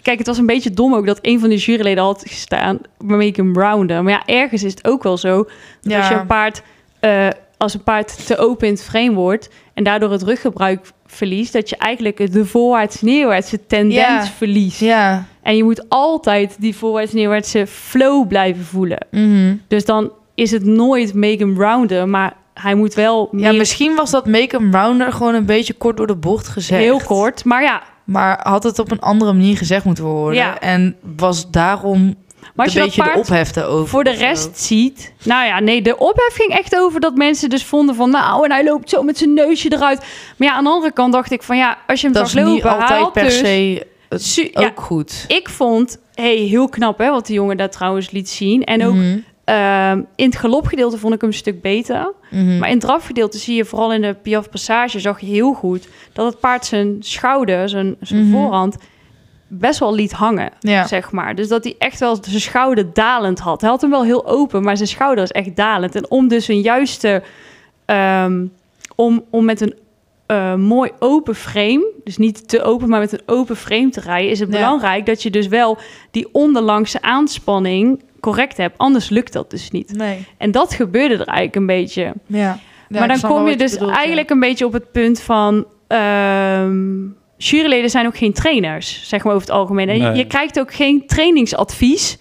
[SPEAKER 3] kijk, het was een beetje dom ook dat een van de juryleden had gestaan... waarmee ik hem rounden. Maar ja, ergens is het ook wel zo... dat
[SPEAKER 2] Ja.
[SPEAKER 3] als je een paard... eh, als een paard te open in het frame wordt... en daardoor het ruggebruik verliest... dat je eigenlijk de voorwaarts-neerwaartse tendens
[SPEAKER 2] Ja.
[SPEAKER 3] verliest.
[SPEAKER 2] ja.
[SPEAKER 3] En je moet altijd die voorwaarts-neerwaartse flow blijven voelen.
[SPEAKER 2] Mhm.
[SPEAKER 3] Dus dan is het nooit make him rounden, maar hij moet wel
[SPEAKER 2] ja,
[SPEAKER 3] meer-
[SPEAKER 2] misschien was dat make him rounder gewoon een beetje kort door de bocht gezegd.
[SPEAKER 3] heel kort. Maar ja,
[SPEAKER 2] Maar had het op een andere manier gezegd moeten worden.
[SPEAKER 3] Ja.
[SPEAKER 2] En was daarom
[SPEAKER 3] maar als
[SPEAKER 2] een
[SPEAKER 3] je dat
[SPEAKER 2] beetje
[SPEAKER 3] paard
[SPEAKER 2] de ophef over.
[SPEAKER 3] voor de rest ziet... Nou ja, nee, de ophef ging echt over dat mensen dus vonden van... Nou, en hij loopt zo met zijn neusje eruit. Maar ja, aan de andere kant dacht ik van... Ja, als je hem
[SPEAKER 2] dat
[SPEAKER 3] zag
[SPEAKER 2] is
[SPEAKER 3] lopen,
[SPEAKER 2] niet altijd
[SPEAKER 3] haalt
[SPEAKER 2] per
[SPEAKER 3] dus-
[SPEAKER 2] se het
[SPEAKER 3] Su- ja,
[SPEAKER 2] ook goed.
[SPEAKER 3] ik vond, hey, heel knap hè, wat die jongen daar trouwens liet zien. En ook
[SPEAKER 2] Mhm.
[SPEAKER 3] ehm, in het galopgedeelte vond ik hem een stuk beter.
[SPEAKER 2] Mhm.
[SPEAKER 3] Maar in het drafgedeelte zie je vooral in de Piaf Passage zag je heel goed dat het paard zijn schouder, zijn, zijn
[SPEAKER 2] Mhm.
[SPEAKER 3] voorhand best wel liet hangen,
[SPEAKER 2] ja.
[SPEAKER 3] zeg maar. Dus dat hij echt wel zijn schouder dalend had. Hij had hem wel heel open, maar zijn schouder is echt dalend. En om dus een juiste, ehm, om, om met een eh, mooi open frame, dus niet te open, maar met een open frame te rijden, is het
[SPEAKER 2] Ja.
[SPEAKER 3] belangrijk dat je dus wel die onderlangse aanspanning correct hebt. Anders lukt dat dus niet.
[SPEAKER 2] Nee.
[SPEAKER 3] En dat gebeurde er eigenlijk een beetje
[SPEAKER 2] Ja. Ja,
[SPEAKER 3] maar
[SPEAKER 2] ik
[SPEAKER 3] dan
[SPEAKER 2] snap wel
[SPEAKER 3] kom je
[SPEAKER 2] wat
[SPEAKER 3] dus
[SPEAKER 2] bedoelt, ja.
[SPEAKER 3] eigenlijk een beetje op het punt van... ehm juryleden zijn ook geen trainers, zeg maar over het algemeen. En je-
[SPEAKER 1] Nee.
[SPEAKER 3] je krijgt ook geen trainingsadvies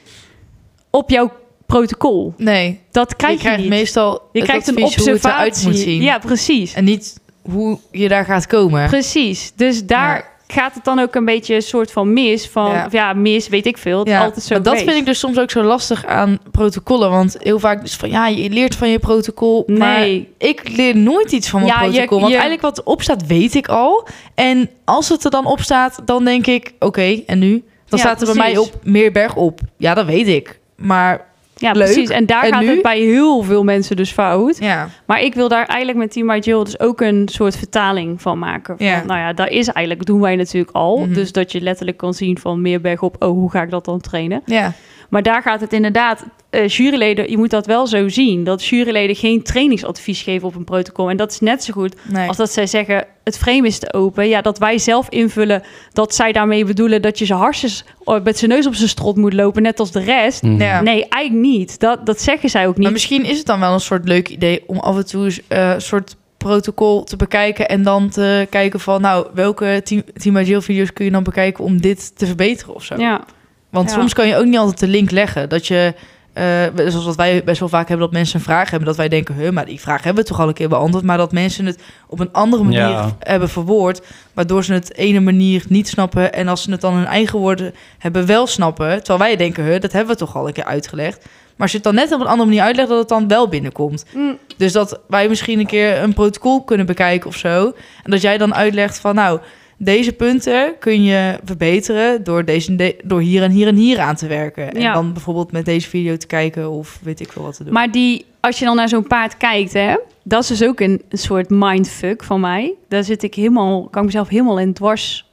[SPEAKER 3] op jouw protocol.
[SPEAKER 2] Nee,
[SPEAKER 3] Dat krijg je,
[SPEAKER 2] je krijgt
[SPEAKER 3] niet.
[SPEAKER 2] meestal
[SPEAKER 3] je
[SPEAKER 2] het
[SPEAKER 3] krijgt een
[SPEAKER 2] advies hoe het
[SPEAKER 3] observatie.
[SPEAKER 2] eruit moet zien.
[SPEAKER 3] Ja, precies.
[SPEAKER 2] En niet hoe je daar gaat komen.
[SPEAKER 3] Precies. Dus daar gaat het dan ook een beetje een soort van mis. Van,
[SPEAKER 2] Ja.
[SPEAKER 3] ja, ja mis, weet ik veel. Het is
[SPEAKER 2] Ja,
[SPEAKER 3] altijd zo
[SPEAKER 2] maar dat
[SPEAKER 3] geweest.
[SPEAKER 2] vind ik dus soms ook zo lastig aan protocollen. Want heel vaak dus van, ja, je leert van je protocol. Maar
[SPEAKER 3] Nee,
[SPEAKER 2] ik leer nooit iets van mijn
[SPEAKER 3] Ja, je-
[SPEAKER 2] protocol. want
[SPEAKER 3] je-
[SPEAKER 2] eigenlijk wat erop staat, weet ik al. En als het er dan op staat, dan denk ik, oké, en nu? Dan
[SPEAKER 3] Ja,
[SPEAKER 2] staat er bij mij
[SPEAKER 3] precies.
[SPEAKER 2] op meer berg op. Ja, dat weet ik. Maar
[SPEAKER 3] ja,
[SPEAKER 2] leuk.
[SPEAKER 3] precies. En daar
[SPEAKER 2] En
[SPEAKER 3] gaat
[SPEAKER 2] nu?
[SPEAKER 3] het bij heel veel mensen dus fout.
[SPEAKER 2] ja,
[SPEAKER 3] Maar ik wil daar eigenlijk met Team My Jill dus ook een soort vertaling van maken. Van,
[SPEAKER 2] Ja.
[SPEAKER 3] Nou ja, daar is eigenlijk, doen wij natuurlijk al.
[SPEAKER 2] Mhm.
[SPEAKER 3] Dus dat je letterlijk kan zien van meer bergop, oh, hoe ga ik dat dan trainen?
[SPEAKER 2] ja,
[SPEAKER 3] Maar daar gaat het inderdaad, eh, juryleden, je moet dat wel zo zien. Dat juryleden geen trainingsadvies geven op een protocol. En dat is net zo goed
[SPEAKER 2] nee.
[SPEAKER 3] als dat zij zeggen, het frame is te open. Ja, dat wij zelf invullen dat zij daarmee bedoelen dat je zijn harsjes eh, met zijn neus op zijn strot moet lopen, net als de rest.
[SPEAKER 1] Mhm.
[SPEAKER 2] Ja.
[SPEAKER 3] Nee, eigenlijk niet. Dat, dat zeggen zij ook niet.
[SPEAKER 2] Maar misschien is het dan wel een soort leuk idee om af en toe eens, eh, een soort protocol te bekijken en dan te kijken van nou welke team team Agile video's kun je dan bekijken om dit te verbeteren of zo.
[SPEAKER 3] ja.
[SPEAKER 2] Want
[SPEAKER 3] Ja.
[SPEAKER 2] soms kan je ook niet altijd de link leggen dat je eh, zoals wat wij best wel vaak hebben dat mensen een vraag hebben dat wij denken huh, maar die vraag hebben we toch al een keer beantwoord, maar dat mensen het op een andere manier
[SPEAKER 1] Ja.
[SPEAKER 2] hebben verwoord, waardoor ze het ene manier niet snappen en als ze het dan hun eigen woorden hebben wel snappen, terwijl wij denken huh, dat hebben we toch al een keer uitgelegd. Maar als je het dan net op een andere manier uitlegt, dat het dan wel binnenkomt.
[SPEAKER 3] Mm.
[SPEAKER 2] Dus dat wij misschien een keer een protocol kunnen bekijken of zo. En dat jij dan uitlegt van nou, deze punten kun je verbeteren door, deze, en de- door hier en hier en hier aan te werken. En
[SPEAKER 3] Ja.
[SPEAKER 2] dan bijvoorbeeld met deze video te kijken of weet ik veel wat te doen.
[SPEAKER 3] Maar die, als je dan naar zo'n paard kijkt, hè, dat is dus ook een soort mindfuck van mij. Daar zit ik helemaal, kan ik mezelf helemaal in dwars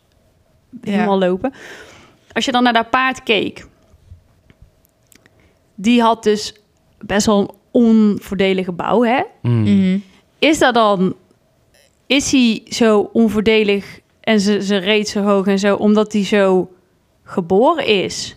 [SPEAKER 3] helemaal lopen. Als je dan naar dat paard keek, die had dus best wel een onvoordelige bouw, hè?
[SPEAKER 1] Mm.
[SPEAKER 7] Mhm.
[SPEAKER 3] Is dat dan, is hij zo onvoordelig en ze, ze reed zo hoog en zo, omdat hij zo geboren is?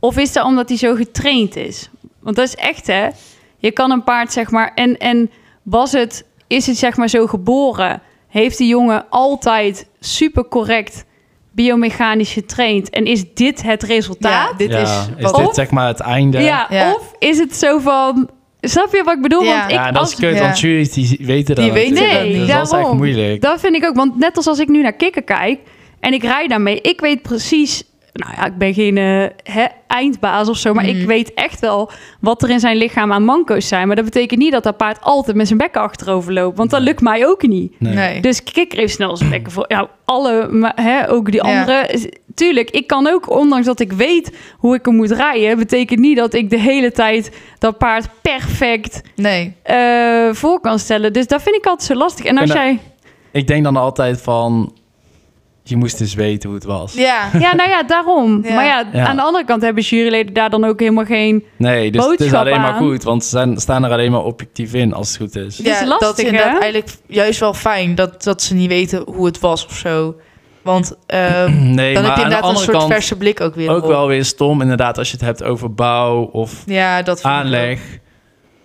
[SPEAKER 3] Of is dat omdat hij zo getraind is? Want dat is echt, hè? Je kan een paard, zeg maar, en, en was het, is het zeg maar zo geboren? Heeft die jongen altijd super correct biomechanisch getraind? En is dit het resultaat?
[SPEAKER 2] Ja, dit
[SPEAKER 1] Ja,
[SPEAKER 2] is...
[SPEAKER 1] is
[SPEAKER 2] wat- Oh,
[SPEAKER 1] dit zeg maar het einde?
[SPEAKER 3] Ja,
[SPEAKER 2] Ja.
[SPEAKER 3] of is het zo van... Snap je wat ik bedoel?
[SPEAKER 2] Ja.
[SPEAKER 3] Want ik,
[SPEAKER 1] Ja, dat
[SPEAKER 3] als,
[SPEAKER 1] is kut,
[SPEAKER 2] ja.
[SPEAKER 1] want juries die weten dat
[SPEAKER 2] Die weten
[SPEAKER 1] natuurlijk.
[SPEAKER 2] dat niet.
[SPEAKER 1] Dus dat is echt
[SPEAKER 3] Daarom.
[SPEAKER 1] moeilijk.
[SPEAKER 3] dat vind ik ook. Want net als als ik nu naar kikken kijk en ik rij daarmee. Ik weet precies... Nou ja, ik ben geen eh, hè, eindbaas of zo. Maar
[SPEAKER 2] Mhm.
[SPEAKER 3] ik weet echt wel wat er in zijn lichaam aan manco's zijn. Maar dat betekent niet dat dat paard altijd met zijn bekken achterover loopt. Want dat lukt mij ook niet.
[SPEAKER 1] Nee.
[SPEAKER 2] Nee.
[SPEAKER 3] Dus kikker heeft snel zijn bekken voor. Ja, alle, maar, hè, ook die
[SPEAKER 2] Ja.
[SPEAKER 3] andere. Is- Tuurlijk, ik kan ook, ondanks dat ik weet hoe ik hem moet rijden, betekent niet dat ik de hele tijd dat paard perfect
[SPEAKER 2] Nee.
[SPEAKER 3] eh, voor kan stellen. Dus dat vind ik altijd zo lastig. En als
[SPEAKER 1] En, eh,
[SPEAKER 3] jij.
[SPEAKER 1] Ik denk dan altijd van, je moest dus weten hoe het was.
[SPEAKER 2] Ja.
[SPEAKER 3] Ja, nou ja, daarom.
[SPEAKER 2] Ja.
[SPEAKER 3] Maar ja,
[SPEAKER 1] Ja.
[SPEAKER 3] aan de andere kant hebben juryleden daar dan ook helemaal geen.
[SPEAKER 1] Nee, dus het is
[SPEAKER 3] Boodschap
[SPEAKER 1] alleen maar
[SPEAKER 3] aan.
[SPEAKER 1] goed, want ze zijn, staan er alleen maar objectief in als het goed is.
[SPEAKER 2] Ja,
[SPEAKER 3] lastig,
[SPEAKER 2] dat is
[SPEAKER 3] hè?
[SPEAKER 2] inderdaad eigenlijk juist wel fijn dat, dat ze niet weten hoe het was of zo. Want ehm, dan heb
[SPEAKER 1] Nee, maar
[SPEAKER 2] je
[SPEAKER 1] aan de
[SPEAKER 2] inderdaad een
[SPEAKER 1] andere
[SPEAKER 2] soort
[SPEAKER 1] kant
[SPEAKER 2] verse blik ook weer.
[SPEAKER 1] ook
[SPEAKER 2] op.
[SPEAKER 1] wel weer stom, inderdaad, als je het hebt over bouw of
[SPEAKER 2] Ja, dat vind ik ook.
[SPEAKER 1] aanleg.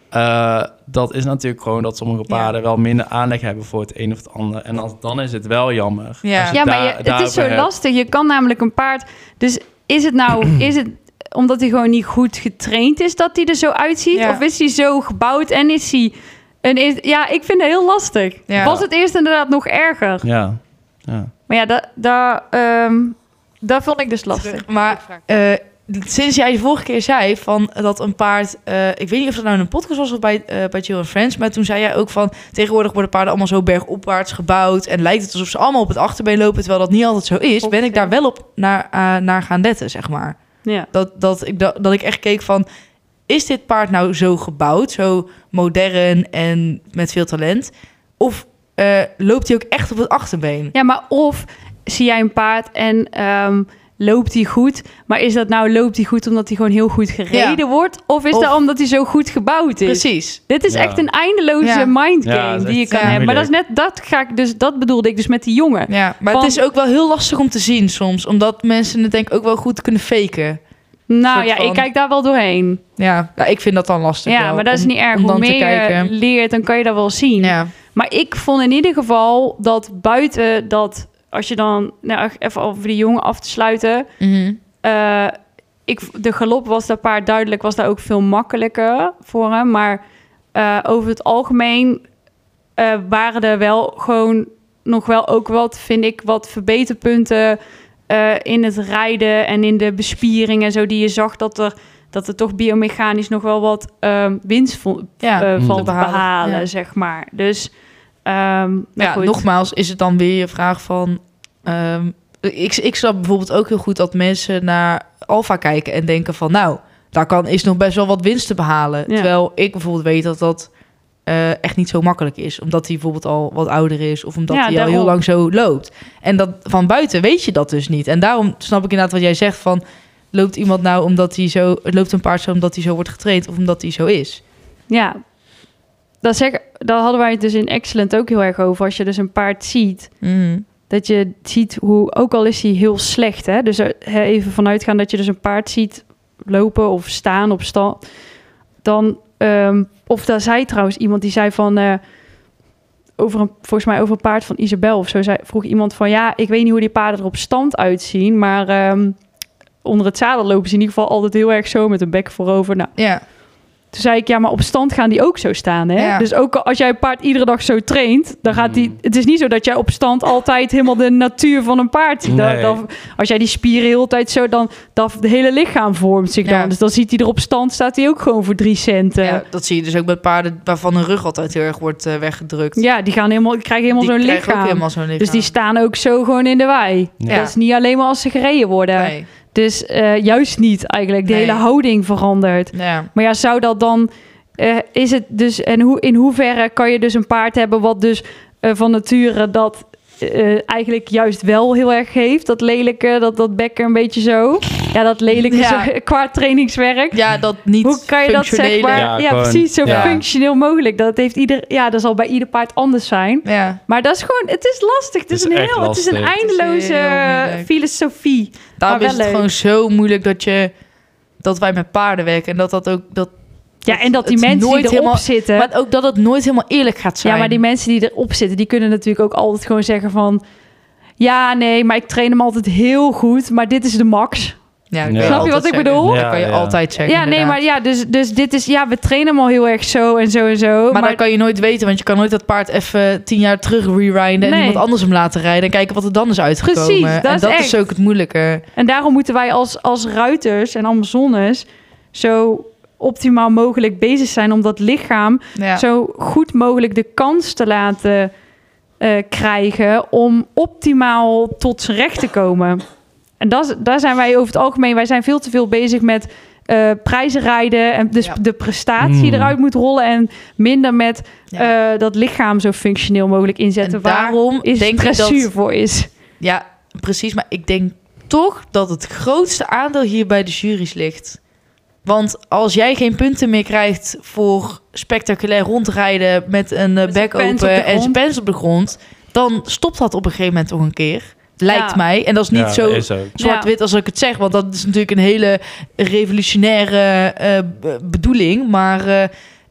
[SPEAKER 1] Eh, dat is natuurlijk gewoon dat sommige
[SPEAKER 2] Ja.
[SPEAKER 1] paarden wel minder aanleg hebben voor het een of het ander. En als, dan is het wel jammer.
[SPEAKER 2] Ja.
[SPEAKER 1] Als je
[SPEAKER 3] Ja, maar
[SPEAKER 1] daar-
[SPEAKER 3] je, het
[SPEAKER 1] daarover
[SPEAKER 3] is zo
[SPEAKER 1] hebt.
[SPEAKER 3] lastig. Je kan namelijk een paard. Dus is het nou. is het omdat hij gewoon niet goed getraind is dat hij er zo uitziet?
[SPEAKER 2] Ja.
[SPEAKER 3] Of is hij zo gebouwd en is hij. En is, ja, ik vind het heel lastig.
[SPEAKER 2] Ja.
[SPEAKER 3] Was het eerst inderdaad nog erger?
[SPEAKER 1] Ja. ja.
[SPEAKER 3] Maar ja, dat, dat, ehm, dat vond ik dus lastig.
[SPEAKER 2] Maar eh, sinds jij de vorige keer zei van dat een paard... eh, ik weet niet of dat nou in een podcast was of bij, eh bij Jill and Friends... maar toen zei jij ook van... tegenwoordig worden paarden allemaal zo bergopwaarts gebouwd... en lijkt het alsof ze allemaal op het achterbeen lopen... terwijl dat niet altijd zo is. Ben ik daar wel op naar, eh, naar gaan letten, zeg maar.
[SPEAKER 3] Ja.
[SPEAKER 2] Dat, dat, ik, dat, dat ik echt keek van... is dit paard nou zo gebouwd? Zo modern en met veel talent? Of eh, loopt hij ook echt op het achterbeen?
[SPEAKER 3] ja, maar of zie jij een paard en ehm, loopt hij goed. Maar is dat nou loopt hij goed omdat hij gewoon heel goed gereden wordt? Of is
[SPEAKER 2] Of-
[SPEAKER 3] dat omdat hij zo goed gebouwd is?
[SPEAKER 2] Precies.
[SPEAKER 3] Dit is
[SPEAKER 1] Ja.
[SPEAKER 3] echt een eindeloze
[SPEAKER 2] Ja.
[SPEAKER 3] mindgame
[SPEAKER 1] Ja, dat is
[SPEAKER 3] die je
[SPEAKER 1] echt
[SPEAKER 3] kan
[SPEAKER 2] heel
[SPEAKER 3] hebben. Maar dat is net dat ga ik dus dat bedoelde ik dus met die jongen.
[SPEAKER 2] Ja, maar
[SPEAKER 3] Van-
[SPEAKER 2] het is ook wel heel lastig om te zien soms. Omdat mensen het denk ik ook wel goed kunnen faken.
[SPEAKER 3] Nou
[SPEAKER 2] Soort
[SPEAKER 3] ja,
[SPEAKER 2] van-
[SPEAKER 3] ik kijk daar wel doorheen.
[SPEAKER 2] Ja, ja, ik vind dat dan lastig
[SPEAKER 3] Ja,
[SPEAKER 2] wel,
[SPEAKER 3] maar dat is
[SPEAKER 2] om-
[SPEAKER 3] niet erg.
[SPEAKER 2] om
[SPEAKER 3] Hoe
[SPEAKER 2] dan te
[SPEAKER 3] meer je
[SPEAKER 2] kijken.
[SPEAKER 3] leert, dan kan je dat wel zien.
[SPEAKER 2] Ja.
[SPEAKER 3] Maar ik vond in ieder geval dat buiten dat als je dan nou, even over die jongen af te sluiten,
[SPEAKER 2] Mhm.
[SPEAKER 3] eh, ik, de galop was dat paard duidelijk, was daar ook veel makkelijker voor hem. Maar eh, over het algemeen eh, waren er wel gewoon nog wel ook wat, vind ik, wat verbeterpunten eh, in het rijden en in de bespiering en zo. Die je zag dat er, dat er toch biomechanisch nog wel wat ehm, winst vo-
[SPEAKER 2] ja.
[SPEAKER 3] eh,
[SPEAKER 1] Mm.
[SPEAKER 3] valt
[SPEAKER 1] te
[SPEAKER 3] te
[SPEAKER 2] behalen,
[SPEAKER 3] behalen,
[SPEAKER 2] ja.
[SPEAKER 3] zeg maar. Dus, ehm nou
[SPEAKER 2] ja,
[SPEAKER 3] goed.
[SPEAKER 2] nogmaals is het dan weer je vraag van... ehm, ik, ik snap bijvoorbeeld ook heel goed dat mensen naar Alfa kijken en denken van... nou, daar kan, is nog best wel wat winst te behalen.
[SPEAKER 3] Ja.
[SPEAKER 2] Terwijl ik bijvoorbeeld weet dat dat eh, echt niet zo makkelijk is. Omdat hij bijvoorbeeld al wat ouder is of omdat
[SPEAKER 3] Ja,
[SPEAKER 2] hij al
[SPEAKER 3] daarom.
[SPEAKER 2] heel lang zo loopt. En dat, van buiten weet je dat dus niet. En daarom snap ik inderdaad wat jij zegt van... loopt iemand nou omdat hij zo... loopt een paard zo omdat hij zo wordt getraind of omdat hij zo is?
[SPEAKER 3] Ja, dat zeg, daar hadden wij het dus in Excellent ook heel erg over. Als je dus een paard ziet, dat je ziet hoe, ook al is hij heel slecht, hè? dus eh, hè, even vanuitgaan dat je dus een paard ziet lopen of staan op stal, dan, ehm, of daar zei trouwens iemand die zei van, eh, over een, volgens mij over een paard van Isabel of zo, zei, vroeg iemand van, ja, ik weet niet hoe die paarden er op stand uitzien, maar ehm, onder het zadel lopen ze in ieder geval altijd heel erg zo met een bek voorover. Nou,
[SPEAKER 2] Ja,
[SPEAKER 3] toen zei ik, ja, maar op stand gaan die ook zo staan. Hè?
[SPEAKER 2] Ja.
[SPEAKER 3] Dus ook al- als jij een paard iedere dag zo traint, dan gaat die.
[SPEAKER 1] Mm.
[SPEAKER 3] Het is niet zo dat jij op stand altijd helemaal de natuur van een paard ziet. Dan-
[SPEAKER 1] Nee.
[SPEAKER 3] dan- als jij die spieren heel de tijd zo, dan dat het hele lichaam vormt zich
[SPEAKER 2] Ja.
[SPEAKER 3] dan. Dus dan ziet hij er op stand, staat hij ook gewoon voor drie centen.
[SPEAKER 2] Ja,
[SPEAKER 3] Ja,
[SPEAKER 2] dat zie je dus ook met paarden waarvan hun rug altijd heel erg wordt eh, weggedrukt.
[SPEAKER 3] die gaan helemaal, die krijgen
[SPEAKER 2] Die
[SPEAKER 3] helemaal zo'n
[SPEAKER 2] krijgen
[SPEAKER 3] lichaam.
[SPEAKER 2] ook helemaal zo'n lichaam.
[SPEAKER 3] Dus die staan ook zo gewoon in de wei.
[SPEAKER 1] Ja.
[SPEAKER 3] Dat is niet alleen maar als ze gereden worden.
[SPEAKER 2] Nee.
[SPEAKER 3] Dus eh, juist niet eigenlijk. De
[SPEAKER 2] Nee.
[SPEAKER 3] hele houding verandert.
[SPEAKER 2] Ja.
[SPEAKER 3] Maar ja, zou dat dan eh, is het dus, en hoe, in hoeverre kan je dus een paard hebben wat dus eh, van nature dat eh, eigenlijk juist wel heel erg heeft. Dat lelijke, dat, dat bekken een beetje zo. Ja, dat lelijke
[SPEAKER 2] Ja.
[SPEAKER 3] zo- qua trainingswerk.
[SPEAKER 2] Ja, dat niet
[SPEAKER 3] Hoe kan je dat zeg
[SPEAKER 2] functionele-
[SPEAKER 3] maar?
[SPEAKER 1] Ja,
[SPEAKER 3] Ja,
[SPEAKER 1] gewoon,
[SPEAKER 3] precies. Zo
[SPEAKER 1] ja.
[SPEAKER 3] functioneel mogelijk. Dat heeft ieder. Ja, dat zal bij ieder paard anders zijn.
[SPEAKER 2] Ja.
[SPEAKER 3] Maar dat is gewoon. Het is lastig. Het
[SPEAKER 1] Het
[SPEAKER 3] is,
[SPEAKER 1] is
[SPEAKER 3] een
[SPEAKER 1] echt
[SPEAKER 3] heel. Het is een
[SPEAKER 1] lastig.
[SPEAKER 2] Het is
[SPEAKER 3] eindeloze
[SPEAKER 2] heel moeilijk.
[SPEAKER 3] filosofie.
[SPEAKER 2] Daarom
[SPEAKER 3] Maar
[SPEAKER 2] is het
[SPEAKER 3] wel
[SPEAKER 2] gewoon zo moeilijk dat je dat wij met paarden werken en dat dat ook dat
[SPEAKER 3] Ja, en dat die
[SPEAKER 2] Het is
[SPEAKER 3] mensen die
[SPEAKER 2] nooit
[SPEAKER 3] erop
[SPEAKER 2] helemaal-
[SPEAKER 3] zitten.
[SPEAKER 2] maar ook dat het nooit helemaal eerlijk gaat zijn.
[SPEAKER 3] Ja, maar die mensen die erop zitten, die kunnen natuurlijk ook altijd gewoon zeggen van... Ja, nee, maar ik train hem altijd heel goed, maar dit is de max.
[SPEAKER 2] Ja, dat
[SPEAKER 1] Ja.
[SPEAKER 2] kan
[SPEAKER 1] Snap
[SPEAKER 2] altijd
[SPEAKER 3] je wat ik
[SPEAKER 2] zeggen.
[SPEAKER 3] bedoel?
[SPEAKER 2] dat kan je
[SPEAKER 1] Ja, ja.
[SPEAKER 2] altijd zeggen.
[SPEAKER 3] ja, nee,
[SPEAKER 2] inderdaad.
[SPEAKER 3] maar ja, dus, dus dit is... Ja, we trainen hem al heel erg zo en zo en zo.
[SPEAKER 2] Maar, dat kan je nooit weten, want je kan nooit dat paard even eh, tien jaar terug rewinden en
[SPEAKER 3] Nee.
[SPEAKER 2] iemand anders hem laten rijden en kijken wat er dan is uitgekomen.
[SPEAKER 3] Precies, dat
[SPEAKER 2] en
[SPEAKER 3] is
[SPEAKER 2] dat is
[SPEAKER 3] echt.
[SPEAKER 2] ook het moeilijke.
[SPEAKER 3] En daarom moeten wij als, als ruiters en Amazones zo optimaal mogelijk bezig zijn om dat lichaam
[SPEAKER 2] Ja.
[SPEAKER 3] zo goed mogelijk de kans te laten eh, krijgen om optimaal tot zijn recht te komen. En dat, is- daar zijn wij over het algemeen, wij zijn veel te veel bezig met eh, prijzen rijden en dus
[SPEAKER 2] Ja.
[SPEAKER 3] de prestatie
[SPEAKER 1] Mm.
[SPEAKER 3] eruit moet rollen en minder met
[SPEAKER 2] Ja.
[SPEAKER 3] eh, dat lichaam zo functioneel mogelijk inzetten.
[SPEAKER 2] En daarom
[SPEAKER 3] waar is
[SPEAKER 2] denk ik dat- Mm.
[SPEAKER 3] dressuur voor is.
[SPEAKER 2] Ja, precies. Maar ik denk toch dat het grootste aandeel hier bij de jury's ligt. Want als jij geen punten meer krijgt voor spectaculair rondrijden met een eh,
[SPEAKER 3] Met zijn
[SPEAKER 2] bek
[SPEAKER 3] pens op de
[SPEAKER 2] open en zijn
[SPEAKER 3] grond.
[SPEAKER 2] pens op de grond, dan stopt dat op een gegeven moment toch een keer. Lijkt
[SPEAKER 3] Ja.
[SPEAKER 2] mij. En dat is niet
[SPEAKER 1] Ja,
[SPEAKER 2] zo
[SPEAKER 1] Is ook.
[SPEAKER 2] zwart-wit als ik het zeg, want dat is natuurlijk een hele revolutionaire eh, be- bedoeling. Maar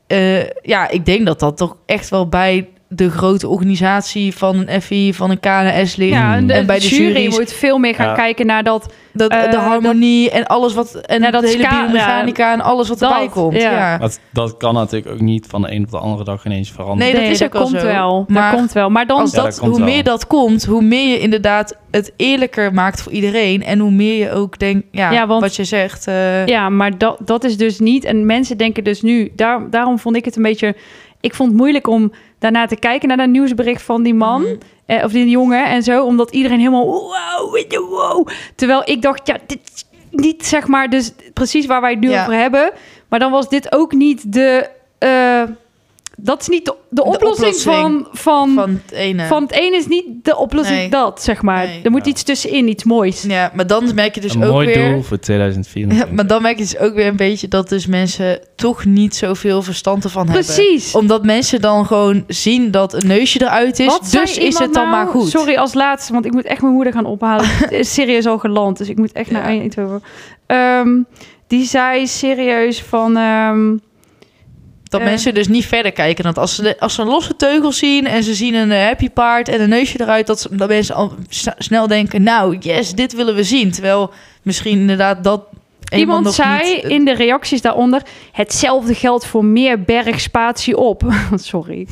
[SPEAKER 2] eh, eh, ja, ik denk dat dat toch echt wel bij de grote organisatie van een FI, van een KNS ligt.
[SPEAKER 3] Ja, en, de,
[SPEAKER 2] En bij de
[SPEAKER 3] jury
[SPEAKER 2] jury's-
[SPEAKER 3] moet veel meer gaan
[SPEAKER 1] Ja.
[SPEAKER 3] kijken naar dat.
[SPEAKER 2] Dat,
[SPEAKER 3] Eh,
[SPEAKER 2] de harmonie en alles wat. En
[SPEAKER 3] Ja, dat
[SPEAKER 2] de hele
[SPEAKER 3] ska-
[SPEAKER 2] biomechanica en alles wat
[SPEAKER 3] dat,
[SPEAKER 2] erbij komt. Ja.
[SPEAKER 3] ja.
[SPEAKER 1] Dat, dat kan natuurlijk ook niet van de een op de andere dag ineens veranderen.
[SPEAKER 2] Nee, dat is ook wel
[SPEAKER 3] komt
[SPEAKER 2] zo.
[SPEAKER 3] wel.
[SPEAKER 2] Maar
[SPEAKER 3] dat komt wel. Maar dan
[SPEAKER 2] Als
[SPEAKER 1] Ja,
[SPEAKER 2] dat,
[SPEAKER 1] dat komt
[SPEAKER 2] hoe
[SPEAKER 1] wel.
[SPEAKER 2] meer dat komt, hoe meer je inderdaad het eerlijker maakt voor iedereen. En hoe meer je ook denkt, ja,
[SPEAKER 3] Ja, want-
[SPEAKER 2] wat je zegt. eh,
[SPEAKER 3] Ja, maar dat, dat is dus niet. En mensen denken dus nu. Daar, daarom vond ik het een beetje. Ik vond het moeilijk om daarna te kijken naar dat nieuwsbericht van die man.
[SPEAKER 2] Mhm.
[SPEAKER 3] eh, of die jongen en zo. Omdat iedereen helemaal. Wow, weet je, wow. Terwijl ik dacht, ja, dit is niet zeg maar. Dus precies waar wij het nu
[SPEAKER 2] Ja.
[SPEAKER 3] over hebben. Maar dan was dit ook niet de. eh, dat is niet de, de oplossing,
[SPEAKER 2] oplossing
[SPEAKER 3] van. van, van
[SPEAKER 2] van het ene.
[SPEAKER 3] het een is niet de oplossing
[SPEAKER 2] Nee.
[SPEAKER 3] dat, zeg maar.
[SPEAKER 2] Nee.
[SPEAKER 3] Er moet
[SPEAKER 1] Ja.
[SPEAKER 3] iets tussenin, iets moois.
[SPEAKER 2] Ja, maar dan merk je dus
[SPEAKER 1] een
[SPEAKER 2] ook
[SPEAKER 1] mooi
[SPEAKER 2] weer.
[SPEAKER 1] doel voor
[SPEAKER 2] Ja,
[SPEAKER 1] 2024.
[SPEAKER 2] maar dan merk je dus ook weer een beetje dat dus mensen toch niet zoveel verstand ervan hebben.
[SPEAKER 3] Precies.
[SPEAKER 2] Omdat mensen dan gewoon zien dat een neusje eruit is.
[SPEAKER 3] Wat
[SPEAKER 2] dus
[SPEAKER 3] zei
[SPEAKER 2] is het
[SPEAKER 3] iemand
[SPEAKER 2] dan
[SPEAKER 3] nou?
[SPEAKER 2] maar goed.
[SPEAKER 3] Sorry, als laatste, want ik moet echt mijn moeder gaan ophalen. Het is serieus al geland, dus ik moet echt naar
[SPEAKER 2] Ja.
[SPEAKER 3] Eindhoven. Ehm, die zei serieus van... ehm,
[SPEAKER 2] Dat
[SPEAKER 3] Eh.
[SPEAKER 2] mensen dus niet verder kijken. Dat als ze, de- als ze een losse teugel zien en ze zien een eh, happy paard en een neusje eruit, dat, ze, dat mensen al sna- snel denken: Nou, yes, dit willen we zien. Terwijl misschien inderdaad dat.
[SPEAKER 3] iemand
[SPEAKER 2] nog
[SPEAKER 3] zei
[SPEAKER 2] niet, eh,
[SPEAKER 3] in de reacties daaronder... Hetzelfde geldt voor meer bergspatie op. Sorry.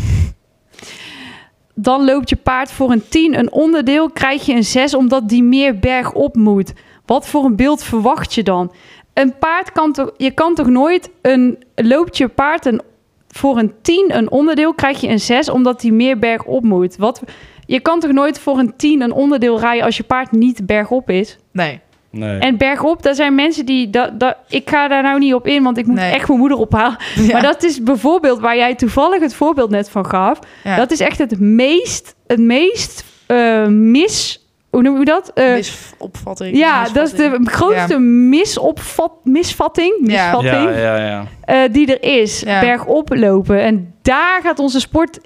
[SPEAKER 3] Dan loopt je paard voor een 10 een onderdeel, krijg je een 6 omdat die meer berg op moet. Wat voor een beeld verwacht je dan? Een paard kan toch, je kan toch nooit een loopt je paard een, voor een 10 een onderdeel, krijg je een 6 omdat die meer berg op moet. Wat, je kan toch nooit voor een 10 een onderdeel rijden als je paard niet bergop is?
[SPEAKER 2] Nee.
[SPEAKER 1] Nee.
[SPEAKER 3] En bergop, daar zijn mensen die. Dat, dat, ik ga daar nou niet op in, want ik moet
[SPEAKER 2] Nee.
[SPEAKER 3] echt mijn moeder ophalen.
[SPEAKER 2] Ja,
[SPEAKER 3] Maar dat is bijvoorbeeld waar jij toevallig het voorbeeld net van gaf.
[SPEAKER 2] ja.
[SPEAKER 3] Dat is echt het meest, het meest eh, mis. Hoe noem je dat? Eh,
[SPEAKER 2] misopvatting.
[SPEAKER 3] ja, dat is de grootste misopvat, misvatting,
[SPEAKER 2] Ja.
[SPEAKER 3] misvatting
[SPEAKER 1] ja, ja, ja.
[SPEAKER 3] eh, die er is.
[SPEAKER 2] Ja.
[SPEAKER 3] Bergop lopen. En daar gaat onze sport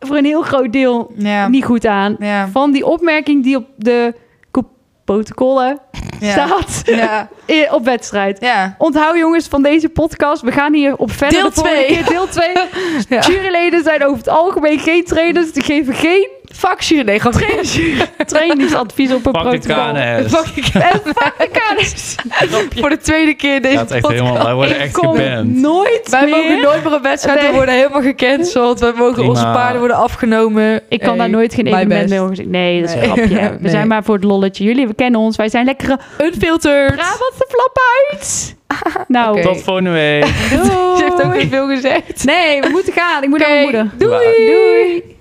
[SPEAKER 3] voor een heel groot deel
[SPEAKER 2] Ja.
[SPEAKER 3] niet goed aan.
[SPEAKER 2] Ja.
[SPEAKER 3] Van die opmerking die op de co- protocollen
[SPEAKER 2] Ja.
[SPEAKER 3] staat
[SPEAKER 2] Ja.
[SPEAKER 3] eh, op wedstrijd.
[SPEAKER 2] ja.
[SPEAKER 3] Onthoud jongens van deze podcast. We gaan hier op verder.
[SPEAKER 2] Deel
[SPEAKER 3] de volgende
[SPEAKER 2] twee.
[SPEAKER 3] keer, Deel 2.
[SPEAKER 2] Ja.
[SPEAKER 3] Juryleden zijn over het algemeen geen trainers. Die geven geen
[SPEAKER 2] Vakjury, nee, gewoon trainjury.
[SPEAKER 3] trainingsadvies op een
[SPEAKER 1] Pak de
[SPEAKER 3] protocol.
[SPEAKER 1] KNS.
[SPEAKER 3] En fuck de KNS.
[SPEAKER 2] Voor de tweede keer deze
[SPEAKER 1] Gaat echt helemaal, wij worden
[SPEAKER 3] Ik
[SPEAKER 1] echt
[SPEAKER 3] kom
[SPEAKER 1] geband.
[SPEAKER 3] nooit
[SPEAKER 2] Wij
[SPEAKER 3] meer.
[SPEAKER 2] mogen nooit meer een wedstrijd.
[SPEAKER 3] Nee.
[SPEAKER 2] We worden helemaal gecanceld. Wij mogen onze
[SPEAKER 1] Prima.
[SPEAKER 2] paarden worden afgenomen.
[SPEAKER 3] Ik kan
[SPEAKER 2] Hey,
[SPEAKER 3] daar nooit geen
[SPEAKER 2] my
[SPEAKER 3] evenement
[SPEAKER 2] best.
[SPEAKER 3] mee organiseren. Nee, dat is
[SPEAKER 2] Nee.
[SPEAKER 3] een grapje. hè. We
[SPEAKER 2] Nee.
[SPEAKER 3] zijn maar voor het lolletje. Jullie, we kennen ons. Wij zijn lekkere
[SPEAKER 2] Unfiltered.
[SPEAKER 3] Brabantse flap uit. Nou,
[SPEAKER 2] Oké.
[SPEAKER 1] Tot volgende week.
[SPEAKER 3] doei.
[SPEAKER 2] Je hebt ook niet veel gezegd.
[SPEAKER 3] Nee, we moeten gaan. Ik moet
[SPEAKER 2] Oké,
[SPEAKER 3] naar mijn moeder.
[SPEAKER 1] Doei.
[SPEAKER 3] Doei.